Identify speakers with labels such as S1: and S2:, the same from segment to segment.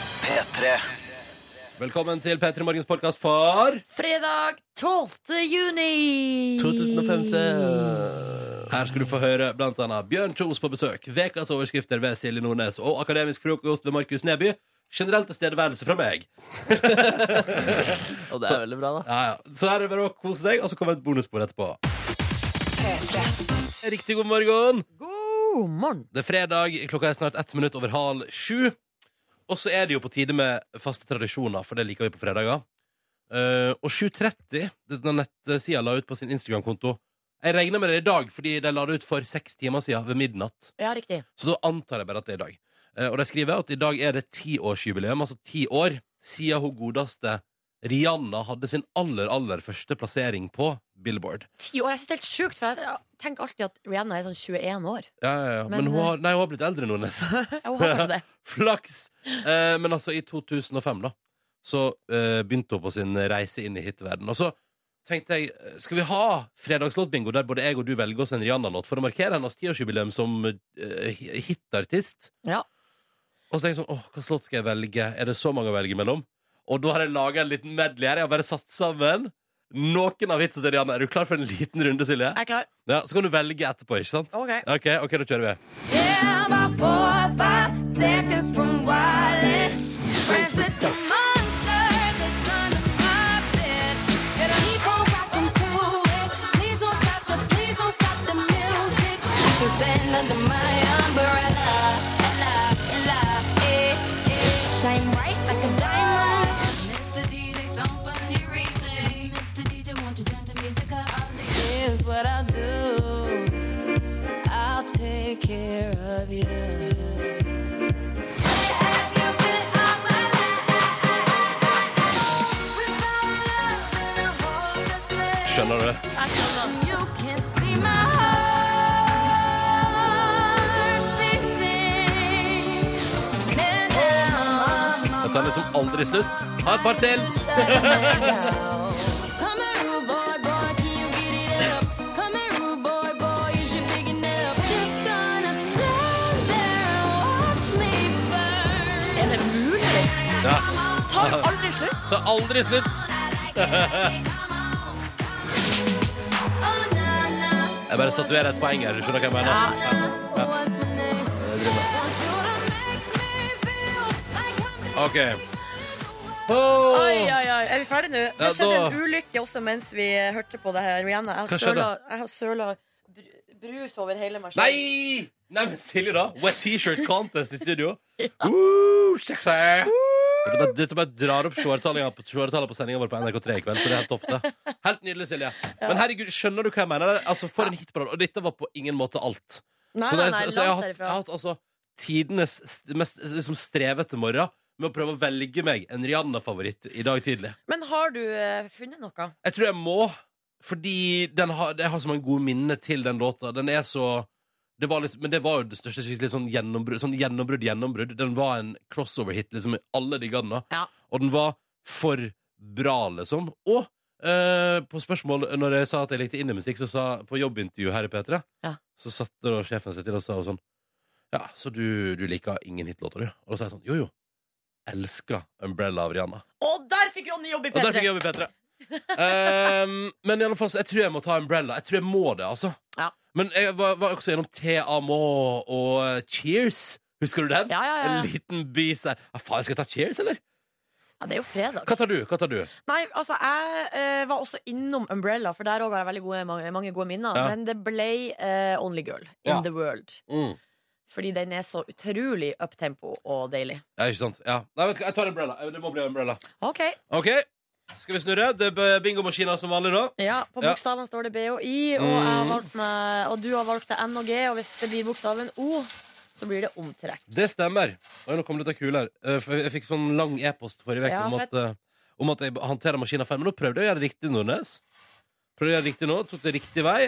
S1: P3.
S2: Velkommen til P3 Morgens podkast for
S3: Fredag 12. juni
S2: 2015. Her skal du få høre blant annet Bjørn Kjos på besøk, Vekas overskrifter ved Silje Nordnes og Akademisk frokost ved Markus Neby. Generelt tilstedeværelse fra meg.
S4: Og det er veldig bra, da.
S2: Ja, ja. Så her er det bare å kose deg, og så kommer det et bonusbord etterpå. Riktig god morgen.
S3: God morgen.
S2: Det er fredag, klokka er snart ett minutt over halv sju. Og så er det jo på tide med faste tradisjoner, for det liker vi på fredager. Eh, og 7.30, denne nettsida la ut på sin Instagram-konto Jeg regner med det i dag, fordi de la det ut for seks timer siden, ved midnatt.
S3: Ja, riktig.
S2: Så da antar jeg bare at det er i dag. Eh, og de skriver at i dag er det tiårsjubileum, altså ti år, siden hun godeste Rihanna hadde sin aller, aller første plassering på Billboard.
S3: Ti år. Jeg synes det er helt sjukt, for jeg tenker alltid at Rihanna er sånn 21 år.
S2: Ja, ja, ja. Men,
S3: Men,
S2: hun,
S3: eh,
S2: har, nei, hun har blitt eldre nå, Nes.
S3: Jeg håper kanskje det.
S2: Flaks! Eh, men altså, i 2005 da Så eh, begynte hun på sin reise inn i hitverden Og så tenkte jeg eh, Skal vi ha fredagslåtbingo der både jeg og du velger oss en Rihanna-låt For å markere hennes 10-årsjubileum som eh, hi- hitartist
S3: Ja.
S2: Og så tenkte jeg sånn, åh, hva slått skal jeg velge? Er det så mange å velge mellom? Og da har jeg laget en liten medley her Jeg har bare satt sammen noen av hitsene til Rihanna Er du klar for en liten runde, Silje?
S3: Jeg er klar.
S2: Ja, så kan du velge etterpå, ikke sant?
S3: Ok.
S2: Ok, ok, da kjører vi
S5: eh, Here's What I'll do, I'll take care of you.
S2: Skjønner du det?
S5: You can see my heart beating. And now
S2: Dette er liksom aldri slutt Ha et par til
S5: Come here, rude boy, boy, can you get it up? Come here, rude boy, boy, you should big up. Just gonna stand there and watch me burn.
S3: Er det mulig? Tar aldri slutt.
S2: Det er aldri slutt.
S5: Oh, na, na.
S2: Jeg bare statuerer et poeng her. Du skjønner hva jeg mener? OK. Åh!
S3: Oi, oi, oi. Er vi ferdige nå?
S2: Ja,
S3: Det skjedde
S2: da-
S3: en ulykke også mens vi hørte på det her, Rihanna. Jeg
S2: Hva
S3: har
S2: skjedde?
S3: søla, jeg har søla br- brus over hele meg
S2: Nei! Nei, men Silje, da. Wet T-shirt contest i studio. Woo, sjekk det. Dette bare, dette bare drar opp seertallene på, seertallene på sendinga vår på NRK3 i kveld. Så det er helt topp, det. Helt nydelig, Silje. Men herregud, skjønner du hva jeg mener? Altså, For en hitparade. Og dette var på ingen måte alt.
S3: Nei,
S2: Så
S3: nei,
S2: når
S3: nei,
S2: jeg- så jeg har hatt,
S3: langt
S2: jeg har
S3: derifra.
S2: hatt altså tidenes st- mest liksom, strevete morgen med å prøve å velge meg en Rihanna-favoritt i dag tidlig.
S3: Men har du eh, funnet noe?
S2: Jeg tror jeg må, fordi den har, jeg har så mange gode minner til den låta. Den er så det var liksom, Men det var jo det største skikkelig sånn gjennombrudd. Sånn gjennombrudd, gjennombrudd. Den var en crossover-hit liksom i alle de gangene.
S3: Ja.
S2: Og den var for bra, liksom. Og eh, på spørsmål når jeg sa at jeg likte indiemusikk, så sa på jobbintervju her i P3,
S3: Ja.
S2: så satte da sjefen seg til og sa sånn Ja, så du, du liker ingen hitlåter, du? Og da sa jeg sånn Jo, jo. Elsker Umbrella av Rihanna.
S3: Og der fikk Ronny jobb i
S2: Og der fikk
S3: P3!
S2: jeg jobb i P3. Ehm, men i alle fall, så jeg tror jeg må ta Umbrella. Jeg tror jeg må det, altså.
S3: Ja.
S2: Men jeg var, var også gjennom TA Må og eh, Cheers. Husker du den?
S3: Ja, ja, ja.
S2: En liten bis der. Ja, Ah, faen, skal jeg ta Cheers, eller?
S3: Ja, det er jo fredag.
S2: Hva tar du? Hva tar du?
S3: Nei, altså jeg eh, var også innom Umbrella, for der òg har jeg veldig gode, mange, mange gode minner.
S2: Ja.
S3: Men det ble eh, Only Girl in
S2: Ja.
S3: the World.
S2: Mm.
S3: Fordi den er så utrolig uptempo og deilig.
S2: Ja, ikke sant? Ja. Nei, vet du hva, jeg tar Umbrella. Eh, Det må bli Umbrella.
S3: OK.
S2: OK, skal vi snurre? Det er bingomaskina som vanlig, da.
S3: Ja, på
S2: Ja. Mm.
S3: bokstavene står det BHI, og, jeg har valgt meg, og du har valgt deg N og G, og hvis det blir bokstaven O, så blir det omtrekk.
S2: Det stemmer. Oi, nå kom det til kule her. Eh, for Jeg fikk sånn lang e-post forrige uke
S3: Ja,
S2: om,
S3: fett.
S2: at, eh, om at jeg håndterer maskinen feil. Men nå prøvde jeg å gjøre det riktig, Nordnes. Prøvde jeg å gjøre det riktig nå, tok det riktig vei.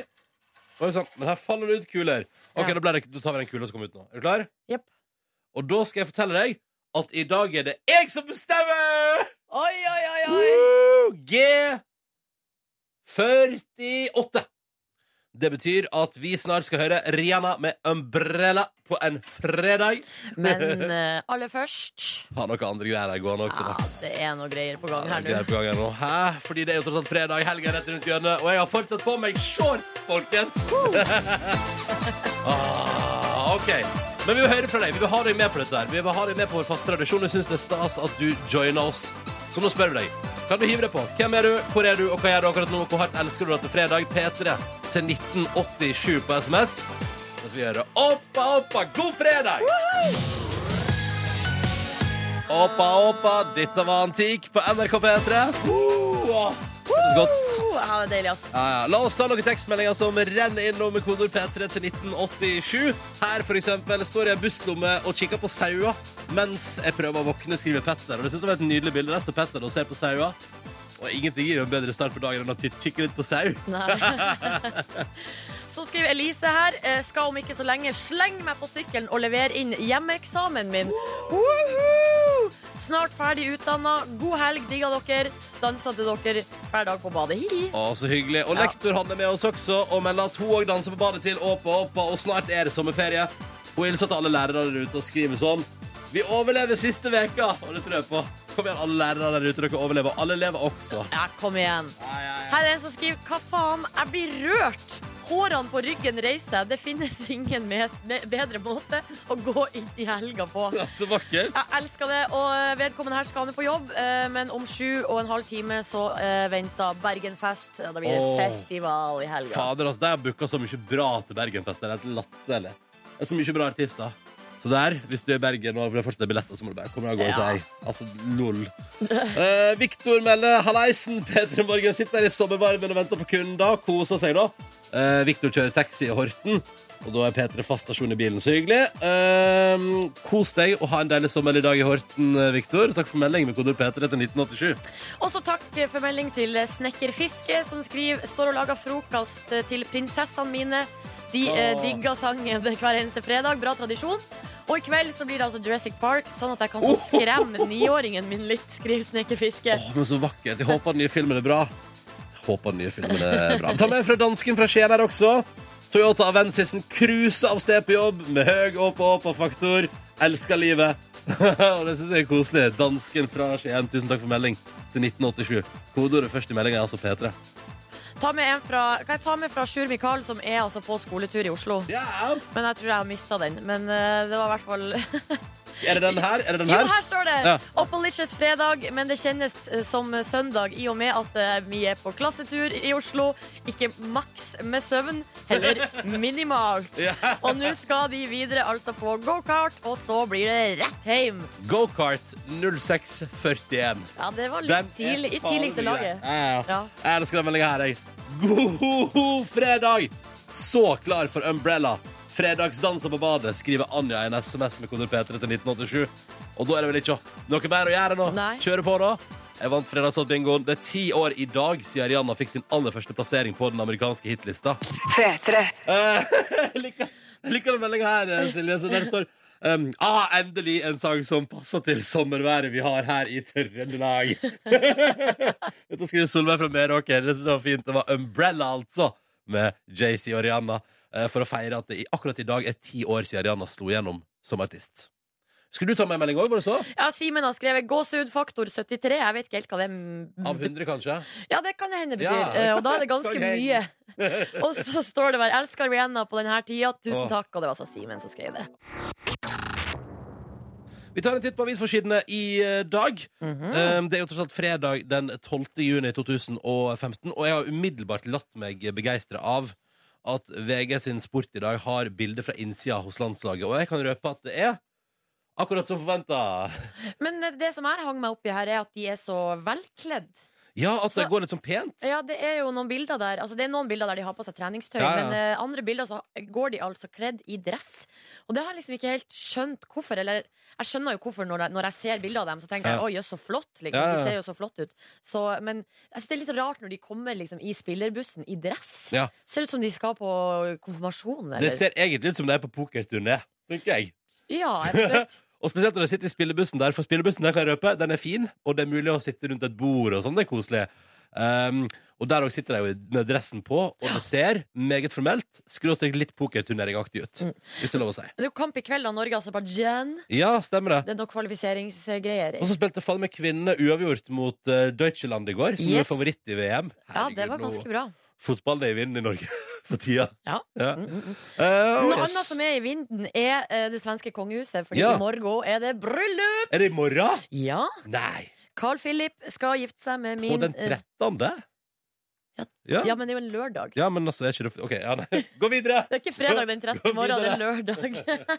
S2: Og jeg sa, men her faller det ut kuler. Ok,
S3: Ja.
S2: da, ble det, da tar vi den kula som kom ut nå. Er du klar?
S3: Jepp.
S2: Og da skal jeg fortelle deg at i dag er det jeg som bestemmer!
S3: Oi, oi, oi, oi!
S2: Woo! G 48. Det betyr at vi snart skal høre Rihanna med 'Umbrella' på en fredag.
S3: Men eh, aller først
S2: Har noen andre greier her gående også,
S3: ja,
S2: da.
S3: Det er noe greier på gang
S2: Ah, Ja,
S3: her
S2: det er
S3: nå.
S2: på gang her nå. Hæ? Fordi det er jo tross alt fredag, helga er rett rundt hjørnet, og jeg har fortsatt på meg shorts, folkens! ah, ok. Men vi vil høre fra deg. Vi vil ha deg med på dette her. Vi vil ha deg med på vår faste tradisjon. Jeg syns det er stas at du joiner oss. Så nå spør vi deg. Kan du hive deg på? Hvem er du, hvor er du, og hva gjør du akkurat nå? Hvor hardt elsker du deg til fredag? P3 til 1987 på SMS. Mens vi hører Oppa, oppa, god fredag! Oppa, oppa, dette var Antik på NRK P3. Woo! Føles godt.
S3: Oh, ja, det er deilig, ass.
S2: Ja, ja. La oss ta noen tekstmeldinger som renner inn nå med kodord P3 til 1987. Her for eksempel står jeg i busslomme og kikker på saua mens jeg prøver å våkne, skriver Petter. Og det synes jeg var et nydelig bilde. Der står Petter og ser på saua. Og ingenting gir jo en bedre start på dagen enn å ty- kikke litt på sau.
S3: Nei. Så skriver Elise her eh, Skal om ikke så lenge slenge meg på sykkelen og levere inn hjemmeeksamen min. Woohoo! Snart ferdig utdanna. God helg, digga dere. Dansa til dere hver dag på badet. Hihi.
S2: Å, så hyggelig. Og
S3: Ja.
S2: lektor han er med oss også, og melder at hun òg danser på badet til Åpa Åpa, og snart er det sommerferie. Hun hilser til alle lærere der ute og skriver sånn. Vi overlever siste veka, og det tror jeg på. Kom igjen, alle lærere der ute, dere overlever. Og Alle lever også.
S3: Ja, kom igjen.
S2: Ja, ja, ja.
S3: Her er en som skriver Hva faen, jeg blir rørt Hårene på ryggen reiser Det finnes ingen med, med, bedre måte Å gå inn i helga på
S2: Det er så vakkert.
S3: Jeg elsker det, og vedkommende her skal nå på jobb eh, Men om sju og en halv time Så eh, venter Bergenfest Ja, Da blir det
S2: Åh.
S3: festival i helga
S2: Fader, altså, de har booka så mye bra til Bergenfest. Det er helt latterlig. Det er så mye bra artister. Så der, hvis du er i Bergen og det er fortsatt billetter, så må du bare komme deg av gårde.
S3: Ja.
S2: sier jeg. Altså, lol. Eh, Victor melder Hallaisen. Peter Morgen sitter her i sommervarmen og venter på kunder. Koser seg, da. Eh, Victor kjører taxi i Horten. Og da er P3 fast stasjon i bilen. Så hyggelig. Eh, kos deg og ha en deilig sommerlig dag i Horten, eh, Victor. Takk for melding med kodord P3 til 1987.
S3: Også takk for melding til Snekker Fiske, som skriver Står og lager frokost eh, til prinsessene mine. De eh,
S2: Åh.
S3: digger sangen hver eneste fredag. Bra tradisjon. Og i kveld så blir det altså Jurassic Park, sånn at jeg kan få skremme niåringen min litt, skriver Snekker Fiske.
S2: Åh, men så vakkert. Jeg håper den nye filmen er bra. Jeg Håper den nye filmen er bra. Ta med fra dansken fra Skien her også. Toyota Avensisen cruiser av sted på jobb med høy opp og opp og faktor. Elsker livet. og det syns jeg er koselig. Dansken fra Skien, tusen takk for melding til 1987. Kodeordet først i meldinga er altså P3.
S3: Ta med en fra, kan jeg ta med fra Sjur Mikael, som er altså på skoletur i Oslo. Men jeg tror jeg har mista den. Men eh, det var i hvert fall
S2: Er det den her? Er det den
S3: Jo,
S2: her?
S3: her står det!
S2: Ja.
S3: Oppalicious fredag, men det kjennes eh, som søndag i og med at eh, vi er på klassetur i Oslo. Ikke maks med søvn, heller minimalt.
S2: Ja.
S3: Og nå skal de videre altså på gokart, og så blir det rett hjem.
S2: Gokart 0641.
S3: Ja, det
S2: Den
S3: var litt
S2: er
S3: tidlig, i
S2: farlig
S3: tidligste
S2: grei.
S3: laget.
S2: Ja, ja.
S3: Ja.
S2: Jeg elsker den meldinga her, jeg. God fredag! Så klar for Umbrella. Fredagsdanser på badet, skriver Anja i en SMS med kode P3 til 1987. Og da er det vel ikke noe mer å gjøre nå?
S3: Nei.
S2: Kjøre på, da. Jeg vant fredagsbingoen. Det er ti år i dag siden Rihanna fikk sin aller første plassering på den amerikanske hitlista. Eh, Jeg liker, jeg liker den meldinga her, eh, Silje. Så der står um, ah, endelig en sang som passer til sommerværet vi har her i Trøndelag. Dette skriver Solveig fra Meråker. Det synes jeg var fint. Det var Umbrella, altså, med JC og Rihanna. eh, For å feire at det i- akkurat i dag er ti år siden Rihanna slo gjennom som artist. Skulle du ta med en melding òg, var det så?
S3: Ja, Simen har skrevet 'gåsehud faktor 73'. Jeg vet ikke helt hva det
S2: Av 100, kanskje?
S3: Ja, det kan det hende betyr.
S2: Ja, det
S3: eh,
S2: kan-
S3: og da er det ganske
S2: kan hende.
S3: mye. Og så står det bare 'elsker Rihanna' på denne tida.
S2: Åh.
S3: Tusen takk. Og det var altså Simen som skrev det.
S2: Vi tar en titt på avisforsidene i eh, dag. Um, Det er jo tross alt fredag den 12. juni 2015, og jeg har umiddelbart latt meg begeistre av at VG sin sport i dag har bilder fra innsida hos landslaget, og jeg kan røpe at det er akkurat som forventa.
S3: Men eh, det som jeg hang meg opp i her, er at de er så velkledd.
S2: Ja, at det
S3: Så-
S2: går litt sånn pent.
S3: Ja, det er jo noen bilder der Altså, det er noen bilder der de har på seg treningstøy,
S2: Ja, ja.
S3: men eh, andre bilder så går de altså kledd i dress. Og det har jeg liksom ikke helt skjønt hvorfor. Eller jeg skjønner jo hvorfor når jeg, når jeg ser bilder av dem, så tenker
S2: Ja.
S3: jeg å, jøss, så flott, liksom.
S2: Ja, ja.
S3: De ser jo så flott ut. Så, men jeg syns det er litt rart når de kommer liksom i spillerbussen i dress.
S2: Ja.
S3: Ser ut som de skal på konfirmasjon, eller?
S2: Det ser egentlig ut som det er på pokerturné, tenker jeg.
S3: Ja, eventuelt.
S2: Og spesielt når jeg sitter i spillebussen der, for spillebussen der kan jeg røpe, den er fin, og det er mulig å sitte rundt et bord og sånn, det er koselig. Um, og der òg sitter de jo i- med dressen på, og det ser meget formelt skråstrek litt pokerturneringaktig ut.
S3: Mm.
S2: Hvis det er lov å si.
S3: Det er jo kamp i kveld da Norge-Aserbajdsjan.
S2: Ja, stemmer det.
S3: Det er noen kvalifiseringsgreier.
S2: Og så spilte faen meg kvinnene uavgjort mot eh, Deutschland i går, som
S3: Yes.
S2: er favoritt i VM.
S3: Ja, det var
S2: nå-
S3: ganske bra.
S2: Fotballen er i vinden i Norge for tida.
S3: Ja.
S2: Ja.
S3: Mm, mm, mm.
S2: Eh, og
S3: Noe
S2: yes.
S3: annet som er i vinden, er eh, det svenske kongehuset, fordi
S2: Ja.
S3: i morgen er det bryllup!
S2: Er det i morgen?
S3: Ja,
S2: Nei!
S3: Carl Philip skal gifte seg med min
S2: På den
S3: eh,
S2: 13.?
S3: Ja.
S2: Ja.
S3: Ja, men det er jo en lørdag.
S2: Ja, men altså, er ikke det f- OK, ja, nei. gå videre!
S3: Det er ikke fredag den 13.
S2: Gå
S3: morgen, det
S2: videre.
S3: er lørdag.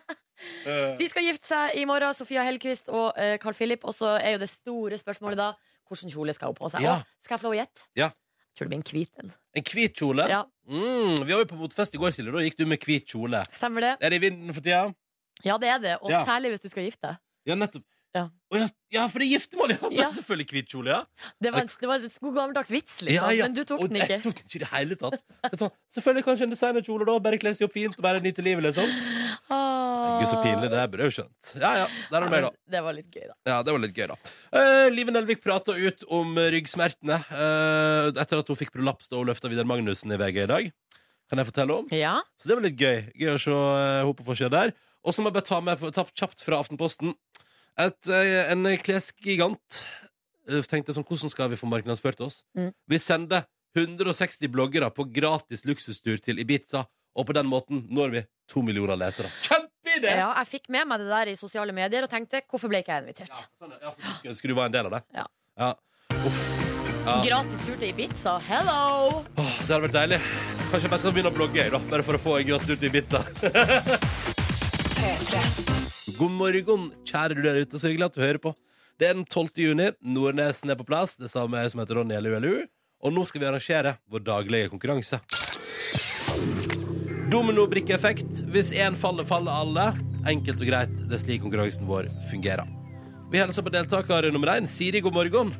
S2: Eh,
S3: De skal gifte seg i morgen, Sofia Hellquist og eh, Carl Philip. Og så er jo det store spørsmålet da hvordan kjole skal hun på seg.
S2: Ja.
S3: Å, skal jeg få lov å gjette?
S2: Ja.
S3: Jeg Tror det blir en hvit en.
S2: Eh, en hvit kjole?
S3: Ja.
S2: Mm, vi var jo på motfest i går, Silje. Da gikk du med hvit kjole.
S3: Stemmer det?
S2: Er det i vinden for tida?
S3: Ja, det er det. Og
S2: Ja.
S3: særlig hvis du skal gifte deg.
S2: Ja, nettopp.
S3: Ja.
S2: Å, ja, ja, for det er giftermål! Ja,
S3: Ja.
S2: selvfølgelig hvit kjole, ja.
S3: Det var en, det var en god gammeldags vits, liksom.
S2: Ja, ja.
S3: Men du tok
S2: Og
S3: den
S2: Jeg
S3: ikke.
S2: tok den ikke i det hele tatt. Det er sånn, selvfølgelig kanskje en designerkjole, da. Bare kle seg opp fint og bare nyte livet, liksom.
S3: Ah.
S2: Gud, så pinlig. Det her burde jeg jo skjønt. Ja, ja. Der er
S3: Ja,
S2: det meg, da.
S3: men Ah. det var litt gøy, da.
S2: Ja, det var litt gøy, da. Eh, Live Nelvik prata ut om eh, ryggsmertene eh, etter at hun fikk prolaps da hun løfta Vidar Magnussen i VG i dag. Kan jeg fortelle om?
S3: Ja.
S2: Så det var litt gøy. Gøy å se eh, hun på forsida der. Og så må jeg bare ta med ta kjapt fra Aftenposten at eh, en klesgigant eh, tenkte sånn Hvordan skal vi få markedsført oss?
S3: Mm.
S2: Vi sender 160 bloggere på gratis luksustur til Ibiza, og på den måten når vi to millioner lesere. Kjempeidé!
S3: ja, jeg fikk med meg det der i sosiale medier og tenkte hvorfor ble ikke jeg invitert?
S2: Ja, sånn, ja, for du skulle ønske du var en del av det.
S3: Ja.
S2: Uff. Ja.
S3: Gratis tur til Ibiza, hello!
S2: Åh, det hadde vært deilig. Kanskje jeg bare skal begynne å blogge, jeg, da. Bare for å få en gratis ut i Ibiza. God morgen, kjære du der ute. Så hyggelig at du hører på. Det er den 12. juni. Nordnesen er på plass. Det samme som heter Ronny eller ULU. Og nå skal vi arrangere vår daglige konkurranse. Dominobrikkeeffekt. Hvis én faller, faller alle. Enkelt og greit. Det er slik konkurransen vår fungerer. Vi hilser på deltaker nummer én. Siri, god morgen.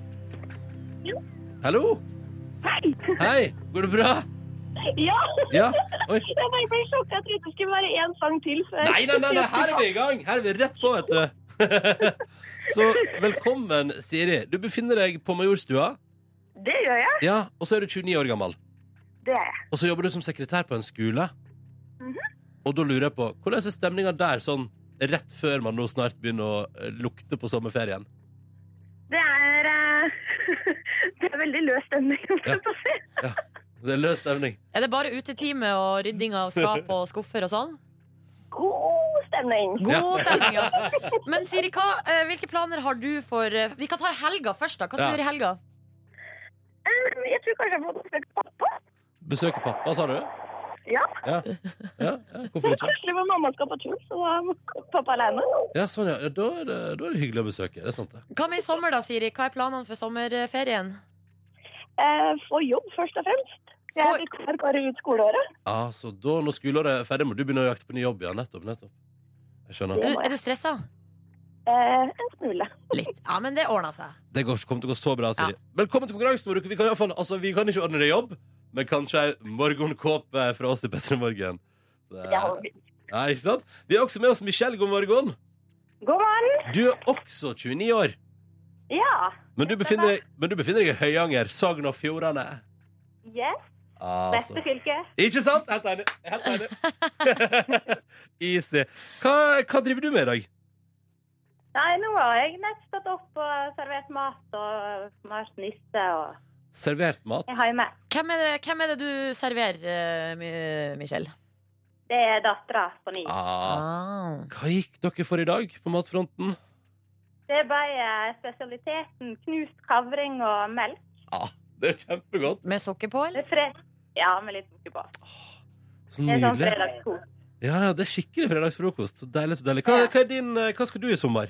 S2: Hallo.
S1: Hei!
S2: Hei. Går det bra?
S1: Ja!
S2: Ja. Oi.
S1: Jeg bare ble sjokka. Jeg trodde det skulle være én sang til før.
S2: Nei, nei, nei, nei, her er vi i gang! Her er vi rett på, vet du. Så velkommen, Siri. Du befinner deg på Majorstua,
S1: Det gjør jeg.
S2: Ja, og så er du 29 år gammel.
S1: Det er jeg. Mhm.
S2: Og så jobber du som sekretær på en skole. Og da lurer jeg på, hvordan er stemninga der sånn rett før man nå snart begynner å eh, lukte på sommerferien?
S1: Det er, eh, det er veldig løs stemning, om
S2: Ja.
S1: jeg får si.
S2: Ja, Det er løs stemning.
S3: Er det bare utetime og rydding av skap og skuffer og sånn?
S1: God stemning.
S3: God stemning, ja. Men Siri, hva, eh, hvilke planer har du for eh, Vi kan ta helga først, da. Hva skal
S2: Ja.
S3: du gjøre i helga?
S1: Eh, Jeg tror kanskje jeg får besøk av pappa.
S2: Besøke pappa, sa du?
S1: Ja.
S2: Ja. ja, ja hvorfor
S1: Det er
S2: ikke?
S1: koselig hvor mamma skal på tur, så da er pappa aleine.
S2: Ja, sånn, ja. ja da, er det, da er det hyggelig å besøke. Det er sant, det.
S3: Hva med i sommer, da, Siri? Hva er planene for sommerferien?
S1: Eh, Få jobb, først og fremst. Jeg
S3: Få-
S1: er vikar bare ut skoleåret.
S2: Ah, så da, når skoleåret er ferdig, må du begynne å jakte på ny jobb. Ja, nettopp, nettopp. Jeg skjønner.
S3: Er
S1: Ja. Det
S3: du,
S1: må jeg.
S3: er du stressa?
S1: Eh, En smule.
S3: Litt. Ja, men det ordner seg.
S2: Det går, kommer til å gå så bra, Siri. Velkommen til konkurransen vår. Vi kan, i hvert fall- altså, vi kan ikke ordne deg jobb, men kanskje ei morgenkåpe fra oss i Petter Morgen. Det-
S1: Jeg holder ut.
S2: Ja, ikke sant? Vi har også med oss Michelle. God morgen.
S1: God morgen.
S2: Du er også 29 år,
S1: Ja.
S2: men du befinner deg, men du befinner deg i Høyanger, Sogn og Fjordane.
S1: Yes. Beste
S2: Altså.
S1: fylke.
S2: Ikke sant? Helt enig. Helt enig. Easy. Hva, hva driver du med i dag?
S1: Nei, nå har jeg nett stått opp og servert mat og malt nisse og
S2: Servert mat?
S1: Jeg har jo med.
S3: Hvem er det, hvem er det du serverer, eh, Mi- Michelle?
S1: Det er dattera på ni.
S2: Ah.
S3: Ah.
S2: Hva gikk dere for i dag på matfronten?
S1: Det ble eh, spesialiteten knust kavring og melk.
S2: Ah, det er kjempegodt.
S3: Med sukker på, eller?
S1: Med fre ja, med litt sukker på.
S2: Så
S1: Det er sånn
S2: nydelig.
S1: fredagskos.
S2: Ja, ja, det er skikkelig fredagsfrokost. Så deilig, så deilig. Hva,
S1: Ja.
S2: hva, er din, eh, hva skal du i sommer?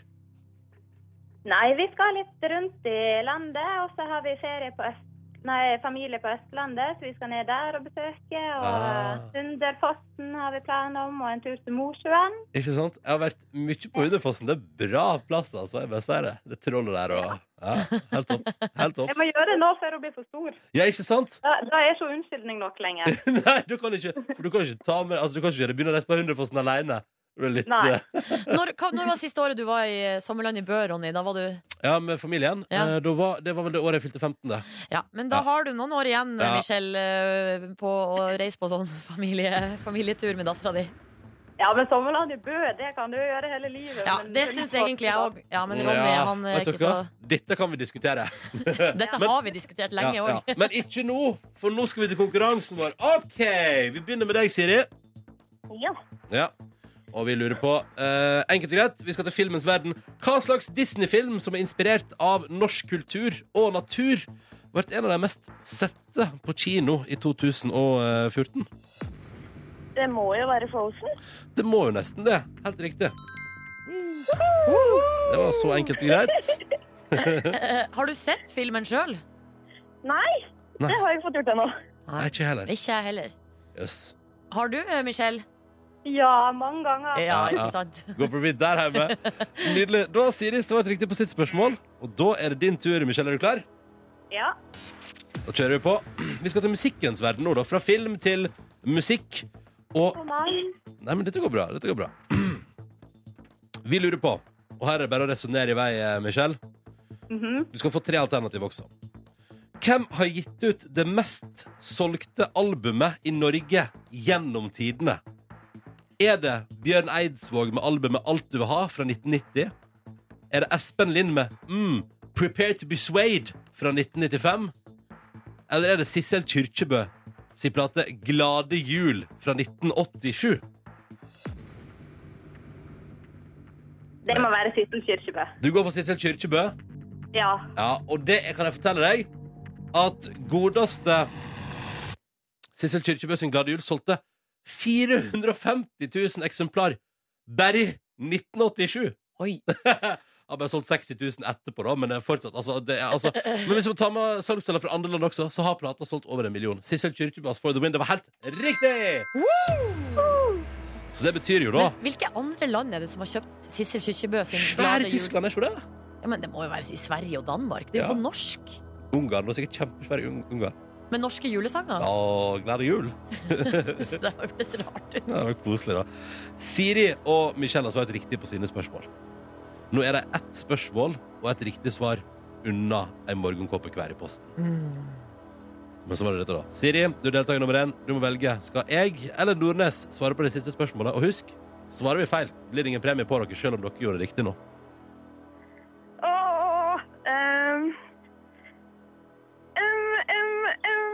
S1: Nei, vi skal litt rundt i landet, og så har vi ferie på Øst... Nei, familie på Østlandet, så vi skal ned der og besøke. Og
S2: Ah.
S1: eh, Sunderfossen har vi plan om, og en tur til Mosjøen.
S2: Ikke sant? Jeg har vært mye på Hunderfossen. Det er bra plass, altså. Jeg bare sier det. Det er trollet der og ja, Helt topp. Helt topp.
S1: Jeg må gjøre det nå før hun blir for stor.
S2: Ja, ikke sant?
S1: Da, da er ikke unnskyldning nok lenger.
S2: Nei, du kan ikke, for du kan ikke ta med Altså, du kan ikke begynne å reise på Hunderfossen alene. Det ble litt,
S1: Nei.
S2: eh,
S3: Når, hva, når var siste året du var i eh, sommerland i Bø, Ronny? Da var du
S2: Ja, med familien.
S3: Ja.
S2: Eh, Da var, det var vel det året jeg fylte 15, det.
S3: Ja, men da
S2: Ja.
S3: har du noen år igjen,
S2: Ja.
S3: Michelle, eh, på å reise på sånn familie, familietur med dattera di.
S1: Ja, men sommerland i Bø, det kan du gjøre hele livet.
S3: Ja,
S1: men-
S3: det syns egentlig jeg òg. Ja, men Ronny,
S2: Ja,
S3: han er
S2: vet
S3: ikke
S2: dere
S3: så
S2: hva? Dette kan vi diskutere.
S3: Dette har vi diskutert lenge
S2: Ja,
S3: òg.
S2: ja. Men ikke nå, for nå skal vi til konkurransen vår. OK, vi begynner med deg, Siri.
S1: Ja.
S2: Ja. Og vi lurer på eh, Enkelt og greit, vi skal til filmens verden. Hva slags Disney-film som er inspirert av norsk kultur og natur, ble en av de mest sette på kino i 2014?
S1: Det må jo være Frozen.
S2: Det må jo nesten det. Helt riktig. Det var så enkelt og greit.
S3: Har du sett filmen sjøl?
S1: Nei,
S2: Nei.
S1: det har jeg fått gjort ennå.
S2: Nei, ikke jeg heller.
S3: Ikke jeg heller.
S2: Jøss.
S3: Har du, eh, Michelle?
S1: Ja, mange ganger.
S3: Ja,
S2: ja.
S3: ikke sant?
S2: Gå på vidd der hjemme. Nydelig. Da har Siri svart riktig på sitt spørsmål, og da er det din tur. Michelle, er du klar?
S1: Ja.
S2: Da kjører vi på. Vi skal til musikkens verden nå, da. Fra film til musikk. Og
S1: Og meg.
S2: Nei, men dette går bra. Dette går bra. Vi lurer på, og her er det bare å resonnere i vei, eh, Michelle.
S1: Mhm.
S2: Du skal få tre alternativ også. Hvem har gitt ut det mest solgte albumet i Norge gjennom tidene? Er det Bjørn Eidsvåg med albumet Alt du vil ha fra 1990? Er det Espen Lind med mm, Prepare to be swayed fra 1995? Eller er det Sissel Kyrkjebø sin plate Glade jul fra 1987?
S1: Det må være Sissel Kyrkjebø.
S2: Du går for Sissel Kyrkjebø.
S1: Ja.
S2: Ja, og det kan jeg fortelle deg at godeste Sissel Kyrkjebø sin Glade jul solgte 450 000 eksemplar bare i 1987.
S3: Oi.
S2: Har bare solgt 60 000 etterpå, da, men det er fortsatt altså, det er, altså, Men hvis vi tar med salgstallene fra andre land også, så har plata solgt over en million. Sissel Kyrkjebøs For the Wind. Det var helt riktig! Så det betyr jo, da
S3: Men hvilke andre land er det som har kjøpt Sissel Kyrkjebø sin
S2: Svære
S3: glade jul?
S2: Tyskland, er ikke det?
S3: Ja, men det må jo være i Sverige og Danmark. Det er jo
S2: Ja.
S3: på norsk.
S2: Ungarn. Det var sikkert kjempesvære Ung- Ungarn.
S3: Med norske julesanger.
S2: Ja, glade jul!
S3: Så det hørtes rart ut.
S2: Ja, det var koselig da Siri og Michelle har svart riktig på sine spørsmål Nå er det ett spørsmål Og et riktig svar Unna en morgenkåpe hver i posten Men så var det dette da Siri, du er deltaker nummer en Du må velge Skal jeg eller Nordnes svare på det siste spørsmålet Og husk, svarer vi feil Blir det ingen premie på dere selv om dere gjorde det riktig nå
S1: Åh, ehm. Ehm, ehm, ehm.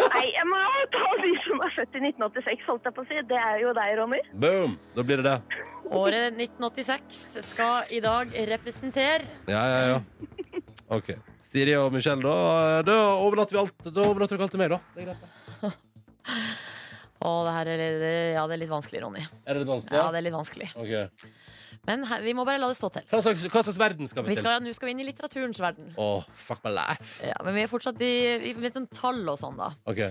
S1: Nei, jeg må ta de som er født i 1986, holdt jeg på å si. Det er jo deg, Ronny.
S2: Boom, da blir det det
S3: Året 1986 skal i dag representere
S2: Ja, ja, ja Ok, Siri og Michelle da Da overlater vi alt Da overlater dere alt til meg da Det er greit da
S3: Å, det her er, litt- ja, det er litt vanskelig, Ronny.
S2: Er det litt vanskelig?
S3: Ja, det er litt vanskelig.
S2: Ok
S3: Men her, vi må bare la det stå til.
S2: Hva slags, hva slags verden skal vi,
S3: Vi skal, nå skal vi inn i litteraturens verden.
S2: til? Åh, fuck my life.
S3: Ja, men vi er fortsatt i, i med sånn tall og sånn, da.
S2: Ok.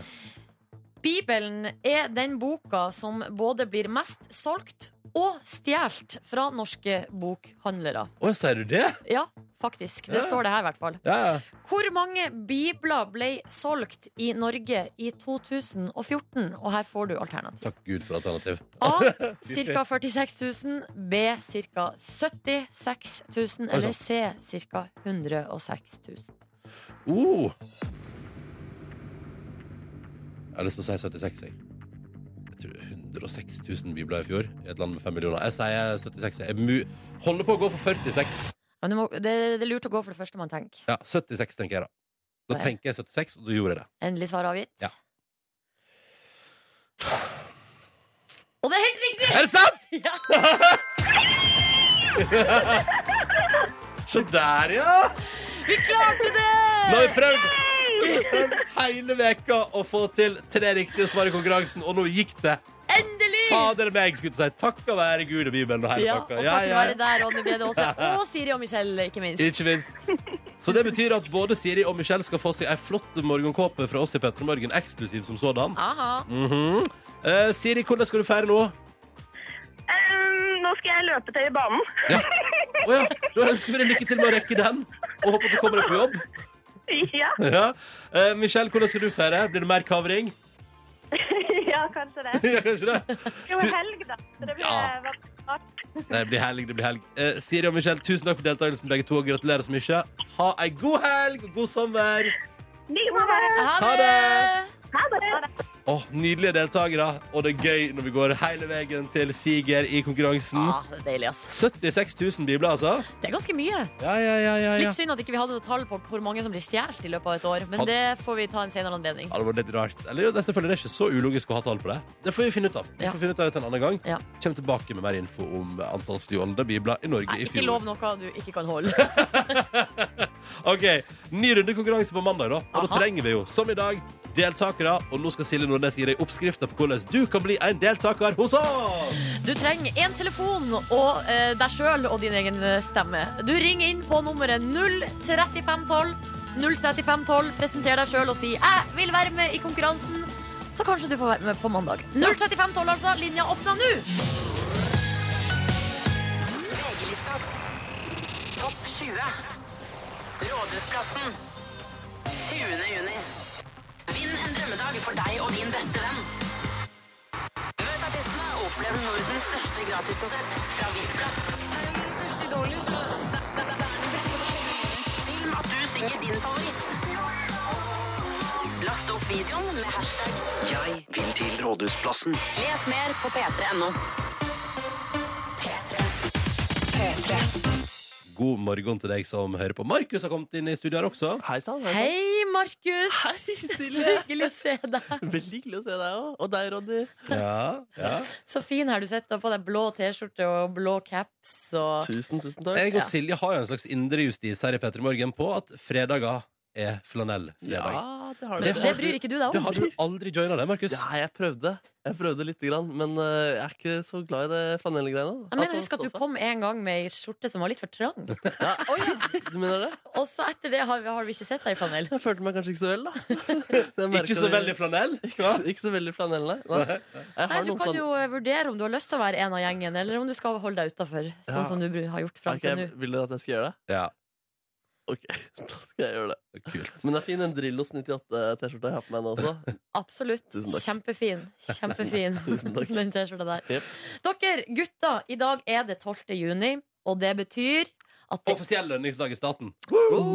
S3: Bibelen er den boka som både blir mest solgt og stjålet fra norske bokhandlere.
S2: Åh, sier du det?
S3: Ja, faktisk. Det
S2: Ja.
S3: står det her, i hvert fall.
S2: Ja, ja.
S3: Hvor mange bibler ble solgt i Norge i 2014? Og her får du alternativ.
S2: Takk Gud for alternativ.
S3: A. Ca. 46 000. B. Ca. 76 000. Eller C.
S2: sånn.
S3: Ca. 106 000.
S2: Uh. Jeg har lyst til å si 76, jeg. Jeg tror 106 000 bibler i fjor i et land med 5 millioner. Jeg sier 76. Jeg mu holder på å gå for 46.
S3: Men du må, det, det er lurt å gå for det første man tenker.
S2: Ja, 76 tenker jeg da. Da
S3: Ja.
S2: tenker jeg 76, og da gjorde jeg det.
S3: Endelig svar avgitt.
S2: Ja.
S3: Og det er helt riktig!
S2: Er det sant?!
S3: Ja.
S2: Så der, ja!
S3: Vi klarte
S2: Nå har
S3: det!
S2: vi prøvd, vi har prøvd hele veka å få til tre riktige svar i konkurransen, og nå gikk det.
S3: Endelig!
S2: Fader meg, skulle jeg si. Takk og være Gud og Bibelen og hele
S3: Ja, og
S2: pakka.
S3: takk
S2: Ja,
S3: for å
S2: ja.
S3: være der, Ronny Brede Aase. Og Siri og Michelle, ikke minst.
S2: Ikke minst. Så det betyr at både Siri og Michelle skal få seg ei flott morgenkåpe fra oss i Petter Morgen, eksklusiv som sådan.
S3: Aha.
S2: Mm. Eh, Siri, hvordan skal du feire nå?
S1: Ehm, nå skal jeg løpe til i banen.
S2: Ja. Å ja. Da ønsker vi deg lykke til med å rekke den, og håper at du kommer deg på jobb.
S1: ja.
S2: Ja. Eh, Michelle, hvordan skal du feire? Blir det mer kavring?
S1: ja, kanskje det.
S2: Ja, kanskje det?
S1: Jo, helg, da. Så det blir
S2: Ja.
S1: eh, hva- snart.
S2: Nei, det blir helg, det blir helg. Eh, Siri og Michelle, tusen takk for deltakelsen, begge to. og Gratulerer så mye. Ha ei god helg og god sommer.
S1: Like måte.
S2: Ha det!
S1: Ha det.
S2: Åh, Nydelige deltakere, og det er gøy når vi går hele veien til siger i konkurransen.
S3: Ja, Ah, det er deilig, ass.
S2: 76 000 bibler, altså.
S3: Det er ganske mye.
S2: Ja, ja, ja, ja, ja.
S3: Litt synd at ikke vi hadde noe tall på hvor mange som blir stjålet i løpet av et år, men
S2: Had-
S3: det får vi ta en senere anledning.
S2: Ja, det var litt rart. Eller, det er selvfølgelig det er ikke så ulogisk å ha tall på det. Det får vi finne ut av. Vi
S3: Ja.
S2: får finne ut av det til en annen gang.
S3: Ja.
S2: Kommer tilbake med mer info om antall stjålne bibler i Norge
S3: Nei,
S2: i
S3: ikke
S2: fjor.
S3: lov noe du ikke kan holde.
S2: Ok, Ny runde konkurranse på mandag, da. Og da
S3: Aha.
S2: trenger vi jo, som i dag, deltakere. Og nå skal Silje Nordnes gi deg oppskrifter på hvordan du kan bli en deltaker hos oss!
S3: Du trenger en telefon og eh, deg sjøl og din egen eh, stemme. Du ringer inn på nummeret 03512. 03512, Presenter deg sjøl og si 'jeg vil være med i konkurransen'. Så kanskje du får være med på mandag. 03512, altså. Linja åpna nå!
S4: VG-lista. Topp 20. Rådhusplassen. 20. juni. Vinn en drømmedag for deg og din beste venn. Møt artistene og opplev Nordens største gratiskonsert fra VIP-plass. Film at du synger din favoritt. Last opp videoen med hashtag Jeg vil til Rådhusplassen. Les mer på p3.no. P3.
S2: God morgen til deg som hører på. Markus har kommet inn i studio her også.
S6: Hei sann. hei sann.
S3: Hei, Markus.
S6: Hei,
S3: Så
S6: Silje.
S3: hyggelig å se deg.
S6: Veldig hyggelig å se deg òg. Og deg, Ronny.
S2: Ja, ja.
S3: Så fin her du sitter. På deg blå T-skjorte og blå caps. Og...
S6: Tusen, tusen takk.
S2: Jeg og Silje har jo en slags indre justis her i P3 Morgen på at fredager er flanellfredag.
S6: Ja, det har
S3: Det,
S6: dere.
S3: det bryr ikke du deg
S2: Du
S3: om?
S2: har du aldri joina det, Markus.
S6: Ja, jeg prøvde. Jeg prøvde lite grann, men eh, jeg er ikke så glad i det flanellgreiene.
S3: Jeg mener, husk at du kom en gang med ei skjorte som var litt for trang.
S6: Ja. Du mener det?
S3: Og så etter det har vi, har vi ikke sett deg i flanell.
S6: Jeg følte meg kanskje ikke så vel, da. Jeg merker
S2: Ikke så
S6: det-
S2: veldig flanell.
S6: ikke, ikke så veldig flanell, nei. nei. Jeg
S3: Nei,
S6: har
S3: Du
S6: noen
S3: kan
S6: flanell...
S3: jo eh, vurdere om du har lyst til å være en av gjengen, eller om du skal holde deg utafor. Sånn
S6: Ja.
S3: som du bru- har gjort fram
S6: Ok,
S3: til nå.
S6: vil dere at jeg skal gjøre det?
S2: Ja,
S6: Ok, da skal jeg gjøre det.
S2: kult.
S6: Men det er fin den Drillos 98-T-skjorta eh, jeg har på meg nå også.
S3: Absolutt.
S6: Tusen takk.
S3: Kjempefin. Kjempefin,
S6: Tusen takk.
S3: den T-skjorta der.
S6: Jep.
S3: Dere gutter, i dag er det 12. juni, og det betyr at det,
S2: Offisiell lønningsdag i staten.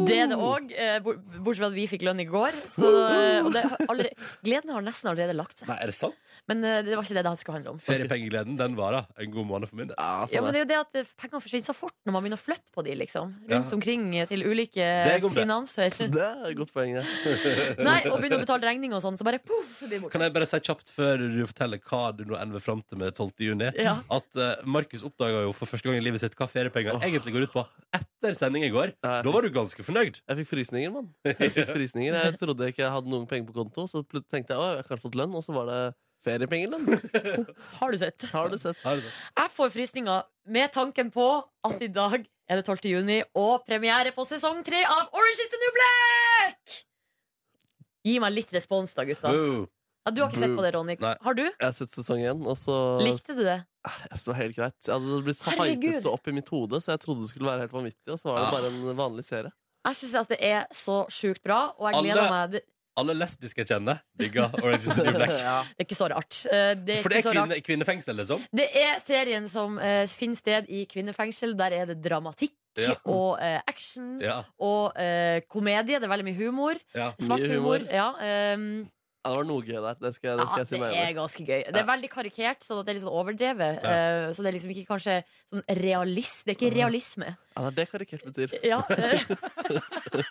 S3: det er det òg, bortsett fra at vi fikk lønn i går. Så, eh, og det, har allerede, gleden har nesten allerede lagt seg.
S2: Nei, er det sant?
S3: Men eh, det var ikke det det skulle handle om.
S2: Feriepengegleden den varer en god måned for min del.
S6: Ja,
S3: Ja,
S6: sånn
S3: men
S6: er det.
S3: det er jo det at eh, pengene forsvinner så fort når man begynner å flytte på de, liksom. Rundt
S2: Ja.
S3: omkring eh, til ulike
S2: er godt, det.
S3: finanser.
S6: Det er et godt poeng, det.
S3: Nei, og begynner å betale regning og sånn, så bare poff, blir borte.
S2: Kan jeg bare si kjapt før du forteller hva du nå ender fram til med 12. juni,
S3: Ja.
S2: at eh, Markus oppdaga jo for første gang i livet sitt hva feriepenger egentlig går ut på etter sending i går.
S6: Ja.
S2: Da var du ganske fornøyd.
S6: Jeg fikk frysninger, mann. Jeg fikk frysninger. Jeg trodde ikke jeg hadde noen penger på konto, så plut- tenkte jeg å, jeg har kanskje fått lønn, og så var det feriepengelønn.
S3: Har du sett?
S6: Har du sett?
S2: Har du det?
S3: Jeg får frysninger med tanken på at i dag er det 12. juni og premiere på sesong 3 av Orange is the New Black! Gi meg litt respons da, gutta.
S2: Boo.
S3: Ja, du har ikke sett på det, Ronny.
S2: Nei.
S3: Har du?
S6: Jeg har sett sesong én, og så
S3: Likte du det?
S6: Jeg så helt greit. Jeg hadde blitt
S3: Herregud.
S6: hypet så opp i mitt hode, så jeg trodde det skulle være helt vanvittig, og så var det
S2: Ah.
S6: bare en vanlig serie.
S3: Jeg syns at det er så sjukt bra, og jeg gleder
S2: Alle-
S3: meg. Det-
S2: Alle lesbiske jeg kjenner, digger Orange is the New Black.
S6: Ja.
S3: Det er ikke så rart. Eh, Det er
S2: For det er
S3: ikke så rart.
S2: kvinne, kvinnefengsel, liksom?
S3: Det er serien som eh, finner sted i kvinnefengsel. Der er det dramatikk
S2: Ja.
S3: og eh, action
S2: Ja.
S3: og eh, komedie. Det er veldig mye humor.
S2: ja.
S3: Svart
S6: Mye
S3: humor.
S6: humor.
S3: Ja, ehm,
S6: Ja, det var noe gøy der. Det skal, jeg- det
S3: ja,
S6: skal jeg si
S3: det
S6: meg enig i.
S3: er ganske gøy. Det er veldig karikert, sånn at det er litt sånn overdrevet.
S2: Ja.
S3: eh, så det er liksom ikke kanskje sånn realist. Det er
S6: Mm.
S3: ikke realisme.
S6: Ja, det er det karikert betyr.
S3: Ja, eh.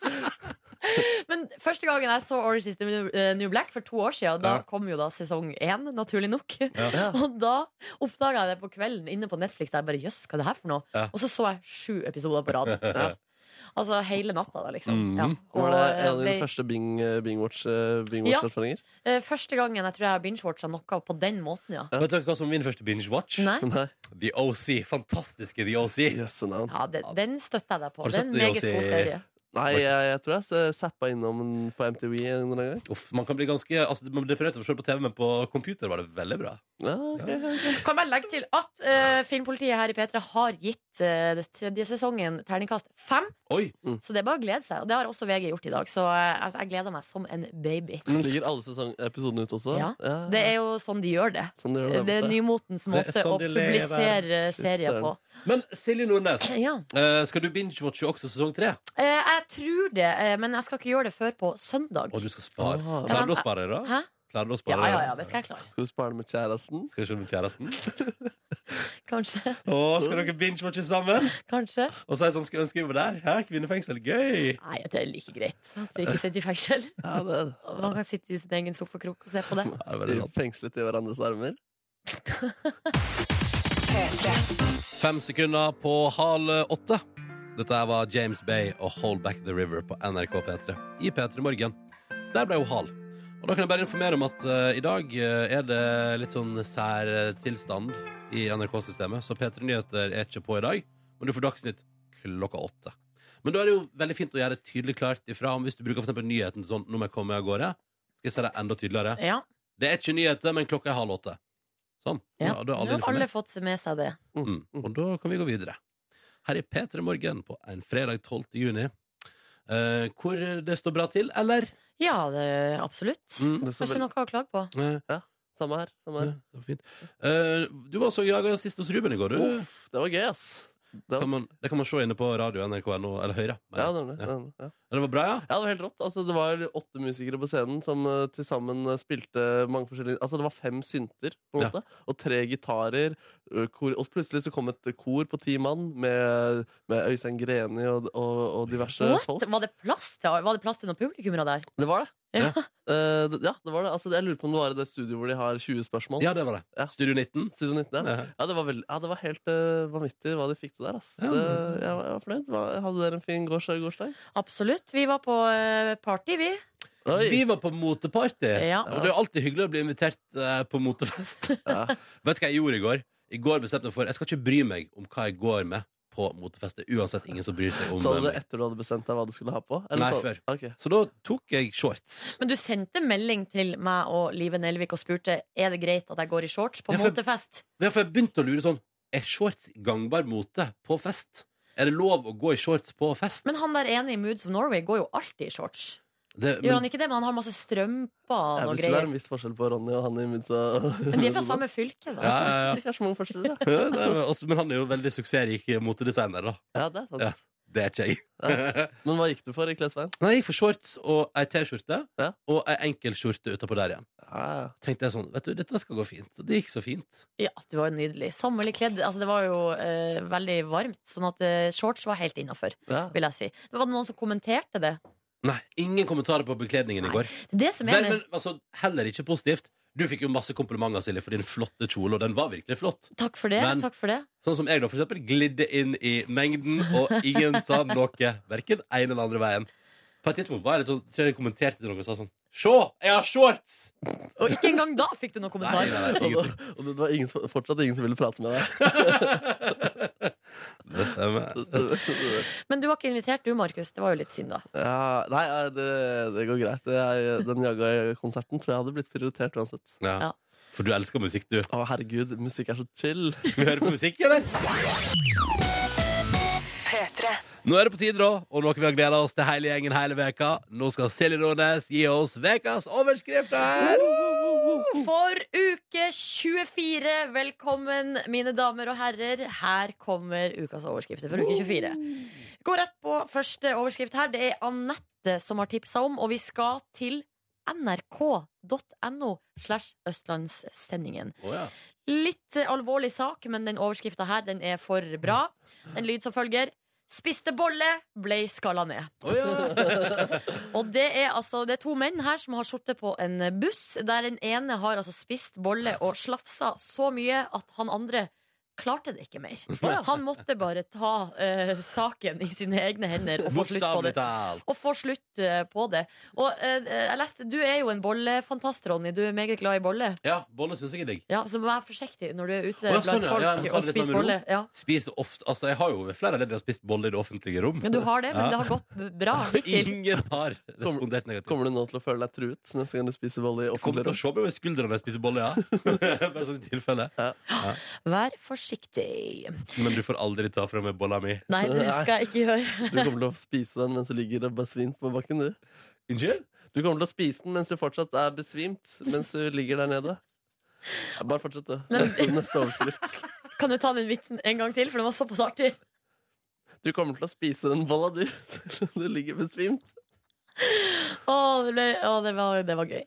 S3: Men første gangen jeg så Orange is the New- eh, New Black, for to år siden, da
S2: Ja.
S3: kom jo da sesong én, naturlig nok.
S2: Ja.
S3: Og da oppdaga jeg det på kvelden inne på Netflix. Der jeg bare, jøss, hva er det her for noe?
S2: Ja.
S3: Og så så jeg sju episoder på rad. Altså hele natta, da, liksom.
S2: Mhm.
S3: Ja.
S6: Var det en av
S3: eh,
S6: dine
S3: ble-
S6: første Bing, eh, Bing
S3: Ja.
S6: Watch-erfaringer?
S3: eh, første gangen jeg tror jeg har binge-watcha noe på den måten, ja.
S2: Vet dere hva som var min første binge-watch?
S3: Nei?
S6: Nei.
S2: The OC. Fantastiske The OC.
S6: Jøsse navn.
S3: Ja, det, den støtter jeg deg på.
S2: Har du
S3: Det er en
S2: sett det
S3: meget
S2: også i-
S3: god serie.
S6: Nei, jeg, jeg tror jeg s- zappa innom den på MTV en eller annen gang.
S2: Uff, man kan bli ganske altså, man- Det prøvde jeg å se på TV, men på computer var det veldig bra.
S6: Ja, ok, ok.
S3: Kan bare legge til at eh, filmpolitiet her i P3 har gitt eh, den tredje sesongen terningkast fem.
S2: Oi!
S6: Mm.
S3: Så det er bare å glede seg. Og det har også VG gjort i dag. Så eh, altså, jeg gleder meg som en baby.
S6: Ligger alle sesongepisodene ute også?
S3: Ja. Det er jo sånn de gjør det.
S6: sånn de gjør
S3: Det er
S6: borte.
S3: nymotens
S2: Det er
S3: måte
S2: sånn
S3: å
S2: de lever.
S3: publisere
S6: Fy
S3: serier på.
S6: søren.
S2: Men Silje Nordnes,
S3: Ja.
S2: eh, skal du binge-watche også sesong tre?
S3: Eh, jeg tror det, eh, men jeg skal ikke gjøre det før på søndag.
S2: Og du skal spare.
S6: Ah.
S2: Klarer du å spare det, da?
S3: Hæ?
S2: Klarer du å spare
S3: Ja, ja, ja,
S2: det?
S3: det skal jeg klare.
S6: Skal du spare det med kjæresten?
S2: Skal vi se om kjæresten
S3: Kanskje.
S2: Å, skal dere binge-watche sammen?
S3: Kanskje.
S2: Og si sånn, skulle ønske vi var der? Hæ, kvinnefengsel, gøy!
S3: Nei, det er like greit at vi ikke sitter i fengsel.
S6: Ja, det er
S3: Man kan sitte i sin egen sofakrok og se på det.
S2: Ja, det er veldig
S6: det.
S2: sant.
S6: Fengslet i hverandres armer.
S2: Fem sekunder på halv åtte. Dette her var James Bay og Hold Back The River på NRK P3 i P3 Morgen. Der ble jo hal. Og da kan jeg bare informere om at eh, i dag eh, er det litt sånn sær eh, tilstand i NRK-systemet, så P3 Nyheter er ikke på i dag, men du får Dagsnytt klokka åtte. Men da er det jo veldig fint å gjøre tydelig klart ifra om hvis du bruker for eksempel nyheten sånn Nå må jeg komme meg av gårde. Skal jeg si det enda tydeligere?
S3: Ja.
S2: Det er ikke nyheter, men klokka er halv åtte. Sånn.
S3: ja.
S2: da
S3: Nå
S2: er alle
S3: har
S2: informert.
S3: alle fått med seg det.
S2: Mm. Og da kan vi gå videre. Her er P3 Morgen på en fredag 12. juni. Eh, hvor det står bra til, eller?
S3: Ja, det, absolutt.
S2: Mm.
S6: Det er så
S3: Kanskje
S6: veldig-
S3: noe å klage på.
S2: Eh,
S6: Samme her. Samme
S2: ja,
S6: her.
S2: det var fint. Eh, du var også jaga sist hos Ruben i går, du.
S6: Uff, det var gøy, ass. Det
S2: Kan
S6: var,
S2: man, det kan man se inne på radio NRK.no, eller Høyre. mener
S6: ja,
S2: jeg.
S6: nemlig. nemlig, Ja.
S2: Ja, det var bra, ja?
S6: Ja, det var helt rått. Altså, det var åtte musikere på scenen som eh, til sammen eh, spilte mange forskjellige Altså, det var fem synter, på en
S2: Ja.
S6: måte, og tre gitarer. ø, Kor, og plutselig så kom et kor på ti mann med, med Øystein Greni og, og, og diverse
S3: What?
S6: folk.
S3: Var det plass til, var det plass til noen publikummere der?
S6: Det var det.
S3: Ja.
S6: Eh, det- ja, det var det. Altså, jeg lurer på om det var i det studioet hvor de har 20 spørsmål.
S2: Ja, det var det.
S6: Ja.
S2: Studio Eh, 19.
S6: Studio 19, ja.
S2: Ja.
S6: Ja, det var, veld- ja, det var helt eh, vanvittig hva de fikk til der. Ass.
S2: Ja,
S6: Det,
S2: men-
S6: jeg, var, jeg var fornøyd. Hva- Hadde dere en fin gårs, gårsdag?
S3: Absolutt. Vi var på eh, party, vi.
S6: Oi!
S2: Vi var på moteparty.
S3: Ja.
S2: Og det er jo alltid hyggelig å bli invitert eh, på motefest.
S6: Ja.
S2: Vet du hva jeg gjorde i går? I går bestemte jeg meg for Jeg skal ikke bry meg om hva jeg går med på motefest. Det er uansett ingen som bryr seg om
S6: Sa du
S2: eh,
S6: det etter du hadde bestemt deg hva du skulle ha på?
S2: Nei,
S6: sa-
S2: før.
S6: Ok.
S2: Så da tok jeg shorts.
S3: Men du sendte melding til meg og Live Nelvik og spurte Er det greit at jeg går i shorts på
S2: Ja, for-
S3: motefest.
S2: Ja, for jeg begynte å lure sånn Er shorts gangbar mote på fest? Er det lov å gå i shorts på fest?
S3: Men han der ene i Moods of Norway går jo alltid i shorts.
S2: det,
S3: Gjør han ikke det? Men han har masse strømper
S6: Jeg
S3: og
S6: vil si det er
S3: greier.
S6: en viss forskjell på Ronny og han i Midsa.
S3: Men de er fra samme fylke,
S2: Ja,
S3: da.
S2: ja, ja.
S6: Det er så mange forskjeller, ja.
S2: Det er vel også- Men han er jo veldig suksessrik motedesigner, da.
S6: ja det er sant.
S2: Ja. Det er ikke jeg.
S6: Men hva gikk du for i klesveien?
S2: Nei, jeg gikk for shorts og ei T-skjorte
S6: Ja.
S2: og ei enkel skjorte utapå der igjen.
S6: Ja, ja.
S2: Tenkte jeg sånn Vet du, dette skal gå fint. Og det gikk så fint.
S3: Ja, du var jo nydelig. Sommerlig kledd. Altså, det var jo eh, veldig varmt, sånn at eh, shorts var helt innafor,
S6: Ja.
S3: vil jeg si. Det var noen som kommenterte det.
S2: Nei, ingen kommentarer på bekledningen i
S3: Nei,
S2: går.
S3: Det er det som
S2: Vel,
S3: er med
S2: men altså, heller ikke positivt. Du fikk jo masse komplimenter, Silje, for din flotte kjole, og den var virkelig flott.
S3: Takk for det.
S2: Men-
S3: takk for det.
S2: Sånn som jeg da, for eksempel, glidde inn i mengden, og ingen sa noe. Verken ene eller andre veien. På et tidspunkt var jeg litt sånn, tror jeg jeg kommenterte til noen og sa sånn Se, jeg har shorts!
S3: Og ikke engang da fikk du noen
S2: Nei,
S3: kommentar.
S2: nei, nei,
S6: Og,
S2: ingenting.
S6: da- og det var ingen, som- fortsatt ingen som ville prate med deg.
S2: Det stemmer.
S3: Men du var ikke invitert du, Markus. Det var jo litt synd, da.
S6: Ja, nei, ja, det, det går greit. Jeg, den Jaga-konserten tror jeg hadde blitt prioritert uansett.
S2: Ja.
S3: Ja.
S2: For du elsker musikk, du.
S6: Å, herregud, musikk er så chill.
S2: Skal vi høre på musikk, eller? Nå er det på tide, da, og noe vi har gleda oss til hele gjengen hele veka. Nå skal Silje Nordnes gi oss ukas overskrifter!
S3: For uke 24, velkommen mine damer og herrer. Her kommer ukas overskrifter for uke 24. Gå rett på første overskrift her. Det er Anette som har tipsa om, og vi skal til nrk.no slash østlandssendingen.
S2: Å ja.
S3: Litt eh, alvorlig sak, men den overskrifta her den er for bra. Den lyd som følger. Spiste bolle, ble skalla ned.
S2: Å ja.
S3: Og det er, altså, det er to menn her som har sittet på en buss, der den ene har altså spist bolle og slafsa så mye at han andre klarte det ikke mer. Han måtte bare ta eh, saken i sine egne hender og få slutt på
S2: Bokstavelig
S3: det.
S2: talt.
S3: Og få slutt eh, på det. Og eh, jeg leste, Du er jo en bollefantast, Ronny. Du er meget glad i bolle.
S2: Ja, bolle syns jeg er digg.
S3: Ja, Så vær forsiktig når du er ute
S2: Å, ja, sånn,
S3: blant
S2: ja.
S3: folk
S2: Ja, jeg må ta
S3: og
S2: det litt med
S3: spiser
S2: ro.
S3: bolle. Ja.
S2: Spiser ofte Altså, jeg har jo ved flere anledninger spist bolle i det offentlige rom.
S3: Men du har det, men
S2: Ja.
S3: det har gått bra hittil.
S2: Ingen har respondert negativt.
S6: Kommer du nå til å føle deg truet neste gang du spiser bolle i
S2: Kommer
S6: offentlig
S2: til å
S6: rom?
S2: se meg over skuldra når jeg spiser bolle, ja. Bare sånn i tilfelle.
S3: Vær forsiktig.
S2: Men du får aldri ta fra meg bolla mi.
S3: Nei, det skal jeg ikke gjøre.
S6: Du kommer til å spise den mens du ligger og besvimt på bakken, du.
S2: Unnskyld?
S6: Du kommer til å spise den mens du fortsatt er besvimt, mens du ligger der nede. Ja, Bare fortsett, du. Neste, neste overskrift.
S3: Kan du ta den vitsen en gang til, for den var såpass artig?
S6: Du kommer til å spise den bolla, du, selv om du ligger besvimt.
S3: Å, det, ble, å, det, var, det var gøy.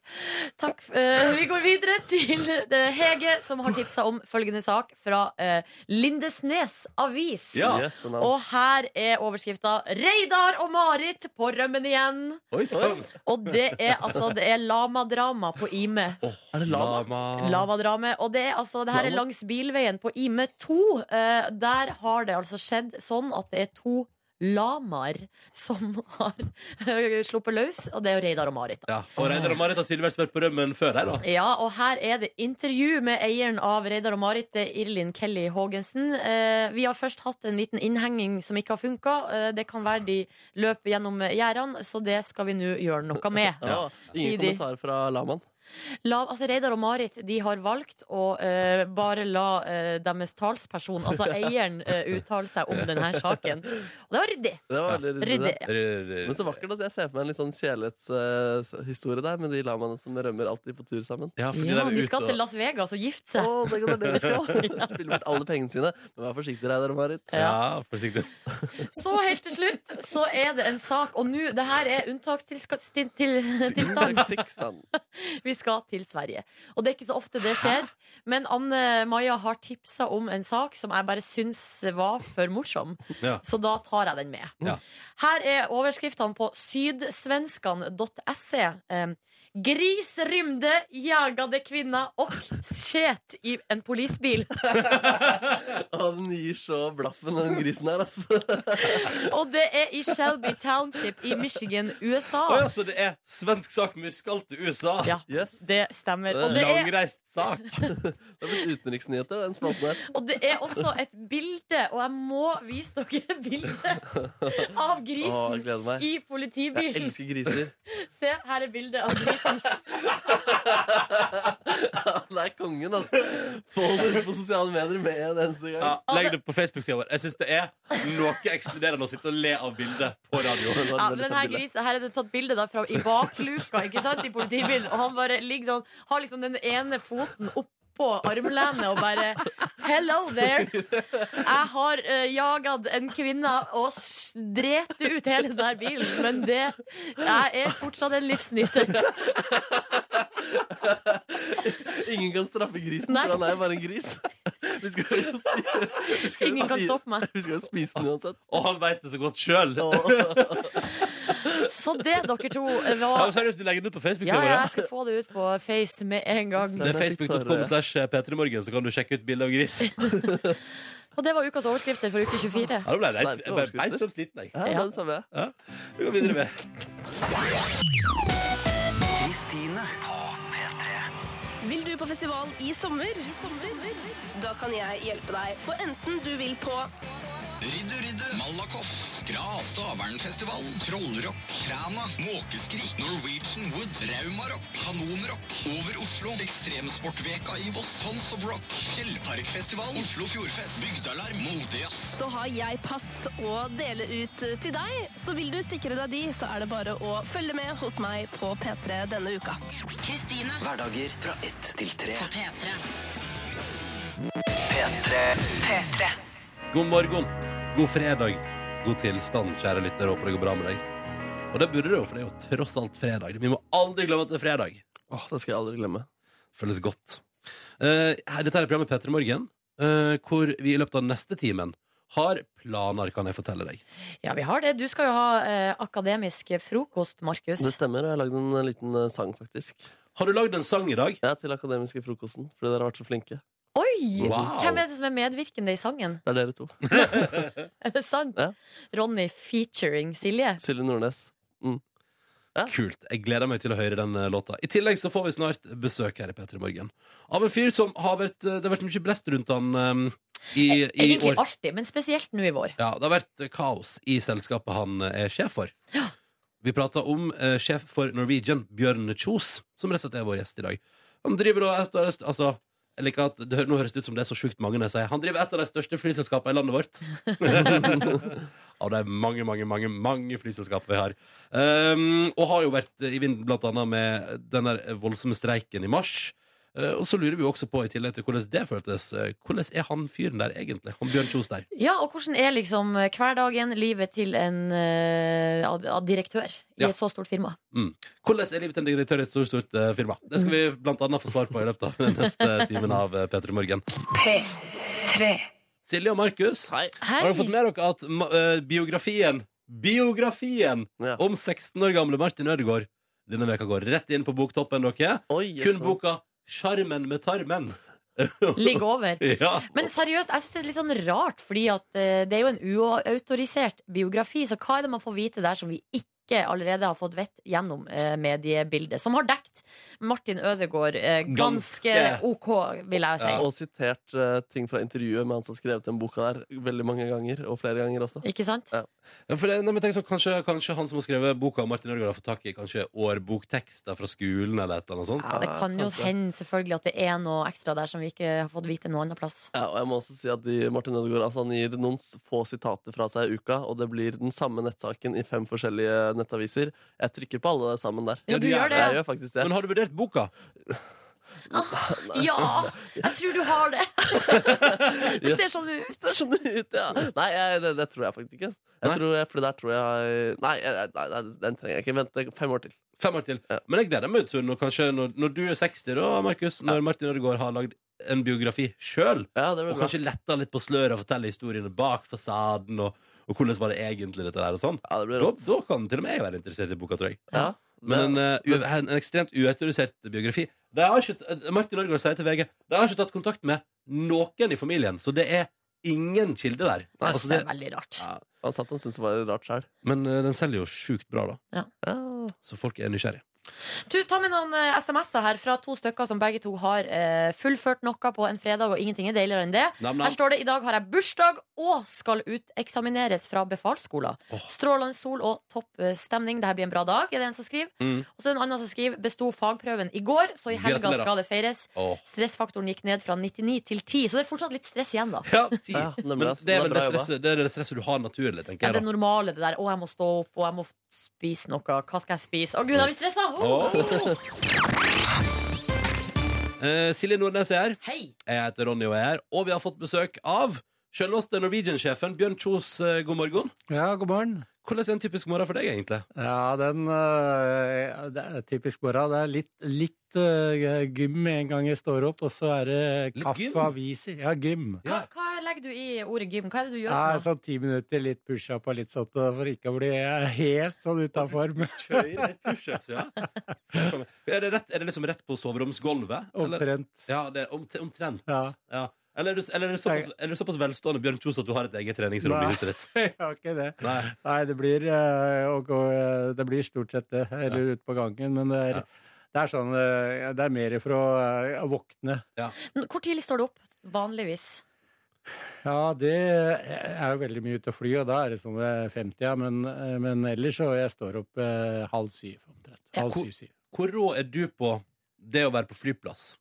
S3: Takk. Eh, vi går videre til eh, Hege, som har tipsa om følgende sak fra eh, Lindesnes Avis.
S2: Ja.
S6: Yes, sånn er det.
S3: Og her er overskrifta 'Reidar og Marit på rømmen igjen'.
S2: Oi sann!
S3: Og det er altså Det er lamadrama på E. Ime.
S2: er det lama?
S3: Lavadrame. Og det er altså Det her er langs bilveien på Ime 2. Eh, der har det altså skjedd sånn at det er to lamaer som har eh, sluppet løs, og det er jo Reidar og Marit.
S2: Ja.
S3: da.
S2: Og Reidar og Marit har tydeligvis vært på rømmen før her, da.
S3: Ja, og her er det intervju med eieren av Reidar og Marit, det er Irlin Kelly Haagensen. Eh, vi har først hatt en liten innhenging som ikke har funka. Eh, det kan være de løp gjennom gjerdene, så det skal vi nå gjøre noe med.
S6: Ja, ingen
S3: Sier de.
S6: kommentar fra lamaen.
S3: La, altså Reidar og Marit de har valgt å eh, bare la eh, deres talsperson, altså eieren, eh, uttale seg om denne saken. Og det var ryddig.
S6: Det var veldig ryddig.
S3: ryddig.
S6: det.
S3: ja.
S6: Men så vakkert. Altså. Jeg ser for meg en litt sånn kjærlighetshistorie der, med de lamaene som rømmer alltid på tur sammen.
S2: Ja, fordi
S3: Ja,
S2: der er
S3: de
S2: ute
S3: skal
S2: og-
S3: til Las Vegas og gifte
S6: Å,
S3: seg.
S6: tenk om det er det de skal! Spille bort alle pengene sine. Men vær forsiktig, Reidar og Marit.
S2: Ja, forsiktig.
S3: Så helt til slutt så er det en sak, og nå Det her er unntakstilstand. Til,
S6: Taktikkstand.
S3: vi skal til Sverige. Og det er ikke så ofte det skjer. Men Anne Maja har tipsa om en sak som jeg bare syns var for morsom.
S2: Ja.
S3: Så da tar jeg den med.
S2: Ja.
S3: Her er overskriftene på sydsvenskan.se. Eh, Gris rymde, jagade kvinna og skjet i en polisbil.
S6: Han gir så blaffen, den grisen her, altså.
S3: Og det er i Shelby Township i Michigan, USA.
S2: Oi, altså, det er svensk sak men vi skal til USA.
S3: Ja,
S6: Yes. Det
S3: det stemmer. Og det er,
S2: Langreist sak.
S6: har blitt utenriksnyheter, den spalten her.
S3: og det er også et bilde, og jeg må vise dere bildet av
S6: Å,
S3: grisen
S6: jeg gleder meg.
S3: i
S6: Jeg
S3: politibilen.
S6: elsker griser.
S3: Se, her er bildet av grisen.
S6: Han er kongen, altså. Få det ut på sosiale medier med en eneste gang.
S2: Ja, legg det på Facebook-sida vår. Jeg syns det er noe ekskluderende å sitte og le av bildet på radio.
S6: Det var et
S3: Ja,
S6: veldig
S3: den
S6: sant
S3: her,
S6: bilde.
S3: grisen, her er det tatt bilde da fra i bakluka ikke sant, i politibilen, og han bare ligger sånn, har liksom den ene foten oppå armlenet og bare Hello there! Jeg har uh, jaget en kvinne og s- drete ut hele den der bilen, men det Jeg er fortsatt en livsnyter.
S6: Ingen kan straffe grisen,
S3: Nei.
S6: for han er jo bare en gris. Vi skal jo spise, vi skal jo
S3: Ingen kan
S6: spise-
S3: stoppe meg.
S6: Vi skal jo spise den uansett.
S2: Og han veit det så godt sjøl.
S3: Så det, dere to, eh, var
S2: Seriøst, du legger det ut på
S3: Ja,
S2: Facebook-sida
S3: ja,
S2: vår?
S3: jeg skal få det ut på Face med en gang.
S2: Det er facebook.com slash eh, p3morgen, så kan du sjekke ut bilde av gris. Ja,
S3: Og det var ukas overskrifter for uke 24.
S2: da ble jeg reit-
S6: Sterke
S2: jeg ble
S6: overskrifter.
S2: beint frem sliten, jeg.
S6: Ja, det er det samme.
S2: Ja. Vi går videre med
S7: Vil du på festival i sommer? Da kan jeg hjelpe deg, for enten du vil på
S8: Ridder, ridder, Malakoff, Skra, Stavernfestival, Trollrock, Kræna, Måkeskrik, Norwegian Wood, Raumarock, Kanonrock, Over Oslo, Ekstremsportveka i Voss, Sons of Rock, Fjellparkfestival, Oslo Fjordfest, Bygdealarm, Moldejazz.
S7: Så har jeg pass å dele ut til deg. Så vil du sikre deg de, så er det bare å følge med hos meg på P3 denne uka.
S4: Kristine
S9: Hverdager fra 1 til 3.
S4: på P3.
S2: God morgen, god fredag, god tilstand, kjære lytter. Håper det går bra med deg. Og det burde det jo, for det er jo tross alt fredag. Vi må aldri glemme at det er fredag.
S6: Åh, det skal jeg aldri glemme.
S2: Føles godt. Eh, her- dette er programmet P3 Morgen, eh, hvor vi i løpet av neste timen har planer, kan jeg fortelle deg.
S3: Ja, vi har det. Du skal jo ha eh, akademisk frokost, Markus.
S6: Det stemmer, og jeg har lagd en liten eh, sang, faktisk.
S2: Har du lagd en sang i dag?
S6: Ja, til akademiske frokosten, fordi dere har vært så flinke.
S3: Oi!
S2: Wow.
S3: Hvem er det som er medvirkende i sangen?
S6: Det er dere to.
S3: Er det sant?
S6: Ja.
S3: Ronny featuring Silje.
S6: Silje Nordnes.
S2: Kult. Jeg gleder meg til å høre den eh, låta. I tillegg så får vi snart besøk her i P3 Morgen av en fyr som har vært eh, Det har vært mye blest rundt han eh, i, i
S3: Egentlig
S2: år.
S3: alltid, men spesielt nå i vår.
S2: Ja, det har vært eh, kaos i selskapet han eh, er sjef for. Vi prata om eh, sjef for Norwegian, Bjørn Kjos, som rett og slett er vår gjest i dag. Han driver da et av de st- Altså, jeg liker at det, hø- nå høres det ut som det er så sjukt mange når jeg sier han driver et av de største flyselskapene i landet vårt. Av de mange, mange, mange mange flyselskaper vi har. Um, og har jo vært i vinden blant annet med den der voldsomme streiken i mars. Eh, og så lurer vi jo også på, i tillegg til hvordan det føltes, eh, hvordan er han fyren der egentlig? Han Bjørn Kjos der.
S3: Ja, og hvordan er liksom hverdagen, livet til en eh, ad- ad- direktør i
S2: Ja.
S3: et så stort firma?
S2: Mm. Hvordan er livet til en direktør i et stort, stort eh, firma? Det skal vi blant annet få svar på i løpet av den neste timen av eh, P3 Morgen. Silje og Markus,
S6: Hei.
S3: Hei!
S2: har dere fått med dere at ma- eh, biografien Biografien
S6: Ja.
S2: om 16 år gamle Martin Ødegaard denne veka går rett inn på boktoppen, dere.
S6: Oi,
S2: Kun
S6: jøsse.
S2: boka 'Sjarmen med tarmen'.
S3: Ligg over.
S2: Ja.
S3: Men seriøst, jeg syns det er litt sånn rart, fordi at eh, det er jo en uautorisert biografi, så hva er det man får vite der som vi ikke allerede har fått vett gjennom eh, mediebildet, som har dekt Martin Ødegaard eh, ganske,
S2: Ganske.
S3: OK, vil jeg si.
S6: Og sitert eh, ting fra intervjuet med han som skrev den boka der, veldig mange ganger. Og flere ganger også.
S3: Ikke sant?
S6: Ja.
S2: Ja, for det, nei, men tenk sånn, kanskje, kanskje han som har skrevet boka om Martin Ødegaard, har fått tak i kanskje årboktekster fra skolen eller et eller annet sånt?
S3: Ja, det kan jo
S6: kanskje.
S3: hende selvfølgelig at det er noe ekstra der som vi ikke har fått vite noe annet plass.
S6: Ja, og jeg må også si at de, Martin Ødegaard altså han gir noen s- få sitater fra seg i uka, og det blir den samme nettsaken i fem forskjellige nettaviser. Jeg trykker på alle sammen der.
S3: Ja, du gjør det, ja.
S6: Jeg gjør faktisk det.
S2: Men har du vurdert boka?
S3: Ja! Jeg tror du har det! Det ser sånn ut.
S6: Det er sånn ut, ja. Nei, jeg, det, det tror jeg faktisk ikke. Jeg
S2: Nei?
S6: tror jeg, for der tror jeg Nei, jeg, nei, nei, den trenger jeg ikke. Vent fem år til.
S2: Fem år til.
S6: Ja.
S2: Men jeg gleder meg til når, kanskje, når, når du er 60, da, Markus, når Martin Ødegaard har lagd en biografi sjøl,
S6: Ja, det blir
S2: og
S6: bra.
S2: kanskje letta litt på sløret og fortelle historiene bak fasaden, og, og hvordan var det egentlig dette der, og sånn.
S6: Ja, det blir
S2: Da,
S6: rått.
S2: da kan til og med jeg være interessert i boka, tror jeg.
S6: Ja.
S2: Men en,
S6: det,
S2: eh, u- en ekstremt uautorisert biografi. De har ikke, eh, Martin Ødegaard sier til VG De har ikke tatt kontakt med noen i familien, så det er ingen kilde der.
S3: Det
S2: Altså,
S3: er
S2: det,
S3: veldig rart.
S2: Ja.
S6: han satt han syntes det var rart sjøl.
S2: men eh, den selger jo sjukt bra, da.
S6: Ja.
S2: Så folk er nysgjerrige.
S3: Du, ta med noen eh, SMS-er her fra to stykker som begge to har eh, fullført noe på en fredag, og ingenting er deiligere enn det.
S2: Nam, nam.
S3: Her står det i dag har jeg bursdag og skal uteksamineres fra befalsskolen.
S2: Åh.
S3: Strålende sol og topp eh, stemning. Dette blir en bra dag, er det en som skriver.
S2: Mm.
S3: Og så er det en annen som skriver besto fagprøven i går, så i helga
S2: Gratulerer.
S3: skal det feires.
S2: Åh.
S3: Stressfaktoren gikk ned fra 99 til 10, så det er fortsatt litt stress igjen, da.
S2: Ja, ti.
S6: Ja, den er
S2: men
S6: bra.
S2: det er vel
S6: Den er
S2: det
S6: bra jobba.
S2: stresset, det er det stresset du har naturlig, tenker
S3: Ja,
S2: jeg.
S3: det
S2: da.
S3: normale, det der. Å, jeg må stå opp, og jeg må f- spise noe. Hva skal jeg spise? Å, gud, jeg blir stressa! Å.
S2: Åh. Eh, Silje Nordnes er her.
S3: Hei!
S2: Jeg heter Ronny og jeg er her. Og vi har fått besøk av selveste Norwegian-sjefen Bjørn Kjos. Eh, god morgen.
S10: Ja, god morgen.
S2: Hvordan er en typisk morgen for deg, egentlig?
S10: Ja, den øh, det er typisk morgen. Det er litt, litt øh, gym med en gang jeg står opp, og så er det
S2: Litt
S10: kaffe
S2: gym?
S10: og aviser. Ja, gym.
S3: Hva, hva legger du i ordet gym? Hva er det du gjør
S10: Ja,
S3: for noe?
S10: sånn ti minutter, litt push-up og litt sånt, øh, for ikke å bli øh, helt sånn ute av form.
S2: Kjører litt pushups, ja. Er det, rett, er det liksom rett på soveromsgulvet? Eller?
S10: Omtrent.
S2: Ja, det er omt, omtrent.
S10: Ja.
S2: Ja. Eller, er du, eller er, du såpass, er du såpass velstående Bjørn Kjos at du har et eget treningsrom i
S10: Nei.
S2: huset ditt?
S10: Jeg har ikke det.
S2: Nei.
S10: Nei, det blir, øh, å gå, øh, det blir stort sett det, eller ut på gangen, men det er, det er sånn øh, Det er mer for å øh, våkne.
S3: Hvor tidlig står du opp? Vanligvis.
S10: Ja, det er jo veldig mye ute å fly, og da er det sånn ved 50, ja. Men, eh, men ellers så jeg står opp eh, halv syv omtrent. Halv
S2: hvor-
S10: syv, syv.
S2: Hvor rå er du på det å være på flyplass?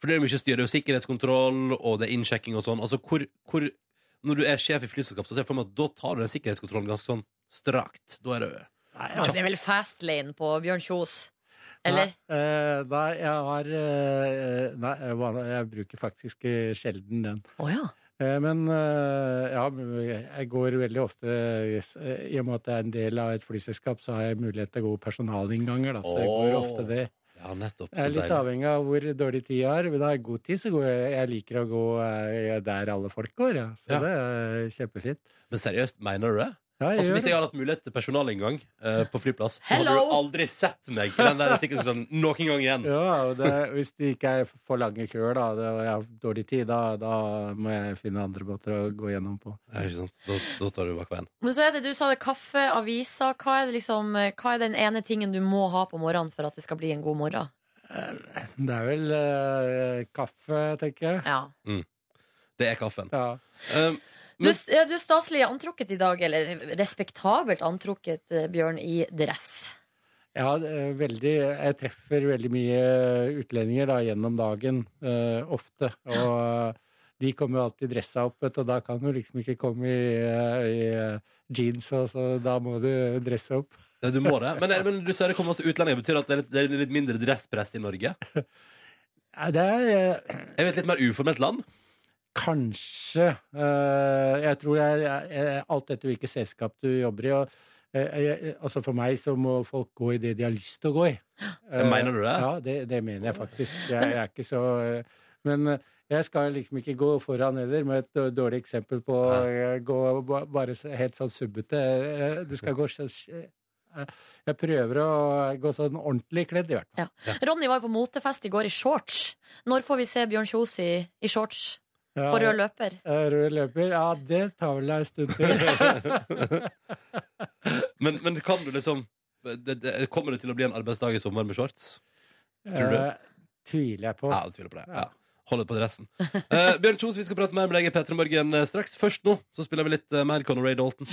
S2: For det er jo mye styr, det er jo sikkerhetskontroll, og det er innsjekking og sånn. Altså, hvor, hvor, når du er sjef i flyselskap, så ser jeg for meg at da tar du den sikkerhetskontrollen ganske sånn strakt. Da er det
S10: Nei,
S3: Det er vel fast lane på Bjørn Kjos? altså, Eller?
S10: Nei, eh, nei, jeg har eh, Nei, jeg, bare, jeg bruker faktisk eh, sjelden den.
S3: Å ja.
S10: Eh, men eh, ja, men jeg går veldig ofte yes, eh, I og med at det er en del av et flyselskap, så har jeg mulighet til å gå personalinnganger, da. Så jeg går
S2: Åh.
S10: ofte det.
S2: Ja, nettopp.
S10: Jeg
S2: Så
S10: er litt
S2: deilig.
S10: avhengig av hvor dårlig tid jeg har. Vil du ha god tid, så går jeg, jeg liker å gå eh, der alle folk går. Ja. Så
S2: Ja.
S10: det er kjempefint.
S2: Men seriøst, mener du det?
S10: Ja, jeg
S2: altså,
S10: gjør
S2: hvis
S10: det.
S2: jeg hadde hatt mulighet til personalinngang eh, på flyplass, så hadde
S10: Hello.
S2: du aldri sett meg i den der sikkerhetskontrollen noen gang igjen.
S10: Ja, og det, hvis det ikke er for lange køer, da, det, og jeg har dårlig tid, da, da må jeg finne andre båter å gå gjennom på.
S2: Ja, ikke sant? Da, da tar du bakveien.
S3: Men så er det, du sa det kaffe, aviser. Hva er, det liksom, hva er den ene tingen du må ha på morgenen for at det skal bli en god morgen?
S10: Det er vel eh, kaffe, tenker jeg.
S3: Ja.
S2: Mm. Det er kaffen.
S10: Ja.
S2: Um,
S3: Du, s- ja, du er staselig antrukket i dag, eller respektabelt antrukket, eh, Bjørn, i dress.
S10: Ja, det er veldig, jeg treffer veldig mye utlendinger da, gjennom dagen, eh, ofte. Og eh, de kommer jo alltid dressa opp, vet, du, og da kan du liksom ikke komme i, eh, i eh, jeans, og så da må du dresse opp.
S2: Ja, Du må det. Men, eh, men du sier det kommer masse utlendinger. Betyr det at det er litt, det er litt mindre dresspress i Norge?
S10: Nei, Det er eh,
S2: Jeg vet litt mer uformelt land.
S10: Kanskje. Eh, jeg tror jeg, jeg, jeg, eh, alt etter hvilket selskap du jobber i. Og, eh, jeg, altså for meg så må folk gå i det de har lyst til å gå i. Eh,
S2: Mener du det?
S10: Ja, det, det mener jeg faktisk. Jeg, jeg er ikke så eh, Men eh, jeg skal liksom ikke gå foran heller, med et dår- dårlig eksempel på å eh, gå ba- bare så- helt sånn subbete. Eh, Du skal gå så- eh, Jeg prøver å gå sånn ordentlig kledd, i hvert fall.
S3: Ronny var jo på motefest i går i shorts. Når får vi se Bjørn Kjos i, i shorts
S10: Ja.
S3: på rød løper?
S10: Eh, Rød løper, ja, det tar vel ei stund til.
S2: Men, men kan du liksom det, det, Kommer det til å bli en arbeidsdag i sommer med shorts? Tror du?
S10: Eh, tviler jeg på.
S2: Ja, jeg tviler på det. Ja. Holder på dressen. Eh, Bjørn Kjos, vi skal prate mer med deg i P3 Morgen eh, straks. Først nå så spiller vi litt eh, mer Conor Ray Dalton.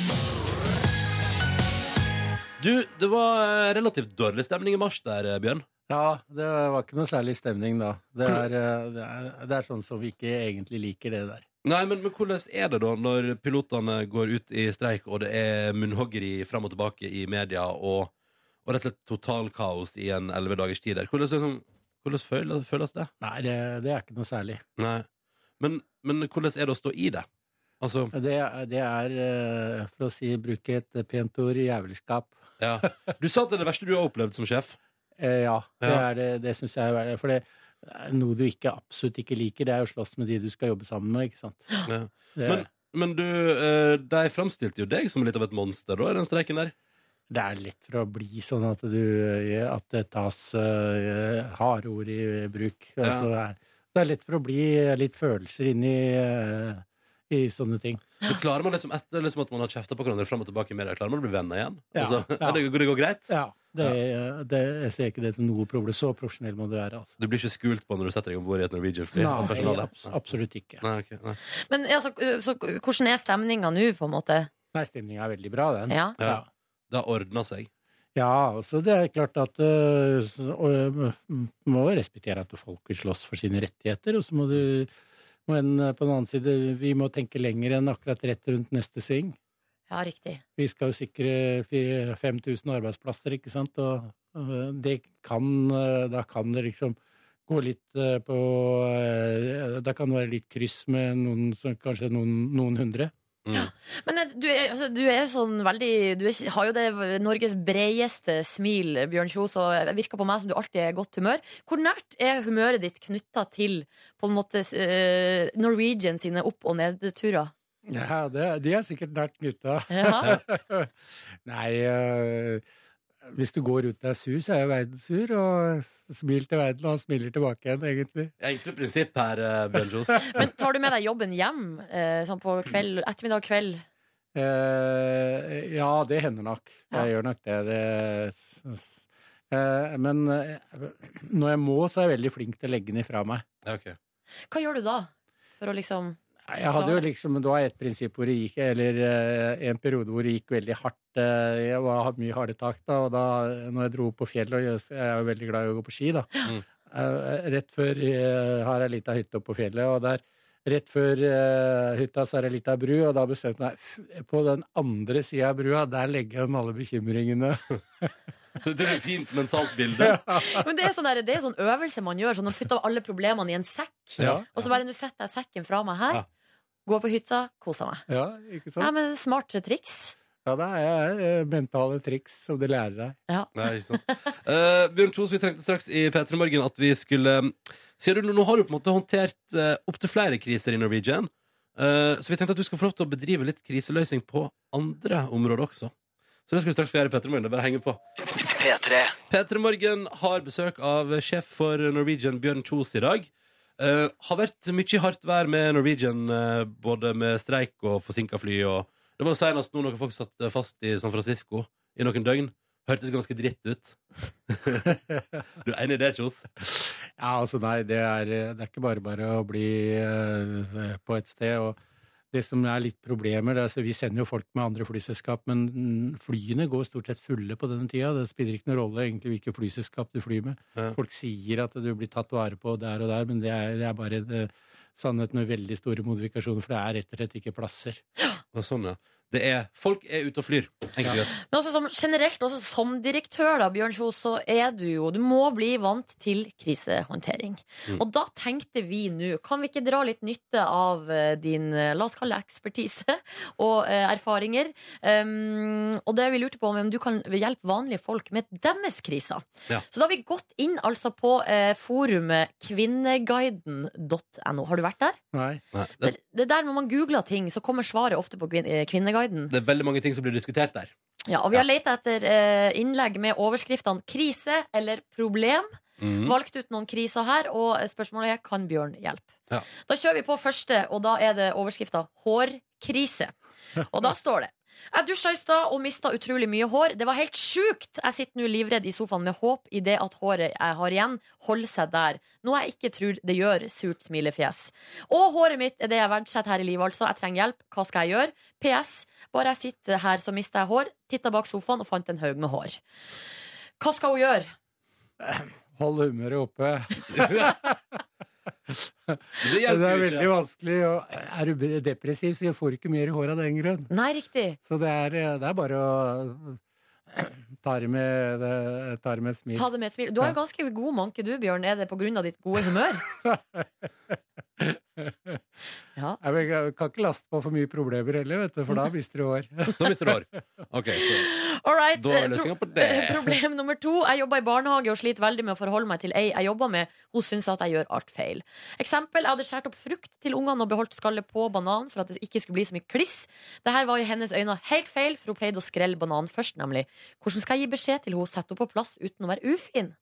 S2: Du, det var eh, relativt dårlig stemning i mars der, eh, Bjørn.
S10: Ja, det var ikke noe særlig stemning da. Det
S2: Hvor-
S10: er, eh, det er, det er sånn som vi ikke egentlig liker det der.
S2: Nei, men, men hvordan er det da når pilotene går ut i streik, og det er munnhoggeri fram og tilbake i media, og, og rett og slett totalkaos i en elleve dagers tid der? Hvordan, liksom, hvordan føles, føles det?
S10: Nei, det, det er ikke noe særlig.
S2: Nei. Men, men hvordan er det å stå i det? Altså,
S10: Det, det er, eh, for å si, bruke et pent ord, jævelskap.
S2: ja. Du sa at det er det verste du har opplevd som sjef.
S10: Eh, ja, det,
S2: Ja.
S10: er det, det syns jeg er For det er noe du ikke, absolutt ikke liker, det er å slåss med de du skal jobbe sammen med, ikke sant.
S2: Ja.
S10: Det-
S2: Men, men du, eh, de framstilte jo deg som litt av et monster da, i den streiken der.
S10: Det er lett for å bli sånn at, du, eh, at det tas eh, harde ord i bruk. Altså, det, er, det er lett for å bli litt følelser inn i, eh, i sånne ting.
S2: Men klarer man liksom etter liksom at man har kjefta på hverandre fram og tilbake i media, klarer man å bli venner igjen?
S10: Ja,
S2: altså,
S10: ja.
S2: Det, går- det går greit?
S10: Ja, det, det, jeg ser ikke det som noe problem. Så profesjonell må du være. Altså.
S2: Du blir ikke skult på når du setter deg om bord i et Norwegian-fly?
S10: Nei,
S2: av personalet?
S10: abs- absolutt ikke.
S2: Nei, ok, nei.
S3: Men altså, så, hvordan er stemninga nå, på en måte?
S10: Nei, stemninga er veldig bra, den.
S3: Ja.
S2: Ja. Det har ordna seg.
S10: Ja, også det er klart at øh, så- og, øh, m- må jo respektere at folk vil slåss for sine rettigheter, og så må du Men øh, på den annen side, vi må tenke lenger enn akkurat rett rundt neste sving.
S3: Ja, riktig.
S10: Vi skal jo sikre fire- 5000 arbeidsplasser, ikke sant? Og øh, det kan øh, Da kan det liksom gå litt øh, på øh, Da kan det være litt kryss med noen, som- kanskje noen, noen hundre.
S3: Men eh, du er, altså, du er sånn veldig Du er, ikke- har jo det Norges bredeste smil, Bjørn Kjos, og det virker på meg som du alltid er i godt humør. Hvor nært er humøret ditt knytta til på en måte eh, Norwegian sine opp- og nedturer?
S10: Ja, det, de er sikkert nært knytta.
S3: Ja.
S10: Nei eh, Hvis du går rundt og er sur, så er jo verden sur. Og smil til verden, og han smiler tilbake igjen, egentlig.
S2: Enkle prinsipp her, eh, Bjørn Kjos.
S3: Men tar du med deg jobben hjem eh, sånn på kveld, ettermiddag kveld?
S10: Eh, ja, det hender nok. Jeg gjør nok det. det s- s- eh, men eh, når jeg må, så er jeg veldig flink til å legge den ifra meg.
S2: Ja, ok.
S3: Hva gjør du da? For å liksom
S10: Jeg hadde jo liksom, Det var et prinsipp hvor det gikk, eller eh, en periode hvor det gikk veldig hardt. eh, Jeg var, hadde mye harde tak da, og da når jeg dro opp på fjellet og jeg, jeg er jo veldig glad i å gå på ski, da. Eh, Rett før eh, har jeg lita hytte oppe på fjellet, og der rett før eh, hytta så er det lita bru, og da bestemte jeg meg f- på den andre sida av brua, der legger jeg igjen alle bekymringene.
S2: Så Det er et fint mentalt bilde.
S3: Men det er, sånn der, det er sånn øvelse man gjør. Sånn å putte alle problemene i en sekk.
S2: Ja.
S3: Og så bare nå setter jeg sekken fra meg her,
S2: Ja.
S3: går på hytta, koser meg.
S10: Ja, ikke
S3: Nei,
S10: sant?
S3: men Smarte triks.
S10: Ja, det er eh, mentale triks som du lærer deg.
S3: Ja.
S2: Nei, ikke sant. Eh, Bjørn Kjos, vi trengte straks i P3 Morgen eh, at vi skulle Sier du, Nå har du på en måte håndtert uh, opptil flere kriser i Norwegian. Eh, så vi tenkte at du skal få lov til å bedrive litt kriseløsning på andre områder også. Så det skal vi straks få gjøre i Petter Morgen. Det er Bare å henge på.
S9: P3.
S2: P3 Morgen har besøk av sjef for Norwegian, Bjørn Kjos, i dag. Eh, har vært mye hardt vær med Norwegian, eh, både med streik og forsinka fly og Det var senest nå noen folk satt eh, fast i San Francisco i noen døgn. Hørtes ganske dritt ut. du er enig i det, Kjos?
S10: Ja, altså nei, det er, det er ikke bare bare å bli eh, på et sted. Og det som er litt problemer, det er, altså, vi sender jo folk med andre flyselskap, men mm, flyene går stort sett fulle på denne tida. Det spiller ikke noen rolle egentlig hvilket flyselskap du flyr med.
S2: Ja.
S10: Folk sier at du blir tatt vare på der og der, men det er, det er bare det, sannheten med veldig store modifikasjoner, for det er rett og slett ikke plasser.
S2: Og sånn, ja. Det er, folk er ute og flyr. Enkelt og greit.
S3: Men også som, generelt, også som direktør, da, Bjørn Kjos, så er du jo Du må bli vant til krisehåndtering.
S2: Mm.
S3: Og da tenkte vi nå, kan vi ikke dra litt nytte av eh, din, eh, la oss kalle det ekspertise, og eh, erfaringer? Um, og det vi lurte på om, om du kan hjelpe vanlige folk med deres kriser.
S2: Ja.
S3: Så da har vi gått inn altså på eh, forumet kvinneguiden.no. Har du vært der?
S10: Nei.
S2: Nei,
S3: Det,
S2: det,
S3: det er der når man googler ting, så kommer svaret ofte på Kvin- eh, Kvinneguiden.
S2: det er veldig mange ting som blir diskutert der.
S3: Ja, og vi har leita etter eh, innlegg med overskriftene 'krise' eller 'problem'. Valgt ut noen kriser her, og spørsmålet er 'kan Bjørn hjelpe'?
S2: Ja.
S3: Da kjører vi på første, og da er det overskrifta 'hårkrise'. Og da står det jeg dusja i stad og mista utrolig mye hår. Det var helt sjukt! Jeg sitter nå livredd i sofaen med håp i det at håret jeg har igjen, holder seg der. Noe jeg ikke tror det gjør. Surt smilefjes. Og håret mitt er det jeg verdsetter her i livet, altså. Jeg trenger hjelp. Hva skal jeg gjøre? PS. Bare jeg sitter her, så mister jeg hår. Titta bak sofaen og fant en haug med hår. Hva skal hun gjøre?
S10: Hold humøret oppe.
S2: Det
S10: Det er
S2: hjelper jo
S10: veldig
S2: ikke.
S10: vanskelig. Og er du depressiv, så får du ikke mer hår av den grunn.
S3: Nei, riktig.
S10: Så det er, eh, det er bare å eh, ta det med, det- ta det med et smil.
S3: Ta det med et smil. Du har jo ganske god manke, du, Bjørn. Er det på grunn av ditt gode humør? Ja.
S10: Jeg vil- jeg kan ikke laste på for mye problemer heller, vet du, for da mister du hår.
S2: Da mister du hår. Ok, så
S3: All right.
S2: da er
S3: eh, pro-
S2: løsninga på det.
S3: Problem nummer to. Jeg jobber i barnehage og sliter veldig med å forholde meg til ei jeg jobber med. Hun syns at jeg gjør alt feil. Eksempel. Jeg hadde skåret opp frukt til ungene og beholdt skallet på bananen for at det ikke skulle bli så mye kliss. Dette var i hennes øyne helt feil, for hun pleide å skrelle bananen først, nemlig. Hvordan skal jeg gi beskjed til henne? Sette henne på plass uten å være ufin?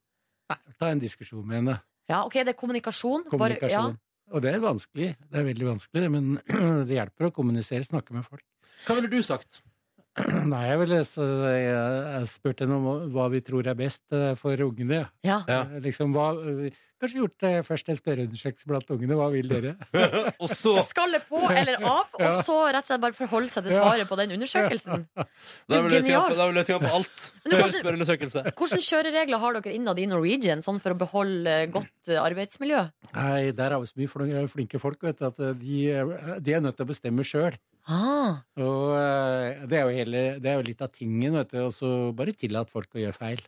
S10: Ta en diskusjon med henne.
S3: Ja, OK, det er kommunikasjon. Bare-
S10: Kommunikasjon.
S3: ja.
S10: Og det er vanskelig. Det er veldig vanskelig, men det hjelper å kommunisere, snakke med folk.
S2: Hva ville du sagt?
S10: Nei, jeg ville så jeg, jeg spurte henne om hva vi tror er best eh, for ungene.
S3: ja.
S2: Ja.
S10: Liksom, hva, kanskje gjort eh, først en spørreundersøkelse blant ungene. Hva vil dere?
S2: Og så
S3: Skallet på eller av, og så rett og slett bare forholde seg til svaret på den undersøkelsen.
S2: Da er vel løsninga
S3: Genialt.
S2: på, da er vel løsninga på alt.
S3: Men du kan ikke-
S2: Spørreundersøkelse.
S3: Hvilke kjøreregler har dere innad i Norwegian sånn for å beholde eh, godt eh, arbeidsmiljø?
S10: Nei, der er vi så mye flin- flinke folk, vet du, at eh, de, de er nødt til å bestemme sjøl.
S3: Ah.
S10: Og eh, det er, jo hele, det er jo litt av tingen, vet du. Og så bare tillat folk å gjøre feil.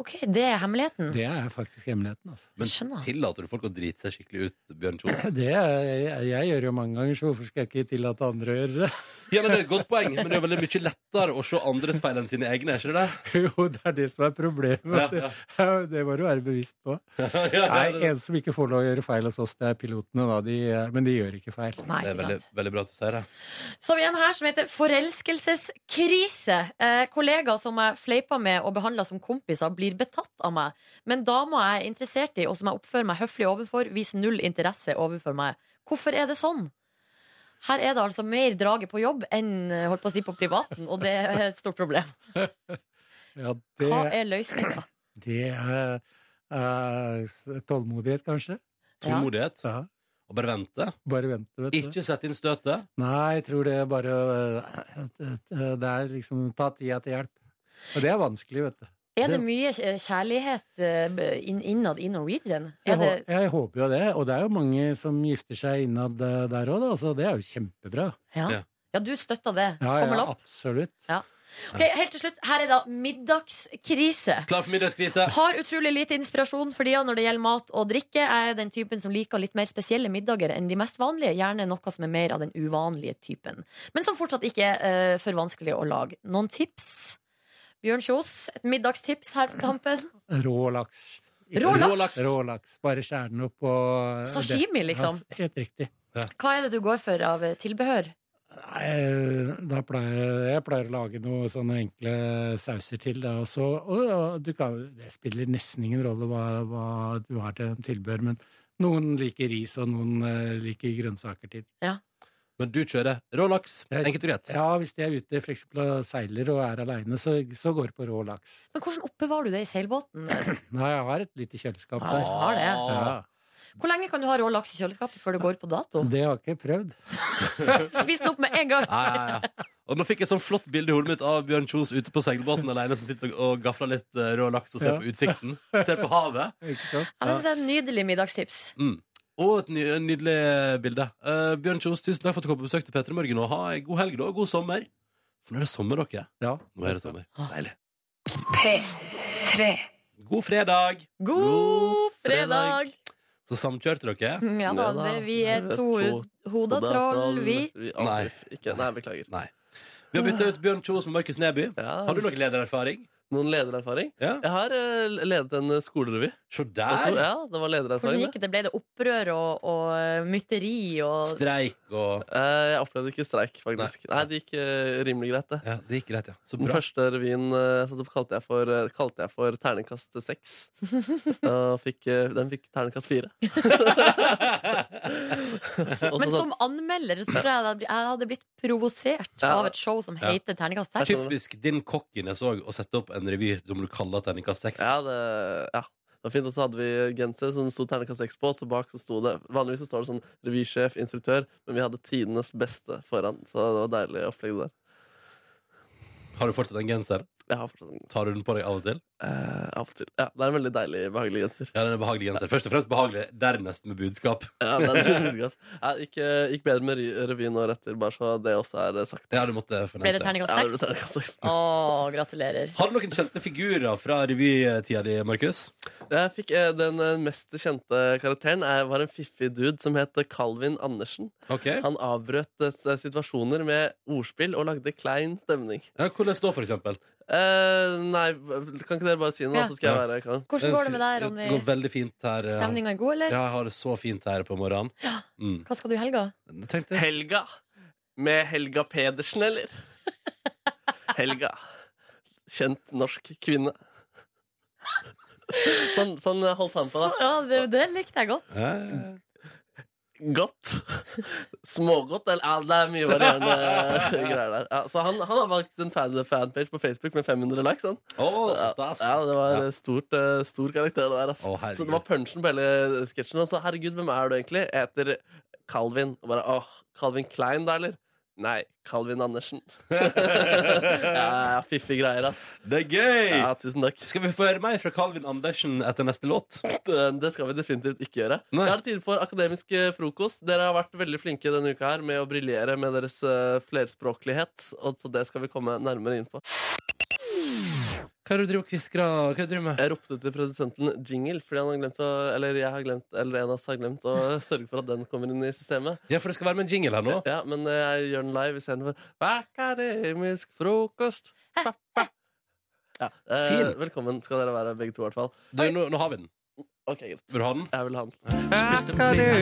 S3: Ok, det er hemmeligheten.
S10: Det er faktisk hemmeligheten, altså.
S2: Men
S3: Skjønner.
S2: tillater du folk å drite seg skikkelig ut, Bjørn Kjos?
S10: Det er, jeg, jeg gjør jo mange ganger, så hvorfor skal jeg ikke tillate andre å gjøre det?
S2: Ja, det er et godt poeng, men det er veldig mye lettere å se andres feil enn sine egne. Er ikke det det?
S10: Jo, det er det som er
S2: Ja,
S10: problemet.
S2: ja.
S10: Det, det må du være bevisst på.
S2: Ja, ja,
S10: Nei,
S2: det-
S10: en som ikke får lov å gjøre feil hos oss, det er pilotene, da. De, eh, men de gjør ikke feil.
S3: Nei,
S2: det er
S3: ikke
S2: veldig,
S3: sant.
S2: veldig bra at du sier det.
S3: Så har vi en her som heter Forelskelseskrise. Eh, kollegaer som jeg fleipa med og behandla som kompiser, blir betatt av meg. Men dama jeg er interessert i, og som jeg oppfører meg høflig overfor, viser null interesse overfor meg. Hvorfor er det sånn? Her er det altså mer draget på jobb enn eh, holdt på å si på privaten, og det er et stort problem.
S10: Ja,
S3: Hva
S10: det,
S3: er løsninga?
S10: det er, er tålmodighet, kanskje.
S3: Ja.
S2: Tålmodighet.
S10: Ja.
S2: Og bare vente.
S10: Bare vente, vet du.
S2: Ikke sette inn støtet.
S10: Nei, jeg tror det er bare øh, øh, Det er liksom ta tida til hjelp. Og det er vanskelig, vet du.
S3: Er det
S2: Det-
S3: mye eh, kjærlighet eh, inn- innad i Norwegian?
S10: Jeg,
S3: Er det,
S10: hå- jeg håper jo det, og det er jo mange som gifter seg innad øh, der òg, da, så det er jo kjempebra.
S3: ja.
S2: Ja.
S3: ja, du støtter det.
S10: Ja,
S3: Tommel
S10: ja,
S3: opp.
S10: absolutt.
S3: Ok, helt til slutt, her er da middagskrise.
S2: Klar for middagskrise.
S3: Har utrolig lite inspirasjon for tida når det gjelder mat og drikke. Jeg er den typen som liker litt mer spesielle middager enn de mest vanlige. Gjerne noe som er mer av den uvanlige typen. Men som fortsatt ikke er eh, for vanskelig å lage. Noen tips? Bjørn Kjos, et middagstips her på tampen.
S10: Rå laks.
S3: Rå laks?
S10: Rå laks. Bare skjære den opp og eh,
S3: Sashimi,
S10: det-
S3: liksom?
S10: Ja, Helt riktig.
S3: Hva er det du går for av eh, tilbehør?
S10: Nei, da pleier, jeg- jeg pleier å lage noen sånne enkle sauser til. Da, og så, og, og du kan, det spiller nesten ingen rolle hva, hva du har til tilbehør, men noen liker ris, og noen eh, liker grønnsaker til.
S2: Men du kjører rå laks. Enkelt og greit.
S10: Ja, hvis de er ute for eksempel, og seiler og er aleine, så, så går det på rå laks.
S3: Men hvordan oppbevarer du det i seilbåten?
S10: Nei, jeg har et lite kjøleskap
S3: Ja, du
S10: der.
S3: har det.
S2: Ah.
S10: Ja.
S3: Hvor lenge kan du ha rå laks i kjøleskapet før det går på dato?
S10: Det har jeg ikke prøvd.
S3: Spis den opp med en gang.
S2: Ja, ja, ja. Og nå fikk jeg sånn flott bilde i hodet mitt av Bjørn Kjos ute på seilbåten alene som sitter og gafler litt eh, rå laks og ser
S10: Ja.
S2: på utsikten. Ser på havet.
S10: Ikke sant?
S3: Jeg synes det er et nydelig middagstips.
S2: Mm. Og et ny, nydelig bilde. Eh, Bjørn Kjos, tusen takk for at du kom på besøk til P3 Morgen. Og ha ei god helg, da. og God sommer. For nå er det sommer, dere.
S10: Ja.
S2: Nå er det sommer. Deilig.
S3: Ah. P3.
S2: God fredag! fredag.
S3: God fredag!
S2: Så samkjørte dere?
S3: Ja da, det, vi er to hoda
S6: hoda
S3: troll,
S6: troll,
S3: vi.
S2: Nei.
S6: Nei. Ikke. Nei, beklager.
S2: Nei. Vi har bytta ut Bjørn Kjos med Markus Neby. Har du noe ledererfaring?
S6: Noen ledererfaring?
S2: Ja.
S6: Jeg har eh, ledet en eh, skolerevy.
S2: Se
S6: Jeg
S2: der!
S6: tror- Ja, det var ledererfaring.
S3: Hvordan
S6: det.
S3: gikk det? Ble det opprør og, og mytteri og
S2: Streik og
S6: Eh, Jeg opplevde ikke streik, faktisk. Nei, det gikk eh, rimelig greit, det.
S2: Ja, det gikk greit, ja. Så
S6: Den
S2: bra.
S6: første revyen eh, så det kalte, jeg for, eh, kalte jeg for terningkast seks. Og fikk, eh, den fikk terningkast fire. Og så
S3: Men
S6: sa-
S3: som anmelder så tror jeg jeg hadde- jeg hadde blitt provosert
S6: Ja.
S3: av et show som
S2: Ja.
S3: heter Terningkast seks.
S2: Typisk din kokkiness òg, å sette opp en revy som du kaller Terningkast 6.
S6: Ja, det, ja. det var fint. Og så hadde vi genser som det sto terningkast seks på, og så bak så sto det Vanligvis så står det sånn revysjef, instruktør, men vi hadde tidenes beste foran, så det var deilig opplegg det der.
S2: Har du fortsatt en genser?
S6: Jeg har fortsatt en
S2: Tar du den på deg av og til?
S6: eh, av og til. Ja, det er en veldig deilig, behagelig genser.
S2: Ja, den er behagelig genser. Først og fremst behagelig, dernest med budskap.
S6: Ja, det er en gass. Ja, gikk, eh, gikk bedre med ry- revyen året etter, bare så det også er eh, sagt.
S2: Ja, du måtte
S3: Ble det
S2: fornevne det.
S6: Ja, det ble
S3: Terningkast seks?
S6: terningkast seks.
S3: Å, gratulerer.
S2: Har du noen kjente figurer fra revytida di, Markus?
S6: Jeg fikk, eh, den eh, mest kjente karakteren er, var en fiffig dude som het Calvin Andersen.
S2: Ok.
S6: Han avbrøt eh, s- situasjoner med ordspill og lagde klein stemning.
S2: Ja, hvordan står for eksempel?
S6: Eh, nei, kan ikke dere bare si noe,
S3: Ja.
S6: så skal jeg være jeg kan.
S3: Hvordan går det med deg, Ronny?
S2: Det går veldig fint her. eh.
S3: Stemninga er god,
S2: Ja,
S3: eller?
S2: jeg har det så fint her på morgenen. Mm.
S3: Hva skal du i helga?
S2: Jeg tenkte jeg
S6: Helga. Med Helga Pedersen, eller? Helga. Kjent norsk kvinne. Sånn, sånn holdt han på,
S3: Så, ja, det, det likte jeg godt.
S2: Eh,
S6: da. Godt. Smågodt, eller ja, Det er mye varierende greier der. Ja, så han, han har valgt en fan fanpage på Facebook med 500 likes. Han.
S2: Å, så stas!
S6: Ja, det var
S2: Ja.
S6: stort, eh, stor karakter det der, ass.
S2: Å, herregud.
S6: så det var punchen på hele sketsjen. Altså, herregud, hvem er du egentlig? Jeg heter Calvin. Og bare, åh, Calvin Klein da, eller? Nei, Calvin Andersen. ja, fiffige greier, ass.
S2: Det er gøy!
S6: Ja, tusen takk.
S2: Skal vi få høre mer fra Calvin Andersen etter neste låt?
S6: eh, Det skal vi definitivt ikke gjøre.
S2: Nei.
S6: Da er det tid for akademisk eh, frokost. Dere har vært veldig flinke denne uka her med å briljere med deres eh, flerspråklighet, og så det skal vi komme nærmere inn på.
S2: Hva er det du driver og kvisker av? Hva er det du driver med?
S6: Jeg ropte til produsenten Jingle, fordi han har glemt å, eller jeg har glemt, eller en av oss har glemt å sørge for at den kommer inn i systemet.
S2: Ja, for det skal være med en jingle her nå.
S6: Ja, men eh, jeg gjør den live istedenfor Akademisk frokost. Pappa. Ja, eh,
S2: Fin.
S6: Velkommen skal dere være, begge to i hvert fall.
S2: Du, nå, nå har vi den.
S6: Ok, greit.
S2: Vil du ha den?
S6: Jeg vil ha den.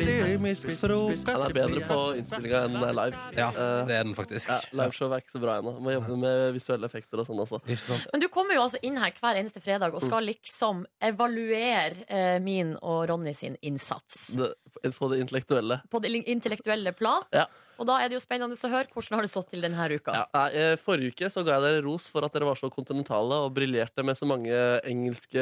S6: Ja, Den er bedre på innspillinga enn eh, live.
S2: Ja,
S6: Eh,
S2: det er den faktisk.
S6: ja, Liveshow er ikke så bra ennå. Må jobbe med visuelle effekter og sånn også.
S2: Ikke sant?
S3: Men du kommer jo altså inn her hver eneste fredag og skal liksom evaluere eh, min og Ronny sin innsats.
S6: Det, på det intellektuelle.
S3: På det intellektuelle plan.
S6: Ja.
S3: Og da er det jo spennende å høre hvordan har det stått til denne uka.
S6: Ja, nei, eh, forrige uke så ga jeg dere ros for at dere var så kontinentale og briljerte med så mange engelske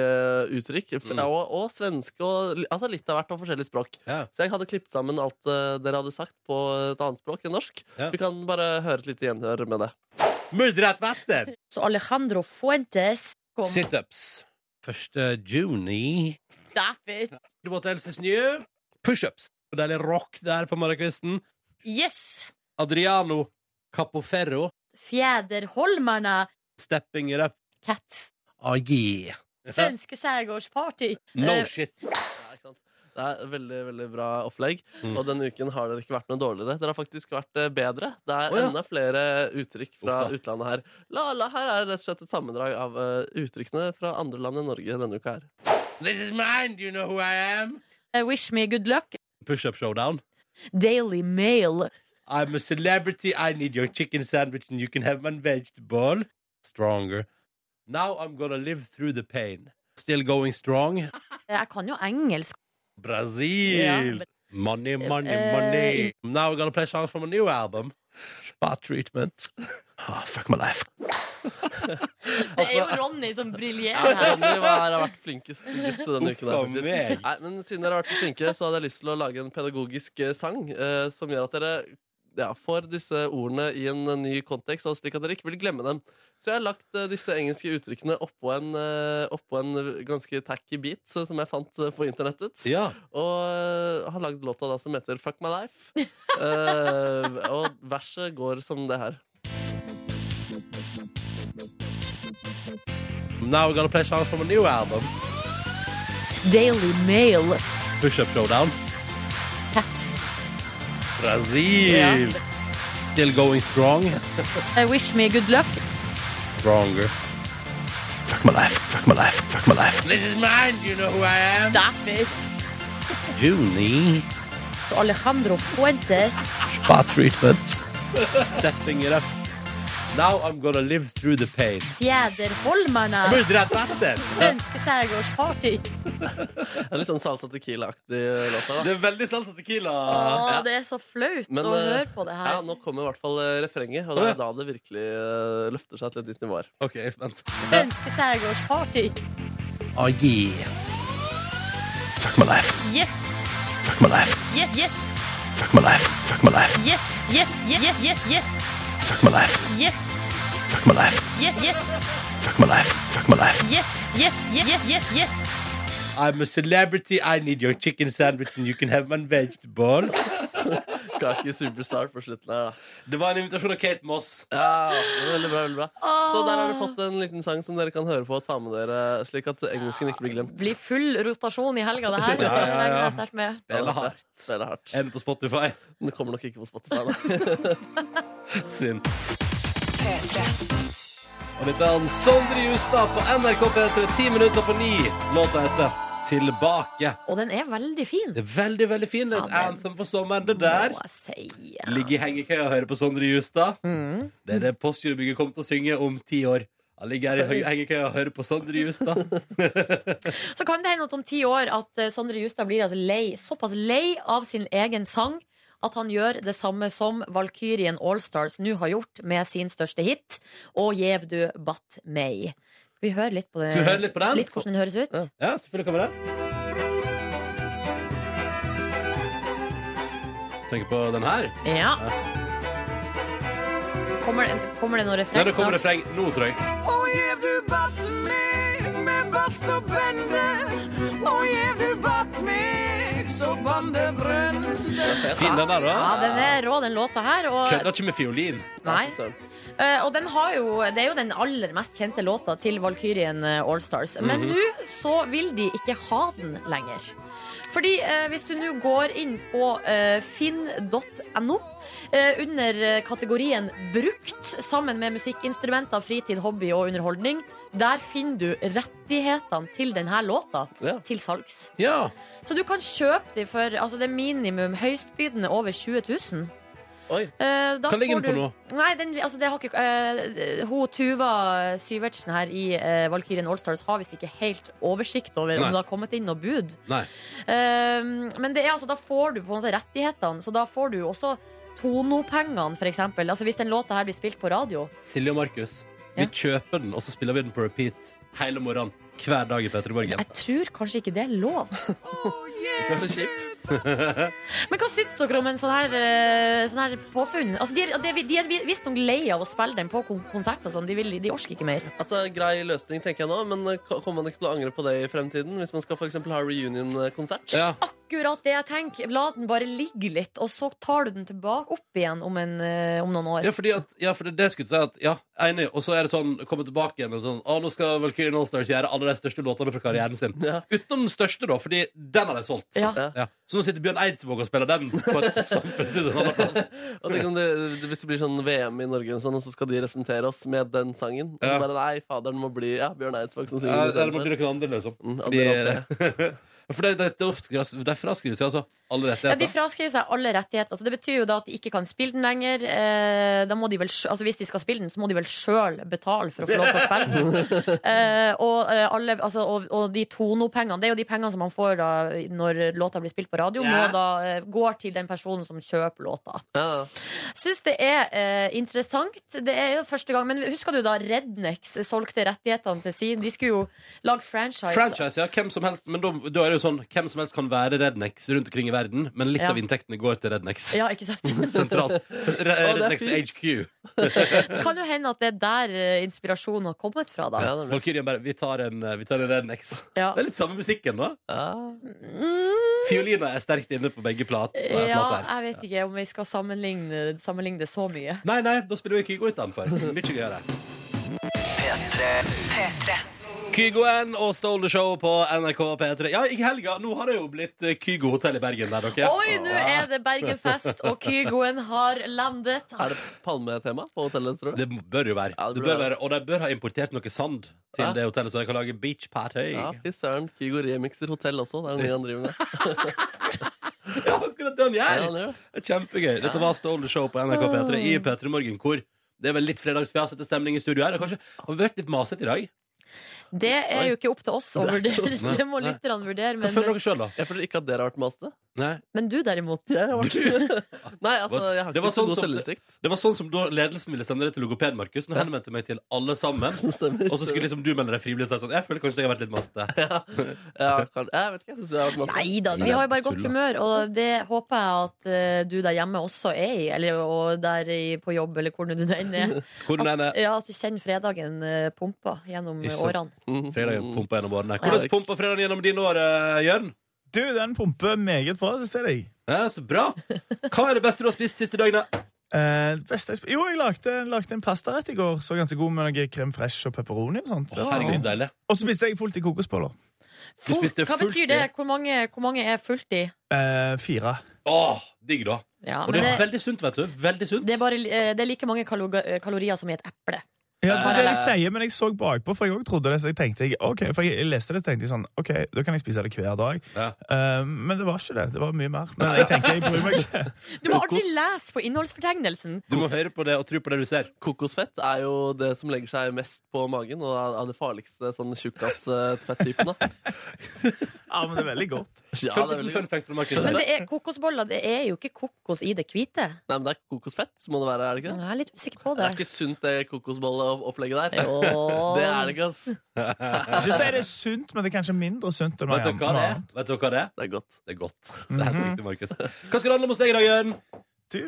S6: uttrykk. F-
S2: Mm.
S6: Og, og svenske og li- altså litt av hvert og forskjellig språk.
S2: Ja.
S6: Så jeg hadde klippet sammen alt eh, dere hadde sagt på et annet språk enn norsk.
S2: Ja.
S6: Vi kan bare høre et lite gjenhør med det.
S2: Myldret vatten!
S3: Så Alejandro Fuentes kom.
S2: Situps. 1. juni.
S3: Stop it!
S2: Du måtte helse snø. Pushups. Og Deilig rock der på morgenkvisten.
S3: Yes!
S2: Adriano Capoferro.
S3: Fjäderholmarna.
S2: Stepping it up.
S3: Cats.
S2: Ah, yeah.
S3: Svenske skjærgårdsparty.
S2: No
S3: Eh,
S2: shit.
S6: Ja, ikke sant? Det er et veldig veldig bra opplegg,
S2: Mm.
S6: og denne uken har dere ikke vært noe dårligere. Dere har faktisk vært eh, bedre. Det er
S2: Å, ja.
S6: enda flere uttrykk fra
S2: Uff da.
S6: utlandet her. La, la, her er rett og slett et sammendrag av eh, uttrykkene fra andre land enn Norge denne uka her.
S2: This is mine, do you know who I am?
S3: Eh, Wish me good luck.
S2: Push-up showdown.
S3: Daily Mail.
S2: I'm a celebrity. I need your chicken sandwich, and you can have my vegetable. Stronger. Now I'm gonna live through the pain. Still going strong.
S3: Eh, Jeg kan jo engelsk.
S2: Brazil.
S3: Ja.
S2: Money, money,
S3: Eh,
S2: money. Now we're gonna play songs from a new album. Spa treatment. Ah, fuck my life.
S6: Altså-
S3: Det er jo Ronny som briljerer
S6: Ja,
S3: her.
S6: Ronny var, har vært flinkest gutt denne
S2: Uff
S6: uken. Her,
S2: a meg.
S6: faktisk. Nei, men siden dere har vært så flinke, så hadde jeg lyst til å lage en pedagogisk eh, sang eh, som gjør at dere ja, får disse ordene i en eh, ny kontekst, og slik at dere ikke vil glemme dem. Så jeg har lagt eh, disse engelske uttrykkene oppå en, eh, oppå en ganske tacky beat eh, som jeg fant eh, på internettet.
S2: Ja.
S6: Og eh, har lagd låta da som heter Fuck My Life. Eh, og verset går som det her.
S2: Now we're gonna play songs from a new album.
S3: Daily Mail.
S2: Push-up showdown.
S3: Cats.
S2: Brazil. Still going strong.
S3: Eh, Wish me good luck.
S2: Stronger. Fuck my life. Fuck my life. Fuck my life. This is mine. You know who I am.
S3: Derfor.
S2: Junie.
S3: Alejandro Fuentes.
S2: Spa treatment. Stepping it up. Now I'm gonna live through the pain.
S3: Fjederholmerne.
S2: Muddrat vatten!
S3: Svenske skjærgårdsparty.
S6: Det er Litt sånn Salsa Tequila-aktig låt. her, da.
S2: Det er veldig salsa tequila.
S3: Å,
S6: ja.
S3: det er så flaut
S6: Men,
S3: å
S6: eh,
S3: høre på det
S6: Ja,
S3: her.
S6: Nå kommer i hvert fall eh, refrenget,
S2: Å,
S6: og det
S2: ja.
S6: er da det virkelig eh, løfter seg til et nytt nivå. her.
S2: OK, jeg er spent.
S3: Svenske skjærgårdsparty.
S2: Oh, yeah. Fuck my life.
S3: Yes!
S2: Fuck my life.
S3: Yes, yes,
S2: Fuck my life. Fuck my life.
S3: yes, yes, yes, yes, yes, yes,
S2: Fuck my life.
S3: yes,
S2: Fuck my life.
S3: yes, yes,
S2: Fuck my life. Fuck my life.
S3: yes, yes, yes, yes, yes.
S2: I'm a celebrity. I need your chicken sandwich, and you can have my vegetable.
S6: Kaki Superstar på slutten her, da.
S2: Det var en invitasjon av Kate Moss.
S6: Ja, det er veldig bra, veldig bra. Så der har dere fått en liten sang som dere kan høre på og ta med dere, slik at engelsken ikke blir glemt.
S3: Blir full rotasjon i helga, det her.
S2: Ja, ja, ja.
S3: regner jeg sterkt med.
S6: Ja,
S2: Spiller hardt.
S6: Spiller hardt.
S2: Er det på Spotify?
S6: Den kommer nok ikke på Spotify. Da.
S2: Synd. Og dette er han Sondre Justad på NRK P3, ti minutter på ni. Låta heter Tilbake.
S3: Og den er veldig fin.
S2: Det er veldig, veldig fin. Et
S3: Ja, den-
S2: anthem for sommeren, det der.
S3: Må jeg si.
S2: Ligge i hengekøya og høre på Sondre Justad. Det er det Postgirobygget kommer til å synge om ti år. Han ligger her i hengekøya og hører på Sondre Justad.
S3: Så kan det hende at om ti år at eh, Sondre Justad blir altså lei, såpass lei av sin egen sang at han gjør det samme som Valkyrien Allstars nå har gjort med sin største hit, Og gjev du batt meg. Skal vi høre litt på det?
S2: Skal vi høre litt på den?
S3: Litt hvordan den høres ut?
S2: Ja, selvfølgelig kommer det. Tenker på den her.
S3: Ja. Kommer det, kommer det noe
S2: Nei,
S3: refreng
S2: det kommer
S3: snart?
S2: refreng nå, tror jeg. Fin den der,
S3: Ja,
S2: da.
S3: den er rå, den låta her. Og,
S2: Kødder ikke med fiolin.
S3: nei.
S6: Søren.
S3: Eh, og den har jo, det er jo den aller mest kjente låta til Valkyrien eh, Allstars. Men nå så vil de ikke ha den lenger. Fordi eh, hvis du nå går inn på eh, finn.no eh, under eh, kategorien brukt, sammen med musikkinstrumenter, fritid, hobby og underholdning, der finner du rettighetene til denne låta
S6: Ja.
S3: til salgs.
S2: Ja.
S3: Så du kan kjøpe de for altså det er minimum høystbydende over 20 000.
S6: Oi.
S3: Eh, da
S2: Hva ligger
S3: får
S2: den på
S3: du-
S2: nå?
S3: Nei, den, altså det har ikke eh, Hun Tuva Syvertsen her i eh, Valkyrien Allstars har visst ikke helt oversikt over
S2: Nei.
S3: om det har kommet inn noe bud.
S2: Nei.
S3: Eh, men det er altså, da får du på en måte rettighetene, så da får du også Tonopengene, for eksempel. Altså, hvis den låta her blir spilt på radio.
S2: Silje og Markus, vi
S3: Ja.
S2: kjøper den, og så spiller vi den på repeat hele morgenen. Hver dag i Petter i Morgen.
S3: Jeg tror kanskje ikke det er lov.
S6: Det er kjipt.
S3: Men hva syns dere om en sånn her, eh, sånn her påfunn? Altså, de, er- de, er- de er visstnok lei av å spille den på kon- konsert og sånn. De, vil- de orker ikke mer.
S6: Altså, Grei løsning, tenker jeg nå, men eh, ko- kommer man ikke til å angre på det i fremtiden? Hvis man skal for eksempel ha eh, reunion-konsert?
S2: Ja.
S3: Akkurat det jeg tenker. La den bare ligge litt, og så tar du den tilbake opp igjen om, en, eh, om noen år.
S2: Ja, fordi at, ja, for det, det skulle jeg si at Ja, enig. Og så er det sånn, komme tilbake igjen og sånn Å, nå skal Valkyrien Allstars gjøre alle de største låtene fra karrieren sin.
S6: Ja.
S2: Utenom den største, da, fordi den har de solgt.
S3: Ja.
S2: Ja. Så nå sitter Bjørn Eidsvåg og spiller den på et samfunnshus en annen plass.
S6: Og tenk om det, det- Hvis det blir sånn VM i Norge, og sånn, og så skal de representere oss med den sangen. Og
S2: Ja.
S6: så bare, nei, faderen må bli ja, Bjørn Eidsvåg som synger.
S2: Ja,
S6: den
S2: eller
S6: sangen
S2: må
S6: der.
S2: bli noen andre, liksom.
S6: Mm,
S2: Fordi,
S6: andre
S2: For det, det, det, er ofte- det er fraskrives altså alle
S3: Ja, de
S2: rettigheter.
S3: fraskriver seg alle rettigheter. Altså, det betyr jo da at de ikke kan spille den lenger. Eh, da må de vel, sj- altså, hvis de skal spille den, så må de vel sjøl betale for å få lov til å spille den. Eh, og, eh, alle, altså, og, og de Tono-pengene, det er jo de pengene som man får da, når låta blir spilt på radio,
S7: Ja.
S3: må da, eh, går til den personen som kjøper låta.
S6: Ja.
S3: Syns det er eh, interessant. Det er jo første gang. Men husker du da Rednex solgte rettighetene til sin? De skulle jo lage franchise.
S2: Franchise, ja. Hvem som helst. Men da, da er det jo sånn hvem som helst kan være Rednex rundt omkring i verden, men litt
S3: Ja.
S2: av inntektene går til Rednex.
S3: Ja, ikke sant?
S2: Sentralt. Re- Rednex
S3: fint.
S2: HQ.
S3: Kan jo hende at det er der eh, inspirasjonen har kommet fra, da.
S2: Valkyrien bare Vi tar en, eh, vi tar en Rednex.
S3: Ja.
S2: Det er litt samme musikken, da. Fiolina er sterkt inne på begge plat. eh,
S3: Ja,
S2: plater.
S3: jeg vet ikke om vi skal sammenligne, sammenligne det så mye.
S2: Nei, nei, da spiller vi Kygo istedenfor. Mye gøyere. Kygo N og Stole the Show på NRK P3. Ja, i helga Nå har det jo blitt eh, Kygo hotell i Bergen der, dere.
S3: Oi, nå er det Bergenfest, og Kygoen har landet.
S6: Er det palmetema på hotellet, tror du?
S2: Det bør jo være. Det altså. bør være og de bør ha importert noe sand til det hotellet, så de kan lage beach party.
S6: Ja, fy søren. Kygo remixer hotell også. Det er det han driver med.
S2: akkurat det han gjør.
S6: Ja, han gjør.
S2: Det er Kjempegøy. Dette var Stole the Show på NRK P3 i P3 Morgen, hvor det er vel litt fredagsfjasete stemning i studio her. Og kanskje har vi vært litt masete i dag.
S3: Det er jo ikke opp til oss å
S2: Nei.
S3: vurdere. Det må
S2: Nei.
S3: lytterne vurdere.
S2: Hva føler
S3: Men,
S2: dere sjøl, da?
S6: Jeg føler ikke at dere har vært masete.
S2: Nei.
S3: men du, derimot.
S6: Nei, altså, jeg har
S2: Det var
S6: ikke så
S2: sånn
S6: god
S2: som-
S6: selvinnsikt.
S2: Det var sånn som da ledelsen ville sende det til logoped, Markus. Nå henvendte jeg meg til alle sammen.
S6: Stemmer.
S2: Og så skulle liksom du melde deg frivillig. Så jeg, sånn, jeg føler kanskje jeg har vært litt masete.
S6: Ja, kan, jeg vet ikke, jeg syns jeg har vært masete.
S3: Nei da, vi har jo bare godt humør, og det håper jeg at eh, du der hjemme også er i. Eller og der i, på jobb, eller hvor nå du enn er.
S2: Hvordan er det?
S3: Ja, at du kjenner fredagen eh, pumpa gjennom
S2: Ikke sant.
S3: årene.
S2: Fredagen pumpa gjennom årene. Hvordan pumpa fredagen gjennom dine år, eh, Jørn?
S11: Du, den pumper meget bra, det ser jeg.
S2: Ja, så bra. Hva er det beste du har spist siste døgnet?
S11: Eh, det beste jeg sp- jo, jeg lagde, lagde en pastarett i går. Så ganske god med noe crème fresh og pepperoni. Og sånt.
S2: Å, herregud, så deilig.
S11: Og så spiste jeg fullt i kokosboller.
S2: Du spiste
S3: Hva
S2: fullt
S3: betyr det? Hvor mange, hvor mange er fullt i?
S11: Eh, fire.
S2: Åh, digg, da.
S3: Ja,
S2: Og
S3: men
S2: det er
S3: det,
S2: veldig sunt, vet du. Veldig sunt.
S3: det, er bare, eh, det er like mange kalo- kalorier som i et eple.
S11: Ja, det er det de
S3: Eh.
S11: sier, men jeg så bakpå, for jeg også trodde det. Så jeg tenkte, jeg, ok, for jeg leste det, så tenkte jeg sånn, ok, da kan jeg spise det hver dag.
S2: Ja.
S11: Eh, men det var ikke det. Det var mye mer. Men jeg tenker, jeg bryr meg ikke.
S3: Du må alltid lese på innholdsfortegnelsen.
S2: Du må høre på det og tro på det du ser.
S6: Kokosfett er jo det som legger seg mest på magen, og er- er det farligste sånn tjukkas-fetttypen.
S11: Ja, men det er veldig godt.
S2: Fun,
S6: Ja, det er veldig
S2: fun
S6: godt.
S2: facts fra Markus.
S3: Men det er, kokosboller det er jo ikke kokos i det hvite.
S6: Nei, men det er kokosfett, så må det være, er det ikke det?
S3: Jeg er litt usikker på
S6: Det
S3: det.
S6: er ikke sunt, det kokosbolleopplegget der.
S3: Jo.
S6: Det er det ikke, ass. Det
S11: Ikke si det er sunt, men det er kanskje mindre sunt enn noe
S2: Vet dere hva det er?
S11: annet.
S2: Vet dere hva det er?
S6: er godt.
S2: Det er godt. Det
S11: Mhm.
S2: er helt riktig, Markus. Hva skal det handle om hos deg i dag, Jørn?
S11: Du,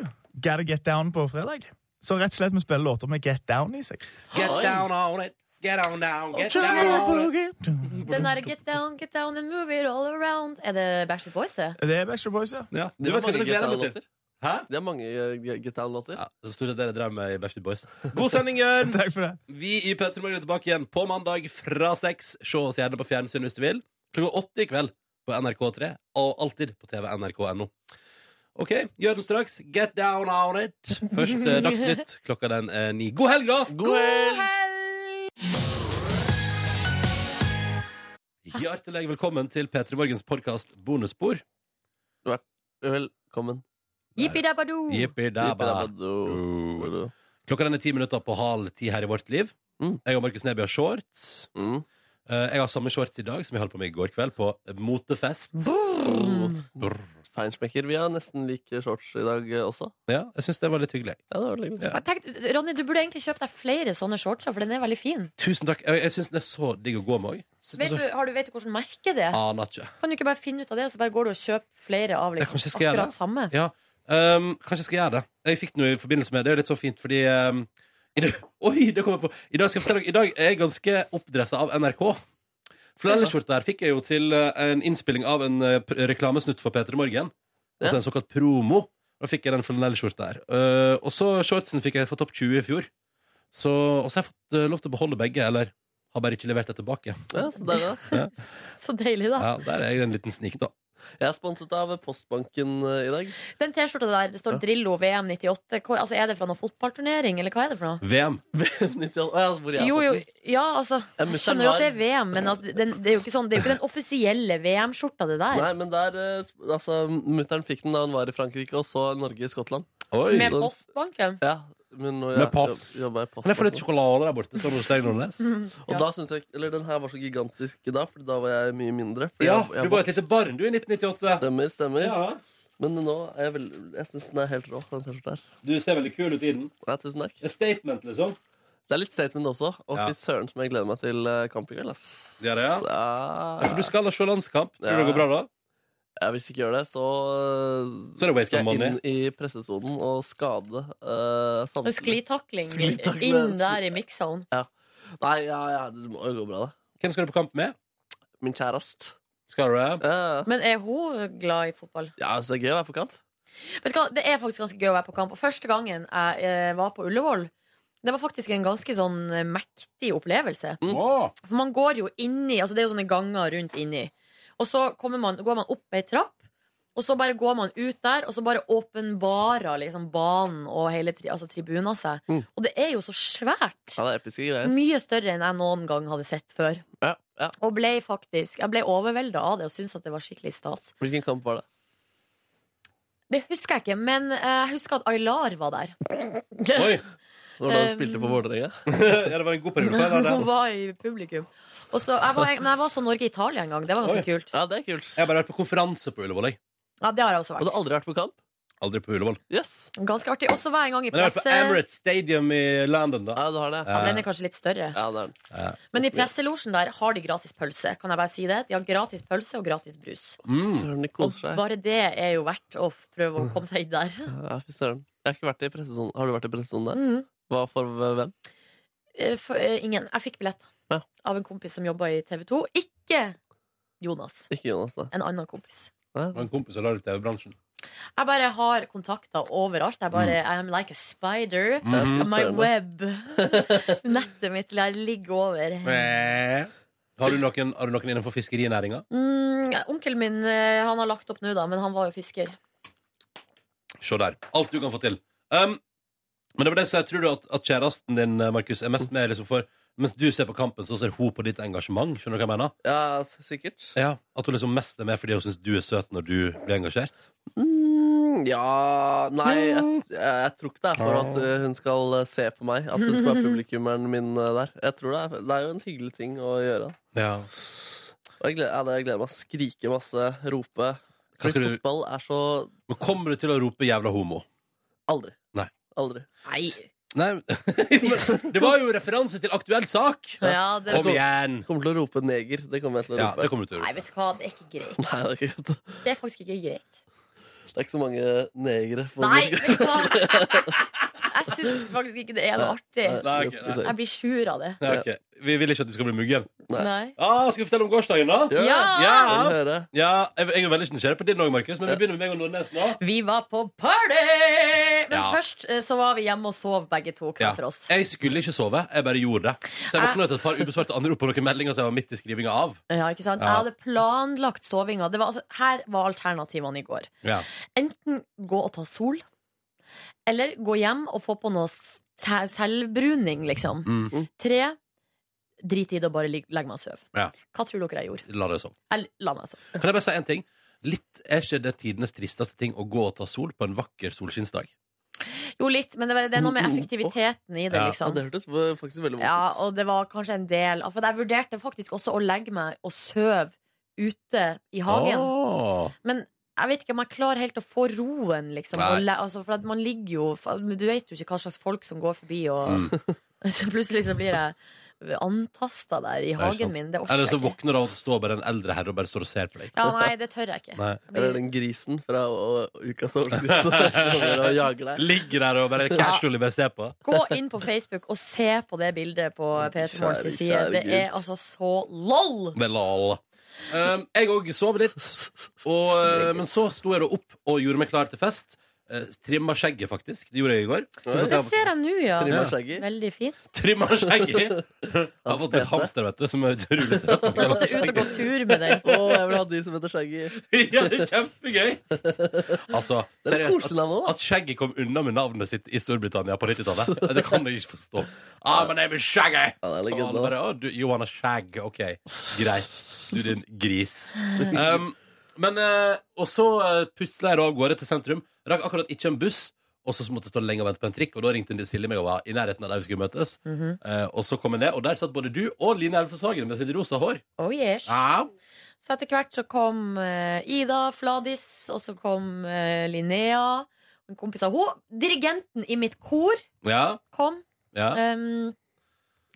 S11: gotta get down på fredag. Så rett og slett vi spiller låter med get down i seg.
S2: Get
S6: Oi.
S2: down on it. Get on down. Get
S11: Just
S2: down
S11: get
S2: on it.
S11: boogie.
S3: Den der Get Down, Get Down and Move It All Around. Er det Backstreet Boys, det?
S11: Det er Backstreet Boys, ja.
S2: Ja,
S6: De
S2: du
S6: har
S2: vet hva
S6: mange
S2: jeg gleder meg til.
S6: GTA-låter.
S2: Hæ?
S6: De har mange eh, GTA-låter.
S2: Ja, så stort sett dere drev med i Backstreet Boys. God sending, Jørn!
S11: Takk for det.
S2: Vi i P3 Morgen er tilbake igjen på mandag fra seks. Se oss gjerne på fjernsyn hvis du vil. Klokka åtte i kveld på NRK3, og alltid på TV nrk.no. OK, gjør den straks. Get down on it. Først eh, Dagsnytt. Klokka den er ni. God helg, da!
S6: God helg!
S2: Hjertelig velkommen til P3 Morgens podkast Bonusspor.
S6: Velkommen.
S3: Jippi-dabba-do.
S2: Jippi-dabba.
S6: Jippi-dabba-do.
S2: Klokka den er ti minutter på halv ti her i vårt liv.
S6: Mm.
S2: Jeg og Markus Neby har shorts.
S6: Mm.
S2: Eh, Jeg har samme shorts i dag som jeg holdt på med i går kveld på motefest.
S6: Brr. Feinsmekker. Vi har nesten like shorts i dag eh, også.
S2: Ja, jeg syns det var litt hyggelig.
S6: Ja, det var litt
S2: Ja.
S3: Jeg tenkte, Ronny, du burde egentlig kjøpe deg flere sånne shortser, for den er veldig fin.
S2: Tusen takk. Jeg, jeg syns den er så digg å gå med òg.
S3: Vet du, har du, vet du hvordan merket det er?
S2: Aner ikke.
S3: Kan du ikke bare finne ut av det, og så bare går du og kjøper flere av
S2: Ja, kanskje jeg
S3: liksom,
S2: skal gjøre
S3: akkurat samme?
S2: Ja. Um, kanskje jeg skal gjøre det. Jeg fikk den jo i forbindelse med det. Det er jo litt så fint fordi um, i dag, Oi, det kommer jeg på! I dag, skal jeg fortelle, dere- I dag er jeg ganske oppdressa av NRK. For den skjorta her fikk jeg jo til uh, en innspilling av en uh, pr- reklamesnutt for P3 Morgen. Altså
S6: Ja.
S2: en såkalt promo. Da fikk jeg den flanellskjorta her. Uh, og så shortsen fikk jeg for topp 20 i fjor. Så, og så har jeg fått uh, lov til å beholde begge, eller har bare ikke levert det tilbake.
S6: Ja, så der, er det.
S3: Så deilig, da.
S2: Ja, Der er jeg en liten snik, da.
S6: Jeg er sponset av Postbanken eh, i dag.
S3: Den T-skjorta der, det står
S6: Ja.
S3: Drillo VM 98. Hva, altså, er det fra noen fotballturnering, eller hva er det for noe?
S2: VM.
S6: 98. Å, ja, hvor jeg har
S3: Jo,
S6: fått
S3: jo,
S6: den.
S3: ja, altså
S6: Ja,
S3: Jeg
S6: mutter'n
S3: skjønner jo
S6: var-
S3: at det er VM, men altså, den, det, er jo ikke sånn, det er jo ikke den offisielle VM-skjorta, det der.
S6: Nei, men der eh, sp- altså, Mutter'n fikk den da hun var i Frankrike, og så Norge i Skottland.
S2: Oi.
S3: Med
S6: Så-
S3: Postbanken.
S6: Ja, men nå,
S2: Med papp.
S6: Jobba i post.
S2: Kan jeg få litt sjokolade der borte? Står det hos deg, Nordnes?
S6: Og da synes jeg, eller Den her var så gigantisk da, for da var jeg mye mindre. fordi
S2: Ja,
S6: jeg, jeg
S2: du var et lite barn du i 1998.
S6: Stemmer, stemmer.
S2: Ja.
S6: Men nå er jeg veldig Jeg syns den er helt rå. Den T-skjorta her.
S2: Du ser veldig kul ut i den.
S6: Nei, tusen takk.
S2: Det er statement, liksom.
S6: Det er litt statement også. Og
S2: Ja.
S6: fy søren som jeg gleder meg til eh, kamp i kveld, ass.
S2: Det er det, ja.
S6: Ja.
S2: Ja, for du skal da se landskamp. Tror du det
S6: Ja.
S2: går bra da?
S6: Ja, hvis jeg ikke gjør det, så, eh,
S2: Så er det wait
S6: skal
S2: for
S6: jeg
S2: money.
S6: inn i pressesonen og skade uh,
S3: Og Sklitakling
S6: Sklitakling.
S3: inn der i mix-zone.
S6: Ja. Nei, ja, ja, det må jo gå bra, da.
S2: Hvem skal du på kamp med?
S6: Min kjæreste.
S2: Skal du det?
S6: Ja,
S3: Men er hun glad i fotball?
S6: ja, så det er gøy å være på kamp.
S3: Vet du hva, Det er faktisk ganske gøy å være på kamp. Og første gangen jeg eh, var på Ullevål, det var faktisk en ganske sånn eh, mektig opplevelse.
S6: Mm.
S2: Åh,
S3: For man går jo inni, altså det er jo sånne ganger rundt inni. Og så kommer man, går man opp ei trapp, og så bare går man ut der, og så bare åpenbarer liksom banen og hele tri, altså tribuna seg.
S6: Mm.
S3: Og det er jo så svært.
S6: Ja, det er episke greier.
S3: Mye større enn jeg noen gang hadde sett før.
S6: Ja, ja.
S3: Og ble faktisk, jeg ble overvelda av det og syntes at det var skikkelig stas.
S6: Hvilken kamp var det?
S3: Det husker jeg ikke, men eh, jeg husker at Aylar var der. Eh.
S2: Oi!
S6: Det var da
S2: Ehm.
S6: du
S3: Um,
S6: spilte for Vålerenga?
S2: ja, det var en god periode. for deg,
S3: Hun
S2: det.
S3: var i publikum. Og så, jeg var, men jeg var så Norge-Italia en gang. Det var ganske
S2: Oi.
S3: kult.
S6: Ja, det er kult.
S2: Jeg har bare vært på konferanse på Ullevål. Jeg.
S3: Ja, det har jeg også
S6: Og du har
S3: vært.
S6: aldri vært på kamp?
S2: Aldri på Ullevål.
S6: Yes.
S3: Ganske artig. Og så var jeg en gang i
S2: Men jeg har vært
S3: presse...
S2: på Emirates Stadium i London, da.
S6: Ja, du har det.
S3: Ja, den er kanskje litt større.
S6: Ja, det er den.
S3: Men i presselosjen der har de gratis pølse. Kan jeg bare si det? De har gratis pølse og gratis brus.
S2: Mm.
S6: Søren, de
S3: Og
S6: koser seg.
S3: bare det er jo verdt å f- prøve å komme seg inn der.
S6: Ja, fy søren. Jeg har ikke vært i pressesonen. Har du vært i pressesonen der?
S3: Mhm.
S6: Hva for hvem?
S3: Eh, For, eh, ingen. Jeg fikk billett
S6: Ja.
S3: av en kompis som jobba i TV2. Ikke Jonas.
S6: Ikke Jonas, da.
S3: En annen kompis.
S2: Det var en kompis som la det i TV-bransjen.
S3: Jeg bare har kontakter overalt. Jeg bare, I'm like a spider.
S2: Mhm.
S3: My
S6: Søren.
S3: web. Nettet mitt der ligger over.
S2: Eh. Har du noen, har du noen innenfor fiskerinæringa?
S3: Mm, onkelen min eh, han har lagt opp nå, da, men han var jo fisker.
S2: Se der. Alt du kan få til. Um, men det var det så jeg tror du at, at kjæresten din, Markus, er mest med liksom for Mens du ser på kampen, så ser hun på ditt engasjement. Skjønner du hva jeg mener?
S6: Ja, s- sikkert.
S2: Ja, At hun liksom mest er med fordi hun syns du er søt når du blir engasjert?
S6: Mm, ja Nei, jeg, jeg, jeg tror ikke det er for at eh, hun skal eh, se på meg. At hun skal være publikummeren min eh, der. Jeg tror det, er, det er jo en hyggelig ting å gjøre.
S2: Ja.
S6: Og jeg gleder, ja, det- jeg gleder meg. Skrike masse, rope.
S2: Hva skal
S6: Fordi
S2: du-
S6: fotball er så
S2: Men kommer du til å rope 'jævla homo'?
S6: Aldri.
S2: Nei.
S6: Aldri.
S3: Nei.
S2: Nei, men Det var jo referanse til aktuell sak!
S3: Ja, det,
S2: Kom igjen!
S6: Jeg kommer til å rope neger. Det kommer jeg til å
S2: Ja,
S6: rope.
S2: det kommer du til å
S3: nei,
S2: rope.
S3: vet du hva, det er ikke greit.
S6: Nei, det er ikke greit.
S3: Det er faktisk ikke greit.
S6: Det er ikke så mange negere. på
S3: Nei,
S6: Norge.
S3: vet du hva. Jeg syns faktisk ikke det er noe artig.
S2: Nei, ok, nei.
S3: Jeg blir sur av det.
S2: Ja, ok. Vi vil ikke at du skal bli muggen.
S6: Nei.
S3: Nei.
S2: Ah, skal vi fortelle om gårsdagen, da?
S6: Gjør det.
S3: Ja!
S6: Vil du høre?
S2: Ja, jeg, jeg er veldig nysgjerrig på din òg, Markus, men vi begynner med meg og Nordnes nå.
S3: Vi var på party! Men
S2: Ja.
S3: først eh, så var vi hjemme og sov, begge to. Hver
S2: Ja.
S3: for oss.
S2: Jeg skulle ikke sove, jeg bare gjorde det. Så jeg våkna til et par ubesvarte anrop på noen meldinger som jeg var midt i skrivinga av.
S3: Ja, ikke sant?
S2: Ja.
S3: Jeg hadde planlagt sovinga. Det var, altså, her var alternativene i går.
S2: Ja.
S3: Enten gå og ta sol, eller gå hjem og få på noe s- se- selvbruning, liksom.
S2: Mm.
S3: Tre, drit i det og bare lig- legge meg og sove.
S2: Ja.
S3: Hva tror dere jeg gjorde?
S2: La det sove.
S3: Jeg la meg sove.
S2: Kan jeg bare si en ting? Litt Er ikke det tidenes tristeste ting å gå og ta sol på en vakker solskinnsdag?
S3: Jo, litt, men det, var- det er noe med effektiviteten i det,
S2: Ja,
S6: Mm. Ja,
S3: liksom.
S6: det hørtes eh, faktisk veldig vondt ut.
S3: Ja, og det var kanskje en del For jeg vurderte faktisk også å legge meg og sove ute i hagen.
S2: Åh.
S3: Men jeg vet ikke om jeg klarer helt å få roen, liksom.
S2: Nei.
S3: Og le, altså, for at man ligger jo fa- men Du vet jo ikke hva slags folk som går forbi,
S2: Mm.
S3: og så plutselig så blir jeg antasta der i
S2: er sant.
S3: hagen min. Det orker
S2: Eller så
S3: jeg ikke.
S2: våkner du av at det står bare en eldre herre og bare står og ser på deg.
S3: Ja, nei, det tør jeg ikke.
S2: Nei.
S3: Jeg blir,
S6: Eller den grisen fra å, å, ukas overskrift som er og jager deg.
S2: Ligger der og bare casually bare ser på.
S3: gå inn på Facebook og se på det bildet på P3 Morgens
S6: Kjære,
S3: side.
S6: kjære
S3: Det er
S6: Gud.
S3: altså så lol!
S2: Med lal. Ehm, Um, jeg òg sov litt, og, eh, men så sto jeg da opp og gjorde meg klar til fest. eh, trimma skjegget, faktisk. Det gjorde jeg i går. Så satt jeg
S3: Det
S2: og-
S3: ser jeg nå, ja.
S2: Trimma skjegget.
S3: Veldig fint.
S2: Trimma skjegget! Jeg har fått meg et hamster, vet du, som er utrolig søt.
S3: Jeg måtte ut og gå tur med den.
S6: Å, jeg vil ha dyr som heter Shaggy.
S2: ja, det er kjempegøy! Altså,
S6: Det er et
S2: seriøst,
S6: koselig
S2: at, at skjegget kom unna med navnet sitt i Storbritannia på 90-tallet, det kan jeg ikke forstå. Ah, my name is Shaggy! Og han bare, «Å, du, you wanna shag, ok, greit. Du din gris. Um, men, eh, og så eh, puslet jeg da av gårde til sentrum. Rakk akkurat ikke en buss, og så måtte jeg stå lenge og vente på en trikk, og da ringte Silje meg og var i nærheten av der vi skulle møtes.
S3: Mhm.
S2: Eh, og så kom jeg ned, og der satt både du og Line Elfeshagen med sitt rosa hår.
S3: Oh yes.
S2: Ja.
S3: Så etter hvert så kom eh, Ida Fladis, og så kom eh, Linnea. En kompis av henne. Dirigenten i mitt kor
S2: Ja,
S3: kom.
S2: ja.
S3: Um,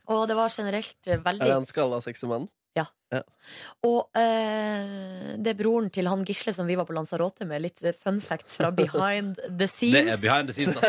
S3: og det var generelt eh,
S6: Er det
S3: veldig
S6: en skalla sexy mann?
S3: Ja. Og eh, det er broren til han Gisle som vi var på Lanzarote med. Litt eh, fun facts fra behind the scenes.
S2: Det er behind the scenes,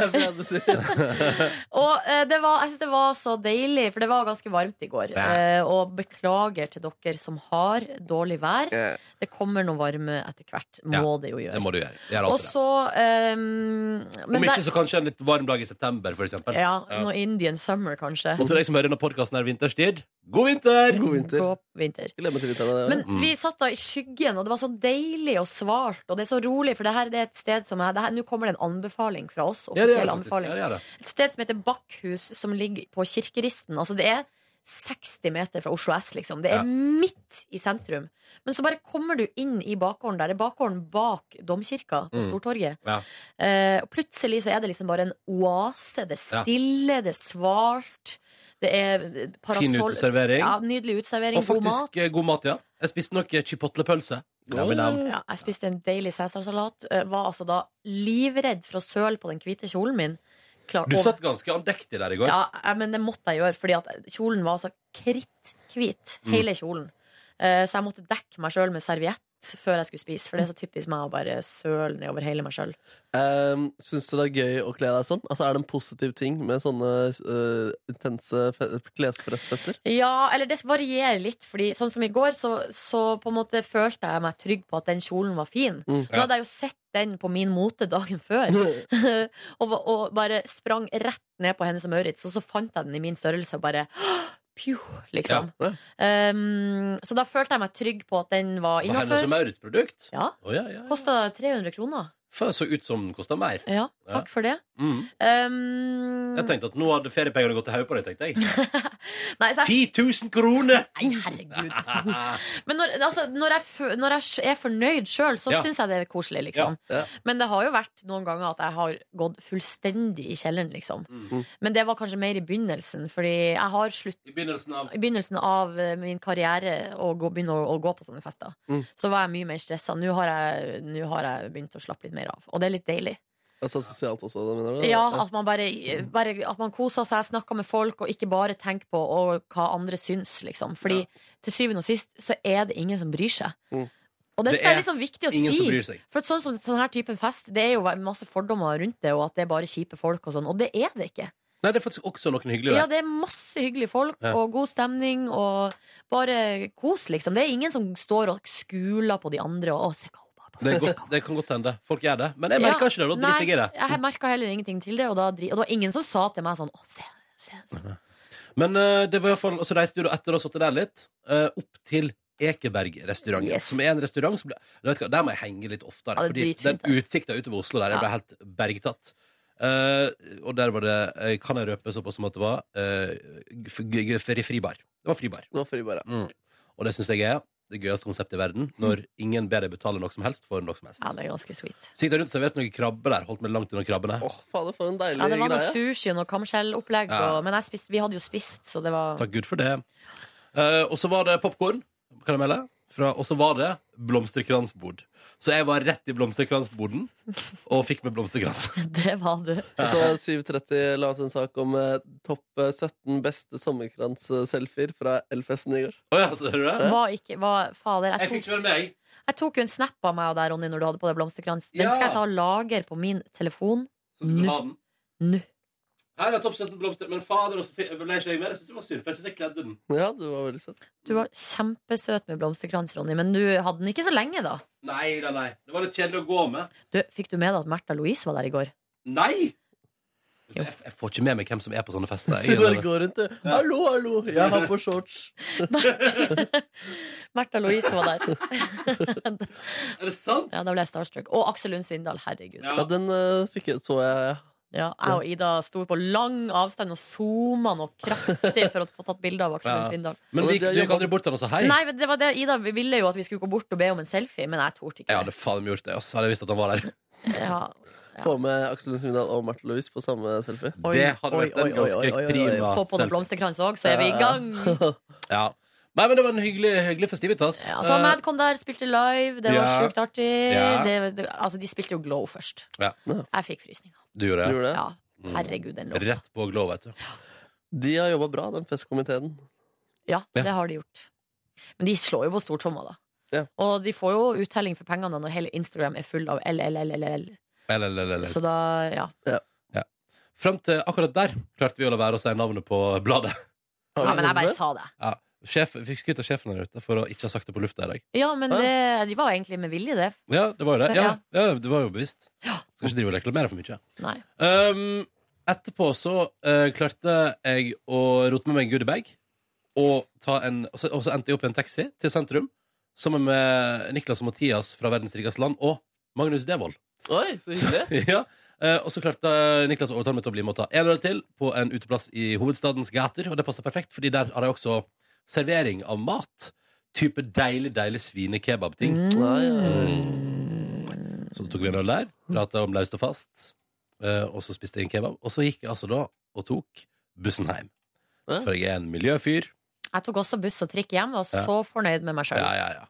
S2: ass.
S3: Og eh, det var, jeg synes det var så deilig, for det var ganske varmt i går.
S2: Ja.
S3: Eh, og beklager til dere som har dårlig vær.
S2: Ja.
S3: Det kommer noe varme etter hvert. Må
S2: Ja,
S3: det jo gjøre.
S2: det må du gjøre. Det er alltid
S3: og
S2: det.
S3: så ehm, men
S2: Om ikke,
S3: der-
S2: så kanskje en litt varm dag i september, for eksempel.
S3: Ja,
S2: Ja.
S3: noe Indian summer, kanskje.
S2: Og til deg som hører denne podkasten her vinterstid, god vinter!
S3: God vinter. God vinter.
S6: Gleder meg til vinteren.
S3: Men
S2: Mm.
S3: vi satt da i skyggen, og det var så deilig og svalt. Og det er så rolig, for det her det er et sted som er det her- Nå kommer det en anbefaling fra oss.
S2: Ja, det gjør det
S3: Offisiell
S2: faktisk.
S3: anbefaling.
S2: Ja, det gjør det.
S3: Et sted som heter Bakkhus, som ligger på Kirkeristen. Altså, det er 60 meter fra Oslo S, liksom. Det er
S2: Ja.
S3: midt i sentrum. Men så bare kommer du inn i bakgården der. Det er bakgården bak domkirka på
S2: Mm.
S3: Stortorget.
S2: Ja.
S3: Eh, og plutselig så er det liksom bare en oase. Det er
S2: Ja.
S3: stille, det er svalt. Det er eh, parasoll
S2: Fin uteservering.
S3: Ja, nydelig uteservering,
S2: Og
S3: god mat.
S2: faktisk eh, god mat, ja. Jeg spiste nok eh, chipotle-pølse. Nam, nam.
S3: Ja, jeg spiste en deilig cæsarsalat. eh, Var altså da livredd for å søle på den hvite kjolen min. Klar-
S2: Du
S3: og-
S2: satt ganske andektig der i går.
S3: Ja, jeg- men det måtte jeg gjøre, fordi at kjolen var altså kritthvit.
S2: Mm.
S3: Hele kjolen. Eh, Så jeg måtte dekke meg sjøl med serviett før jeg skulle spise, for det er så typisk meg å bare søle nedover hele meg sjøl.
S6: Um, Syns du det er gøy å kle deg sånn? Altså, Er det en positiv ting med sånne øh, intense fe- klespressfester?
S3: Ja, eller det varierer litt, fordi sånn som i går, så, så på en måte følte jeg meg trygg på at den kjolen var fin.
S6: Mm.
S3: Nå hadde jeg jo sett den på min mote dagen før, og, var- og bare sprang rett ned på henne som Maurits, og så fant jeg den i min størrelse og bare Pju, liksom.
S2: Ja.
S3: Um, så da følte jeg meg trygg på at den var
S2: Var henne som
S3: innafor.
S2: Maurits-produkt?
S3: Ja.
S2: Å, ja, ja.
S3: Kosta 300 kroner.
S2: Faen, så ut som den kosta mer.
S3: Ja, takk for det.
S2: Mm.
S3: Um,
S2: Jeg tenkte at nå hadde feriepengene gått til hodet på deg, tenkte jeg.
S3: nei, så jeg-
S2: 10 000 kroner!
S3: Nei, herregud. Men når, altså, når, jeg, fø- når jeg sj- er fornøyd sjøl, så
S2: Ja.
S3: syns jeg det er koselig, liksom.
S2: Ja, ja.
S3: Men det har jo vært noen ganger at jeg har gått fullstendig i kjelleren, liksom.
S2: Mm.
S3: Men det var kanskje mer i begynnelsen, fordi jeg har slutt
S2: I begynnelsen av
S3: i begynnelsen av eh, min karriere å gå, begynne å, å gå på sånne fester,
S6: Mm.
S3: så var jeg mye mer stressa. Nå har, jeg, nå har jeg begynt å slappe litt mer av, og det er litt deilig.
S6: Altså sosialt også, da, mener du?
S3: Ja, At man bare,
S6: Mm.
S3: bare At man koser seg, snakker med folk, og ikke bare tenker på og, hva andre syns, liksom. Fordi til syvende og sist så er det ingen som bryr seg.
S6: Mm.
S3: Og det,
S6: Det
S3: er
S6: er
S3: litt sånn viktig å
S6: ingen
S3: si.
S6: som bryr seg.
S3: For at sånn som sånn her type fest, det er jo masse fordommer rundt det, og at det er bare kjipe folk og sånn. Og det er det ikke.
S2: Nei, det er faktisk også noen hyggelige
S3: Ja,
S2: der.
S3: det er masse hyggelige folk
S2: Ja.
S3: og god stemning og bare kos, liksom. Det er ingen som står og skuler på de andre og «Å, se hva
S2: Det, er godt, det kan godt hende. Folk gjør det. Men jeg
S3: Ja,
S2: merker ikke det. Da driter jeg i det.
S3: Nei, jeg merka heller ingenting til det, og, da, dri- og det var ingen som sa til meg sånn Å, se, se.
S2: Men eh, det var i hvert fall, og så reiste du da etter å ha sittet der litt, eh, opp til Ekeberg-restauranten.
S3: Yes.
S2: Som er en restaurant som ble, Nei, vet du hva, Der må jeg henge litt oftere,
S3: Ja, det er
S2: fordi
S3: dritfint,
S2: den utsikta utover Oslo der, jeg ble
S3: Ja.
S2: helt bergtatt. Eh, og der var det eh, Kan jeg røpe såpass som at det var eh, f- g- g- fri- fribar. Det var fribar.
S6: Det var fribar,
S2: ja. Mm. Og det syns jeg er det gøyeste konseptet i verden. Når ingen ber deg betale noe som helst for noe som helst.
S3: Ja, det er ganske sweet.
S2: Så gikk jeg rundt og serverte noen krabber der. Holdt meg langt unna krabbene.
S6: Fader, for en deilig
S3: Ja, det var noe
S6: greie.
S3: sushi og noe kamskjellopplegg,
S2: Ja.
S3: og- men jeg spiste, vi hadde jo spist, så det var
S2: Takk Gud for det. Eh, og så var det popkorn, karameller, fra- og så var det blomsterkransbord. Så jeg var rett i blomsterkransboden og fikk med blomsterkrans.
S3: Det var du.
S6: Og så 7.30 la ut en sak om eh, topp eh, 17 beste sommerkrans-selfier fra Elfesten i går.
S2: Å ja, så hører du det?
S3: Var ikke, var, fader, jeg
S2: Jeg
S3: tok
S2: fikk ikke være med, jeg.
S3: Jeg tok jo en snap av meg og deg, Ronny, når du hadde på deg blomsterkrans. Den
S2: Ja.
S3: skal jeg ta og lagre på min telefon.
S2: Så du kan
S3: Nå.
S2: ha den.
S3: Nå.
S2: Her er topp 17 blomster. Men fader, og så fi- ble ikke jeg med. Jeg syns det var synd, for jeg syns jeg kledde den.
S6: Ja, du var veldig søt.
S3: Du var kjempesøt med blomsterkrans, Ronny, men du hadde den ikke så lenge, da.
S2: Nei, nei, nei. Det var litt kjedelig å gå med.
S3: Du, fikk du med deg at Märtha Louise var der i går?
S2: Nei! Jeg, jeg får ikke med meg hvem som er på sånne fester.
S6: Du
S2: Jeg
S6: bare
S2: innrømmer.
S6: går rundt og Hallo, hallo, jeg har på shorts.
S3: Märtha Louise var der.
S2: er det sant?
S3: Ja, Da ble jeg starstruck. Og Aksel Lund Svindal. Herregud.
S6: Ja, den eh, fikk jeg, så jeg.
S3: Ja, jeg og Ida sto på lang avstand og zooma noe kraftig for å få tatt bilde av Aksel Lund Svindal.
S2: Men vi, du gikk aldri bort til han og sa hei?
S3: Nei, men det var det Ida ville jo at vi skulle gå bort og be om en selfie, men jeg torde ikke.
S2: Jeg hadde faen gjort det. ass. Hadde jeg visst at han var der.
S3: Ja.
S6: Få med Aksel Lund Svindal og Marte Louise på samme selfie.
S3: Oi,
S2: Det hadde
S3: oi,
S2: vært en
S3: oi, oi, oi,
S2: ganske
S3: oi, oi.
S2: prima
S3: Få på noen
S2: selfie.
S3: blomsterkrans òg, så er vi i gang.
S2: Ja. Nei, men det var en hyggelig, hyggelig festivitas.
S3: Ja, sånn så Mad kom der, spilte live, det var
S2: Ja.
S3: sjukt artig.
S2: Ja.
S3: Det, det, altså, de spilte jo Glow først.
S2: Eh, ja.
S3: Jeg fikk frysninger.
S2: Eh, Du gjorde det? Mm.
S6: Du gjorde det?
S3: Ja. Herregud, den låta.
S2: Rett på glow, vet du.
S6: De har jobba bra, den festkomiteen.
S3: Ja, det har de gjort. Men de slår jo på stortromma, da.
S6: Ja.
S3: Og de får jo uttelling for pengene da, når hele Instagram er full av LLLLL.
S2: Eller, eller, eller.
S3: Så da, ja.
S2: Ja. Frem til akkurat der klarte vi å la være å si navnet på bladet.
S3: ja. Men jeg bare sa det.
S2: Ja. Sjef, vi fikk skryt av sjefen der ute for å ikke ha sagt det på lufta i dag.
S3: Ja, men
S2: Ja.
S3: det, de var jo egentlig med vilje, det.
S2: Ja, det var jo det. Ja,
S3: Ja.
S2: ja, det var jo bevisst. Skal ikke drive og reklamere for mye.
S3: Nei.
S2: Um, etterpå så eh, klarte jeg å rote med meg en goodiebag. Og, ta en, og, så, og så endte jeg opp i en taxi til sentrum sammen med Niklas og Mathias fra Verdens rikeste land og Magnus Devold.
S6: Oi, så hyggelig.
S2: ja. eh, og så klarte Niklas å overtale meg til å bli med og ta en øl til på en uteplass i hovedstadens gater. Og det passer perfekt, fordi der har de også servering av mat. Type deilig, deilig svinekebabting. Mm. Så tok vi en øl der, prata om løst og fast, eh, og så spiste jeg en kebab. Og så gikk jeg altså da og tok bussen hjem. For jeg er en miljøfyr.
S3: Jeg tok også buss og trikk hjem, og var
S2: Ja.
S3: så fornøyd med meg sjøl.
S2: Ja, ja, ja.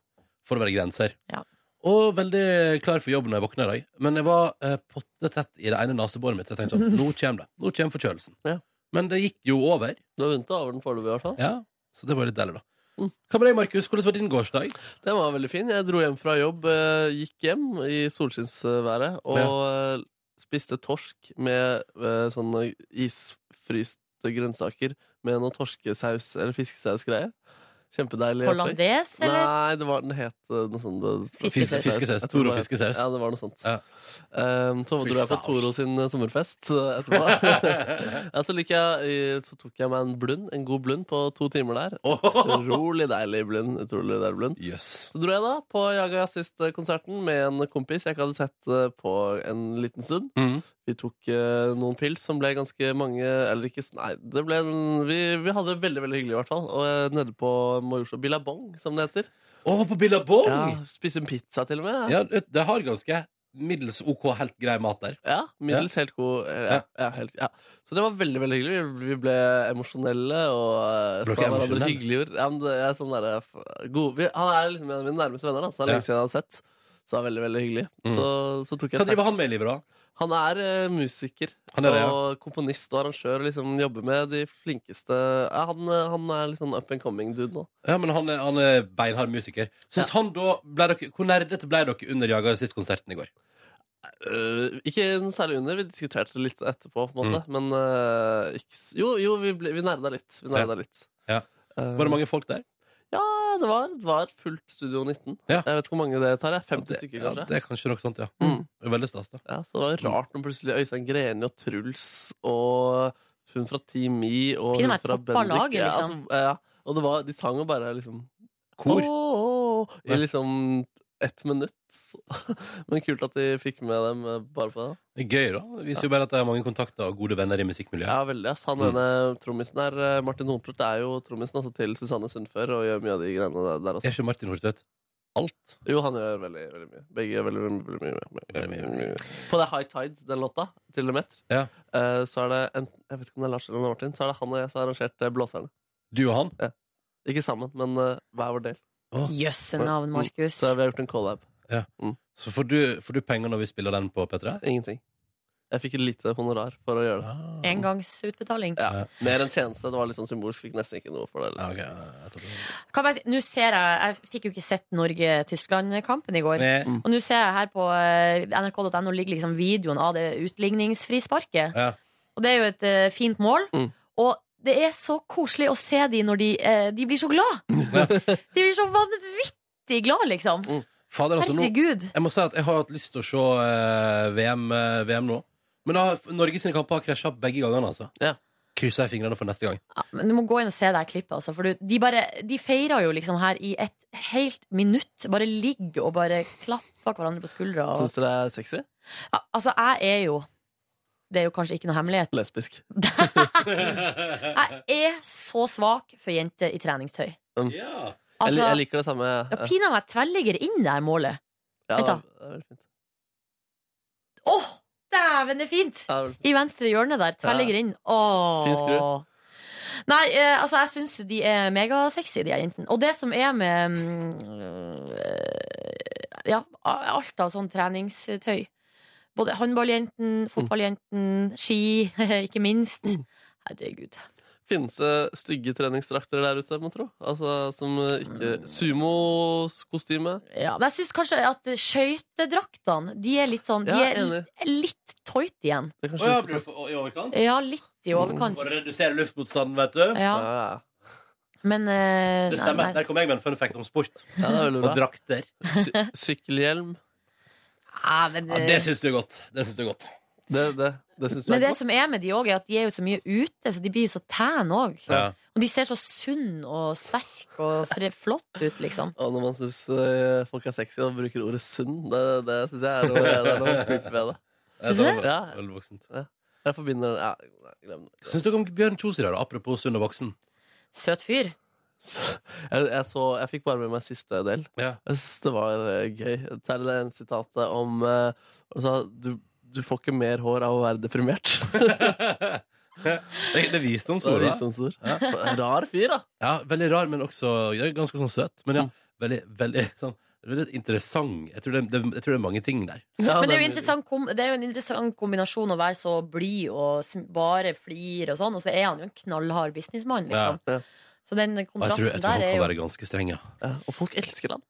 S2: Får det være grenser.
S3: Ja.
S2: Og veldig klar for jobb når jeg våkner i dag. Men jeg var eh, pottetett i det ene neseboret mitt. Så jeg tenkte sånn, nå kommer det. Nå kommer forkjølelsen. Men det gikk jo over.
S6: Du har vunnet over den foreløpig, i hvert fall.
S2: Ja, så det var litt deilig, da. Hva med deg, Markus? Hvordan var din gårsdag?
S6: Den var veldig fin. Jeg dro hjem fra jobb, eh, gikk hjem i solskinnsværet og eh, spiste torsk med eh, sånne isfryste grønnsaker med noe torskesaus eller fiskesausgreie. Kjempedeilig. opplegg.
S3: Hollandes, eller?
S6: Nei, det var, den het eh, noe sånt. det-
S3: Fiskesaus. Fiskesaus.
S6: Jeg tror det var-
S2: Toro fiskesaus.
S6: Ja, det var noe sånt. Um, så dro jeg på
S2: Fiskesaus.
S6: Toro sin eh, sommerfest eh, etterpå. ja, så, liker jeg, eh, så tok jeg meg en blund, en god blund på to timer der. Utrolig deilig blund. Utrolig deilig blund. Så dro jeg da på Jaga Jazzist-konserten med en kompis jeg ikke hadde sett eh, på en liten stund. Vi tok eh, noen pils som ble ganske mange Eller ikke s- Nei, det ble en, vi, vi hadde det veldig veldig hyggelig, i hvert fall. Og eh, nede på Majorstua Billabong, som det heter.
S2: Å, på Billabong!
S6: Ja, Spise en pizza, til og med.
S2: Ja, det har ganske middels OK, helt grei mat der.
S6: Ja, middels helt god eh, ja, ja, helt, ja. Så det var veldig veldig hyggelig. Vi- Vi ble emosjonelle og eh,
S2: Ble
S6: sa
S2: dere
S6: hverandre
S2: emosjonelle?
S6: hyggelige ord. Ja, men det er sånn der, eh, f- god, vi, han er liksom en av mine nærmeste venner, da, så det
S2: Ja.
S6: er lenge siden jeg har sett. Så det var veldig, veldig hyggelig.
S2: Mm.
S6: Så, så tok
S2: Hva
S6: jeg tak-
S2: driver han med i livet, da?
S6: Han er eh, musiker
S2: Han er det, ja.
S6: og komponist og arrangør. og Liksom jobber med de flinkeste ja, han, eh, han er litt sånn up and coming dude nå.
S2: Ja, men Han er, han er beinhard musiker. Synes han da, ble dere, Hvor nerdete ble dere under Jaga Sist-konserten i går?
S6: Eh, ikke noe særlig under. Vi diskuterte det litt etterpå, på en måte.
S2: Mm.
S6: Men eh, ikke, s- jo, jo, vi, ble, vi nerda litt. Vi nerda litt.
S2: Ja. Var det mange folk der?
S6: Ja, det var, det var et fullt Studio 19. Jeg vet ikke hvor mange det tar. jeg. 50 stykker,
S2: Ja, det
S6: kanskje. Mm.
S2: Mm. er kanskje nok sant, ja. Det er Veldig stas, da.
S6: Ja, så det var rart når plutselig Øystein Greni og Truls og hun fra Team I og
S3: Pinne
S6: hun
S3: meg
S6: fra
S3: toppa
S6: Bendik
S3: laget,
S6: ja,
S3: liksom.
S6: altså, ja. Og det var, de sang jo bare liksom
S2: Kor.
S6: «Åh»,
S2: Ja.
S6: I liksom ett minutt. Så- Men kult at de fikk med dem eh, bare på det.
S2: Det er gøy, da. Det viser jo bare at jeg har mange kontakter og gode venner i musikkmiljøet.
S6: Ja, veldig. ass. Han
S2: Mm.
S6: ene trommisen her, eh, Martin Horntvedt, er jo trommisen også til Susanne Sundfør og gjør mye av de greiene der- altså. der.
S2: Er
S6: Også.
S2: ikke Martin Hortvedt alt?
S6: Jo, han gjør veldig, veldig mye. Begge gjør veldig, veldig, veldig, mye. På det High Tide, den låta, til og med,
S2: Ja.
S6: eh, så er det en, jeg vet ikke om det er Lars eller Martin, så er det han og jeg som har arrangert eh, Blåserne.
S2: Du og han?
S6: Ja. Ikke sammen, men eh, hver vår del.
S3: Jøsse navn, Markus.
S6: Så vi har gjort en collab.
S2: Ja. Så får du, får du penger når vi spiller den på P3?
S6: Ingenting. Jeg fikk et lite honorar for å gjøre det.
S2: Ah.
S3: Engangsutbetaling.
S6: Ja. Mer enn tjeneste. Det var litt sånn symbolsk. Fikk nesten ikke noe for det. eller?
S3: Kan jeg bare si- Nå ser jeg Jeg fikk jo ikke sett Norge-Tyskland-kampen i går.
S6: Nei. Mm.
S3: Og nå eh, ser jeg her på eh, nrk.no ligger liksom videoen av det utligningsfrisparket.
S2: Ja.
S3: Og det er jo et eh, fint mål.
S6: Mm.
S3: Og det er så koselig å se de når de, eh, de blir så glad. De blir så vanvittig glad, liksom.
S2: Fader, altså, nå,
S3: Herregud.
S2: jeg må si at jeg har hatt lyst til å se eh, VM, eh, VM nå. Men da, har- Norge sine kamper har krasja begge gangene, altså. Krysser jeg fingrene for neste gang.
S3: Men du må gå inn og se det her klippet, altså. For du, de, bare, de feirer jo liksom her i et helt minutt. Bare ligger og bare klapper hverandre på skuldra. Og,
S6: Syns dere det er sexy?
S3: Ja, altså, jeg er jo Det er jo kanskje ikke noe hemmelighet.
S6: Lesbisk.
S3: Jeg er så svak for jenter i treningstøy.
S6: Mm. Jeg,
S3: Altså-
S6: li- jeg liker det samme.
S3: Ja, Pinadø meg tverrligger inn det her målet.
S6: Ja,
S3: Vent, da.
S6: det er veldig fint.
S3: Åh, dæven, det er fint!
S6: Ja, det er veldig
S3: I venstre hjørne der. Tverrligger inn. Åh.
S6: Fin skru.
S3: Nei, eh, altså, jeg syns de er megasexy, de her jentene. Og det som er med mm, eh, Ja, a- alt av sånn treningstøy. Både
S6: Mm.
S3: håndballjenten, fotballjenten, ski, ikke minst. Herregud.
S6: Finnes det stygge treningsdrakter der ute, må tro? Altså, som eh,
S3: Mm.
S6: ikke Sumokostyme?
S3: Ja, men jeg syns kanskje at skøytedraktene De er litt sånn
S6: Ja,
S3: De er
S6: enig.
S3: li- litt tight igjen.
S2: Å ja, blir det for- i overkant?
S3: Ja, litt i overkant.
S2: For å redusere luftmotstanden, vet du.
S3: Ja. Men eh,
S2: Det
S3: nei,
S2: stemmer.
S3: nei.
S2: Der kom jeg med en fun fact om sport.
S6: Ja, det er veldig bra.
S2: og drakter.
S6: Sykkelhjelm?
S3: Ja, men, eh,
S2: Ja, det syns du er godt. Det syns du er godt.
S6: Det, det, det syns du
S3: Men
S6: er
S3: det
S6: godt?
S3: som er med de òg, er at de er jo så mye ute, så de blir jo så tan òg.
S6: Ja.
S3: Og de ser så sunn og sterk og fre flott ut, liksom.
S6: Og når man syns folk er sexy og bruker ordet sunn, det, det syns jeg er noe, det er noe kult ved det.
S2: Syns du det?
S6: Ja.
S2: Velvoksent.
S6: Ja. Jeg forbinder ja, nei, glem det.
S2: Syns dere om Bjørn Kjos i dag, da? apropos sunn og voksen?
S3: Søt fyr.
S6: Jeg, jeg, så, jeg fikk bare med meg siste del. Jeg synes det var eh, gøy. Særlig det ene sitatet om eh, altså, du, du får ikke mer hår av å være deprimert.
S2: Det er visdomsord.
S6: Det er
S2: da.
S6: visdomsord.
S2: Ja.
S6: Rar fyr, da.
S2: Ja, veldig rar, men også ja, ganske sånn søt. Men ja, veldig, veldig sånn Veldig interessant. Jeg tror, det, det, jeg tror det er mange ting der.
S3: Men det er, jo interessant kom det er jo en interessant kombinasjon å være så blid og sm- bare flir og sånn, og så er han jo en knallhard businessmann, liksom.
S2: Ja.
S3: Så den
S2: Og jeg tror,
S3: kontrasten
S2: jeg tror han
S3: der
S2: kan
S3: er
S2: være
S3: jo
S2: ganske streng, ja.
S6: Og folk elsker han.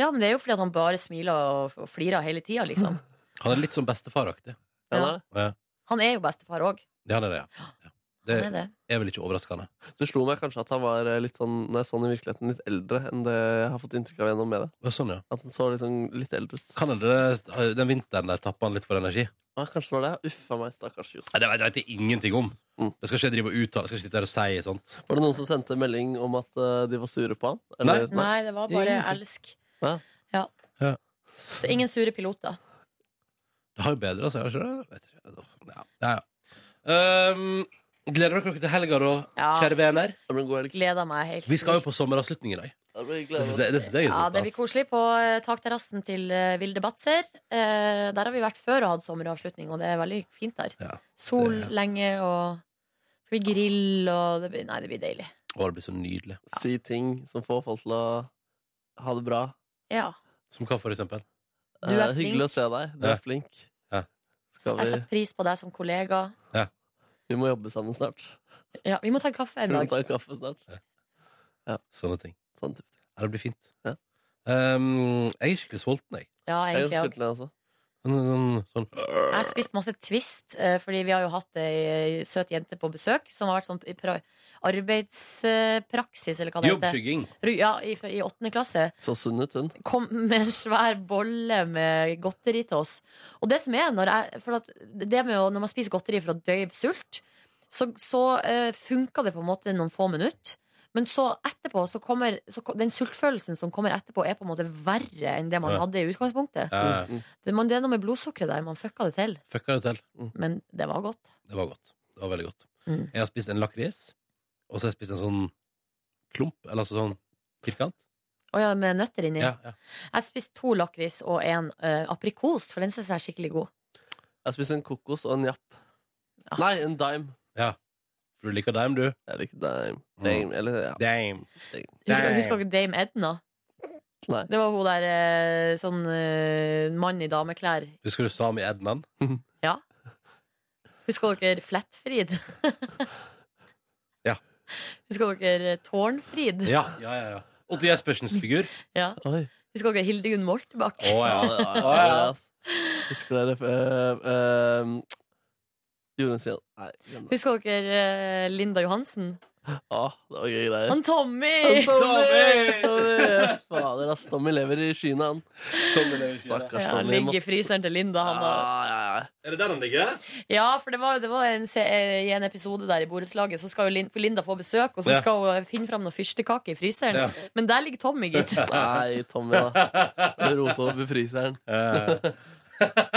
S3: Ja, men det er jo fordi at han bare smiler og, og flirer hele tida, liksom.
S2: Han er litt sånn bestefaraktig.
S3: Ja, han er
S2: Ja.
S3: Han er jo bestefar òg.
S2: Ja, han er det, ja. ja. Det
S3: Han er det.
S2: er vel ikke overraskende.
S6: Det slo meg kanskje at han var eh, litt sånn når jeg så han i virkeligheten, litt eldre enn det jeg har fått inntrykk av gjennom media.
S2: Ja, Sånn, ja.
S6: At han så liksom litt eldre ut.
S2: Kan hende den vinteren der tapper han litt for energi.
S6: Ja, kanskje det var det. Uffa meg, stakkars Johs.
S2: Nei, det vet det vet jeg ingenting om. Det skal ikke jeg drive og uttale. Jeg skal ikke sitte her og si sånt.
S6: Var det noen som sendte melding om at eh, de var sure på han?
S3: Nei, det var bare elsk.
S6: Ja.
S3: Ja.
S2: Ja.
S3: Så ingen sure piloter.
S2: Det har jo bedra seg, har ikke det? Vet ikke. Ja, ja. ja. Um, gleder dere dere til helga, da,
S3: Ja.
S2: kjære venner?
S3: Gleder meg helt.
S2: Vi skal jo på sommeravslutning i dag. Det synes jeg- det synes jeg er
S3: ja, det
S2: stas.
S3: blir koselig på eh, takterrassen til eh, Vilde Batzer. Eh, der har vi vært før og hatt sommeravslutning, og det er veldig fint der. Sol lenge og Skal vi grille og det blir, Nei, det blir deilig.
S2: Å, det blir så nydelig.
S6: Si ting som får folk til å ha det bra.
S3: Ja.
S2: Som hva, for eksempel?
S3: Du er
S6: Eh, Hyggelig å se deg. Du
S2: Ja.
S6: er flink.
S2: Ja.
S6: Skal
S3: Jeg
S6: vi,
S3: setter pris på deg som kollega.
S6: vi må jobbe sammen snart.
S3: Ja, vi må ta en kaffe en
S6: Skal vi
S3: dag.
S6: ta en kaffe snart?
S2: Sånne ting.
S6: Sånn type.
S2: Ja, det blir fint. Um, jeg er skikkelig sulten, jeg.
S3: Ja,
S6: Jeg er
S3: egentlig
S6: sulten,
S3: òg.
S6: jeg også.
S2: Sånn, sånn,
S3: Jeg har spist masse Twist, eh, fordi vi har jo hatt ei eh, søt jente på besøk som har vært sånn i pra arbeidspraksis, eller hva det heter.
S2: Jobbskygging.
S3: Ru- Ja, i, fra- i åttende klasse.
S6: Så sunn ut, hun.
S3: Kom med en svær bolle med godteri til oss. Og det som er, når, jeg, for at det med å, når man spiser godteri for å døyve sult, så, så eh, funka det på en måte noen få minutter. Men så etterpå, så kommer så, ko- den sultfølelsen som kommer etterpå, er på en måte verre enn det man
S2: Ja.
S3: hadde i utgangspunktet.
S6: Mm.
S2: Ja.
S3: Det, man, det er noe med blodsukkeret der. Man fucka det til.
S2: eh, Fucka det til.
S3: Men det var godt.
S2: Det var godt. Det var veldig godt.
S3: Mm.
S2: Jeg har spist en lakris, og så har jeg spist en sånn klump, eller altså sånn firkant.
S3: Å ja, med nøtter inni.
S2: Ja, ja.
S3: Jeg spiste to lakris og en eh, aprikos, for den synes jeg er skikkelig god.
S6: Jeg spiste en kokos og en japp. Nei, en dime.
S2: ja. For du liker dime, du?
S6: Jeg liker dime. Dame, eller ja.
S2: Dame.
S3: Husker,
S2: Dame.
S3: husker dere Dame Edna?
S6: Nei.
S3: Det var hun der eh, sånn eh, mann i dameklær.
S2: Husker du Sami Ednan?
S3: Ja. Husker dere Flettfrid?
S2: Ja.
S3: Husker dere Tårnfrid?
S2: Ja, ja, ja. ja. Otto Jespersens figur.
S3: Ja.
S6: Oi.
S3: Husker dere Hildegunn Moltebakk?
S2: Å ja.
S6: Ja, det eh, var-
S2: Å, ja.
S6: Husker dere uh, Jorunn Stian. Nei, glem det.
S3: Husker dere eh, Linda Johansen?
S6: Ah, det var gøye greier.
S3: Han Tommy!
S6: Han Tommy! Tommy! Fader, ass. Tommy lever i skyene, han. Stakkars
S3: Ja, han
S6: Tommy.
S3: ligger i fryseren til Linda. Han, da.
S2: Er det der han ligger?
S3: ja, for det var, det var en, se- eh, i en episode der i borettslaget, så skal jo Lin- for Linda få besøk, og så
S6: Ja.
S3: skal hun finne fram noe fyrstekake i fryseren.
S6: Ja.
S3: Men der ligger Tommy, gitt.
S6: Nei, Tommy, da. Du rota opp i fryseren.
S2: Eh,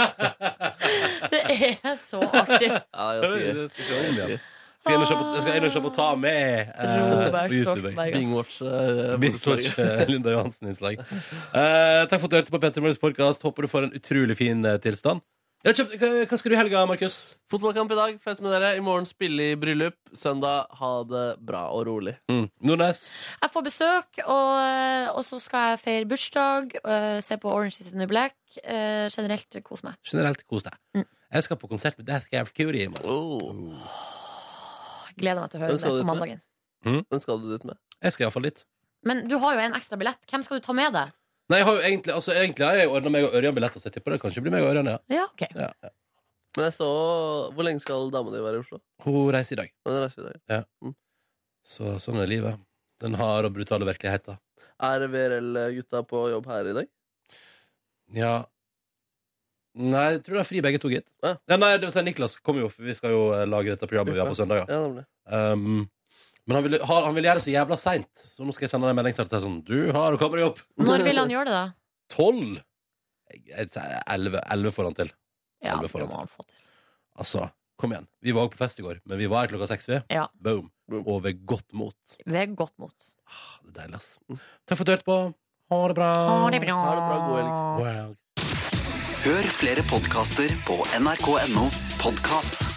S3: Det er så artig.
S6: Ja, det er
S2: Jeg skal
S6: ganske gøy.
S2: se den igjen. Skal jeg inn og se på- jeg skal inn og se på Ta med eh,
S6: Robert
S2: på YouTube,
S6: Stoltenberg,
S2: jeg.
S6: ass. Bingwatch, eh,
S2: Bingwatch,
S6: borettslaget.
S2: eh, Linda Johansen-innslag. Eh, takk for at du hørte på Petter Morgens podcast. Håper du får en utrolig fin eh, tilstand. Jeg har kjøpt, hva, hva skal du i helga, Markus?
S6: Fotballkamp i dag. Fest med dere. I morgen spille i bryllup. Søndag ha det bra og rolig.
S2: Mm. Nordnes.
S3: Jeg får besøk, og, eh, og så skal jeg feire bursdag, øh, se på Orange is the New Black. øh, generelt kose meg.
S2: Generelt kos deg. Jeg skal på konsert med Death Cab for Curie i morgen.
S6: Oh.
S3: Gleder meg til å høre
S2: Hvem skal
S3: det
S2: du
S3: på
S2: ut med?
S3: mandagen.
S6: Hvem skal du dit med?
S2: Jeg skal iallfall dit.
S3: Men du har jo en ekstra billett. Hvem skal du ta med deg?
S2: Nei, jeg har jo egentlig, altså, egentlig har jeg ordna meg og Ørjan billetter, så jeg tipper det kanskje blir meg og Ørjan, ja.
S3: Ja, ok
S2: ja, ja.
S6: Men jeg så Hvor lenge skal damene di være i Oslo?
S2: Hun reiser i dag.
S6: Hun reiser i dag.
S2: Ja. Så sånn er livet. Den harde og brutale virkeligheten.
S6: Er VRL-gutta på jobb her i dag?
S2: Ja Nei, jeg tror det er fri begge to, gitt. Ja. nei, det vil si Niklas kommer jo, for vi skal jo eh, lage dette programmet vi har på søndag.
S6: Ja, nemlig.
S2: Um, men han ville, har- han ville gjøre det så jævla seint, så nå skal jeg sende deg en melding snart og si sånn Du har kommet deg opp!
S3: Når vil han gjøre det, da?
S2: Tolv? Jeg- jeg sier Elleve elleve får han til.
S3: Ja,
S2: Elleve får
S3: det
S2: han
S3: må han
S2: til.
S3: få til.
S2: Altså, kom igjen. Vi var også på fest i går, men vi var her klokka seks. vi.
S3: Ja.
S2: Boom. Og ved godt mot.
S3: Ved godt mot.
S2: Det er deilig, ass. Takk for at du hørte på. Ha det bra.
S3: Ha det bra. Ha det bra. God helg.
S2: God helg.
S9: Hør flere podkaster på nrk.no podkast.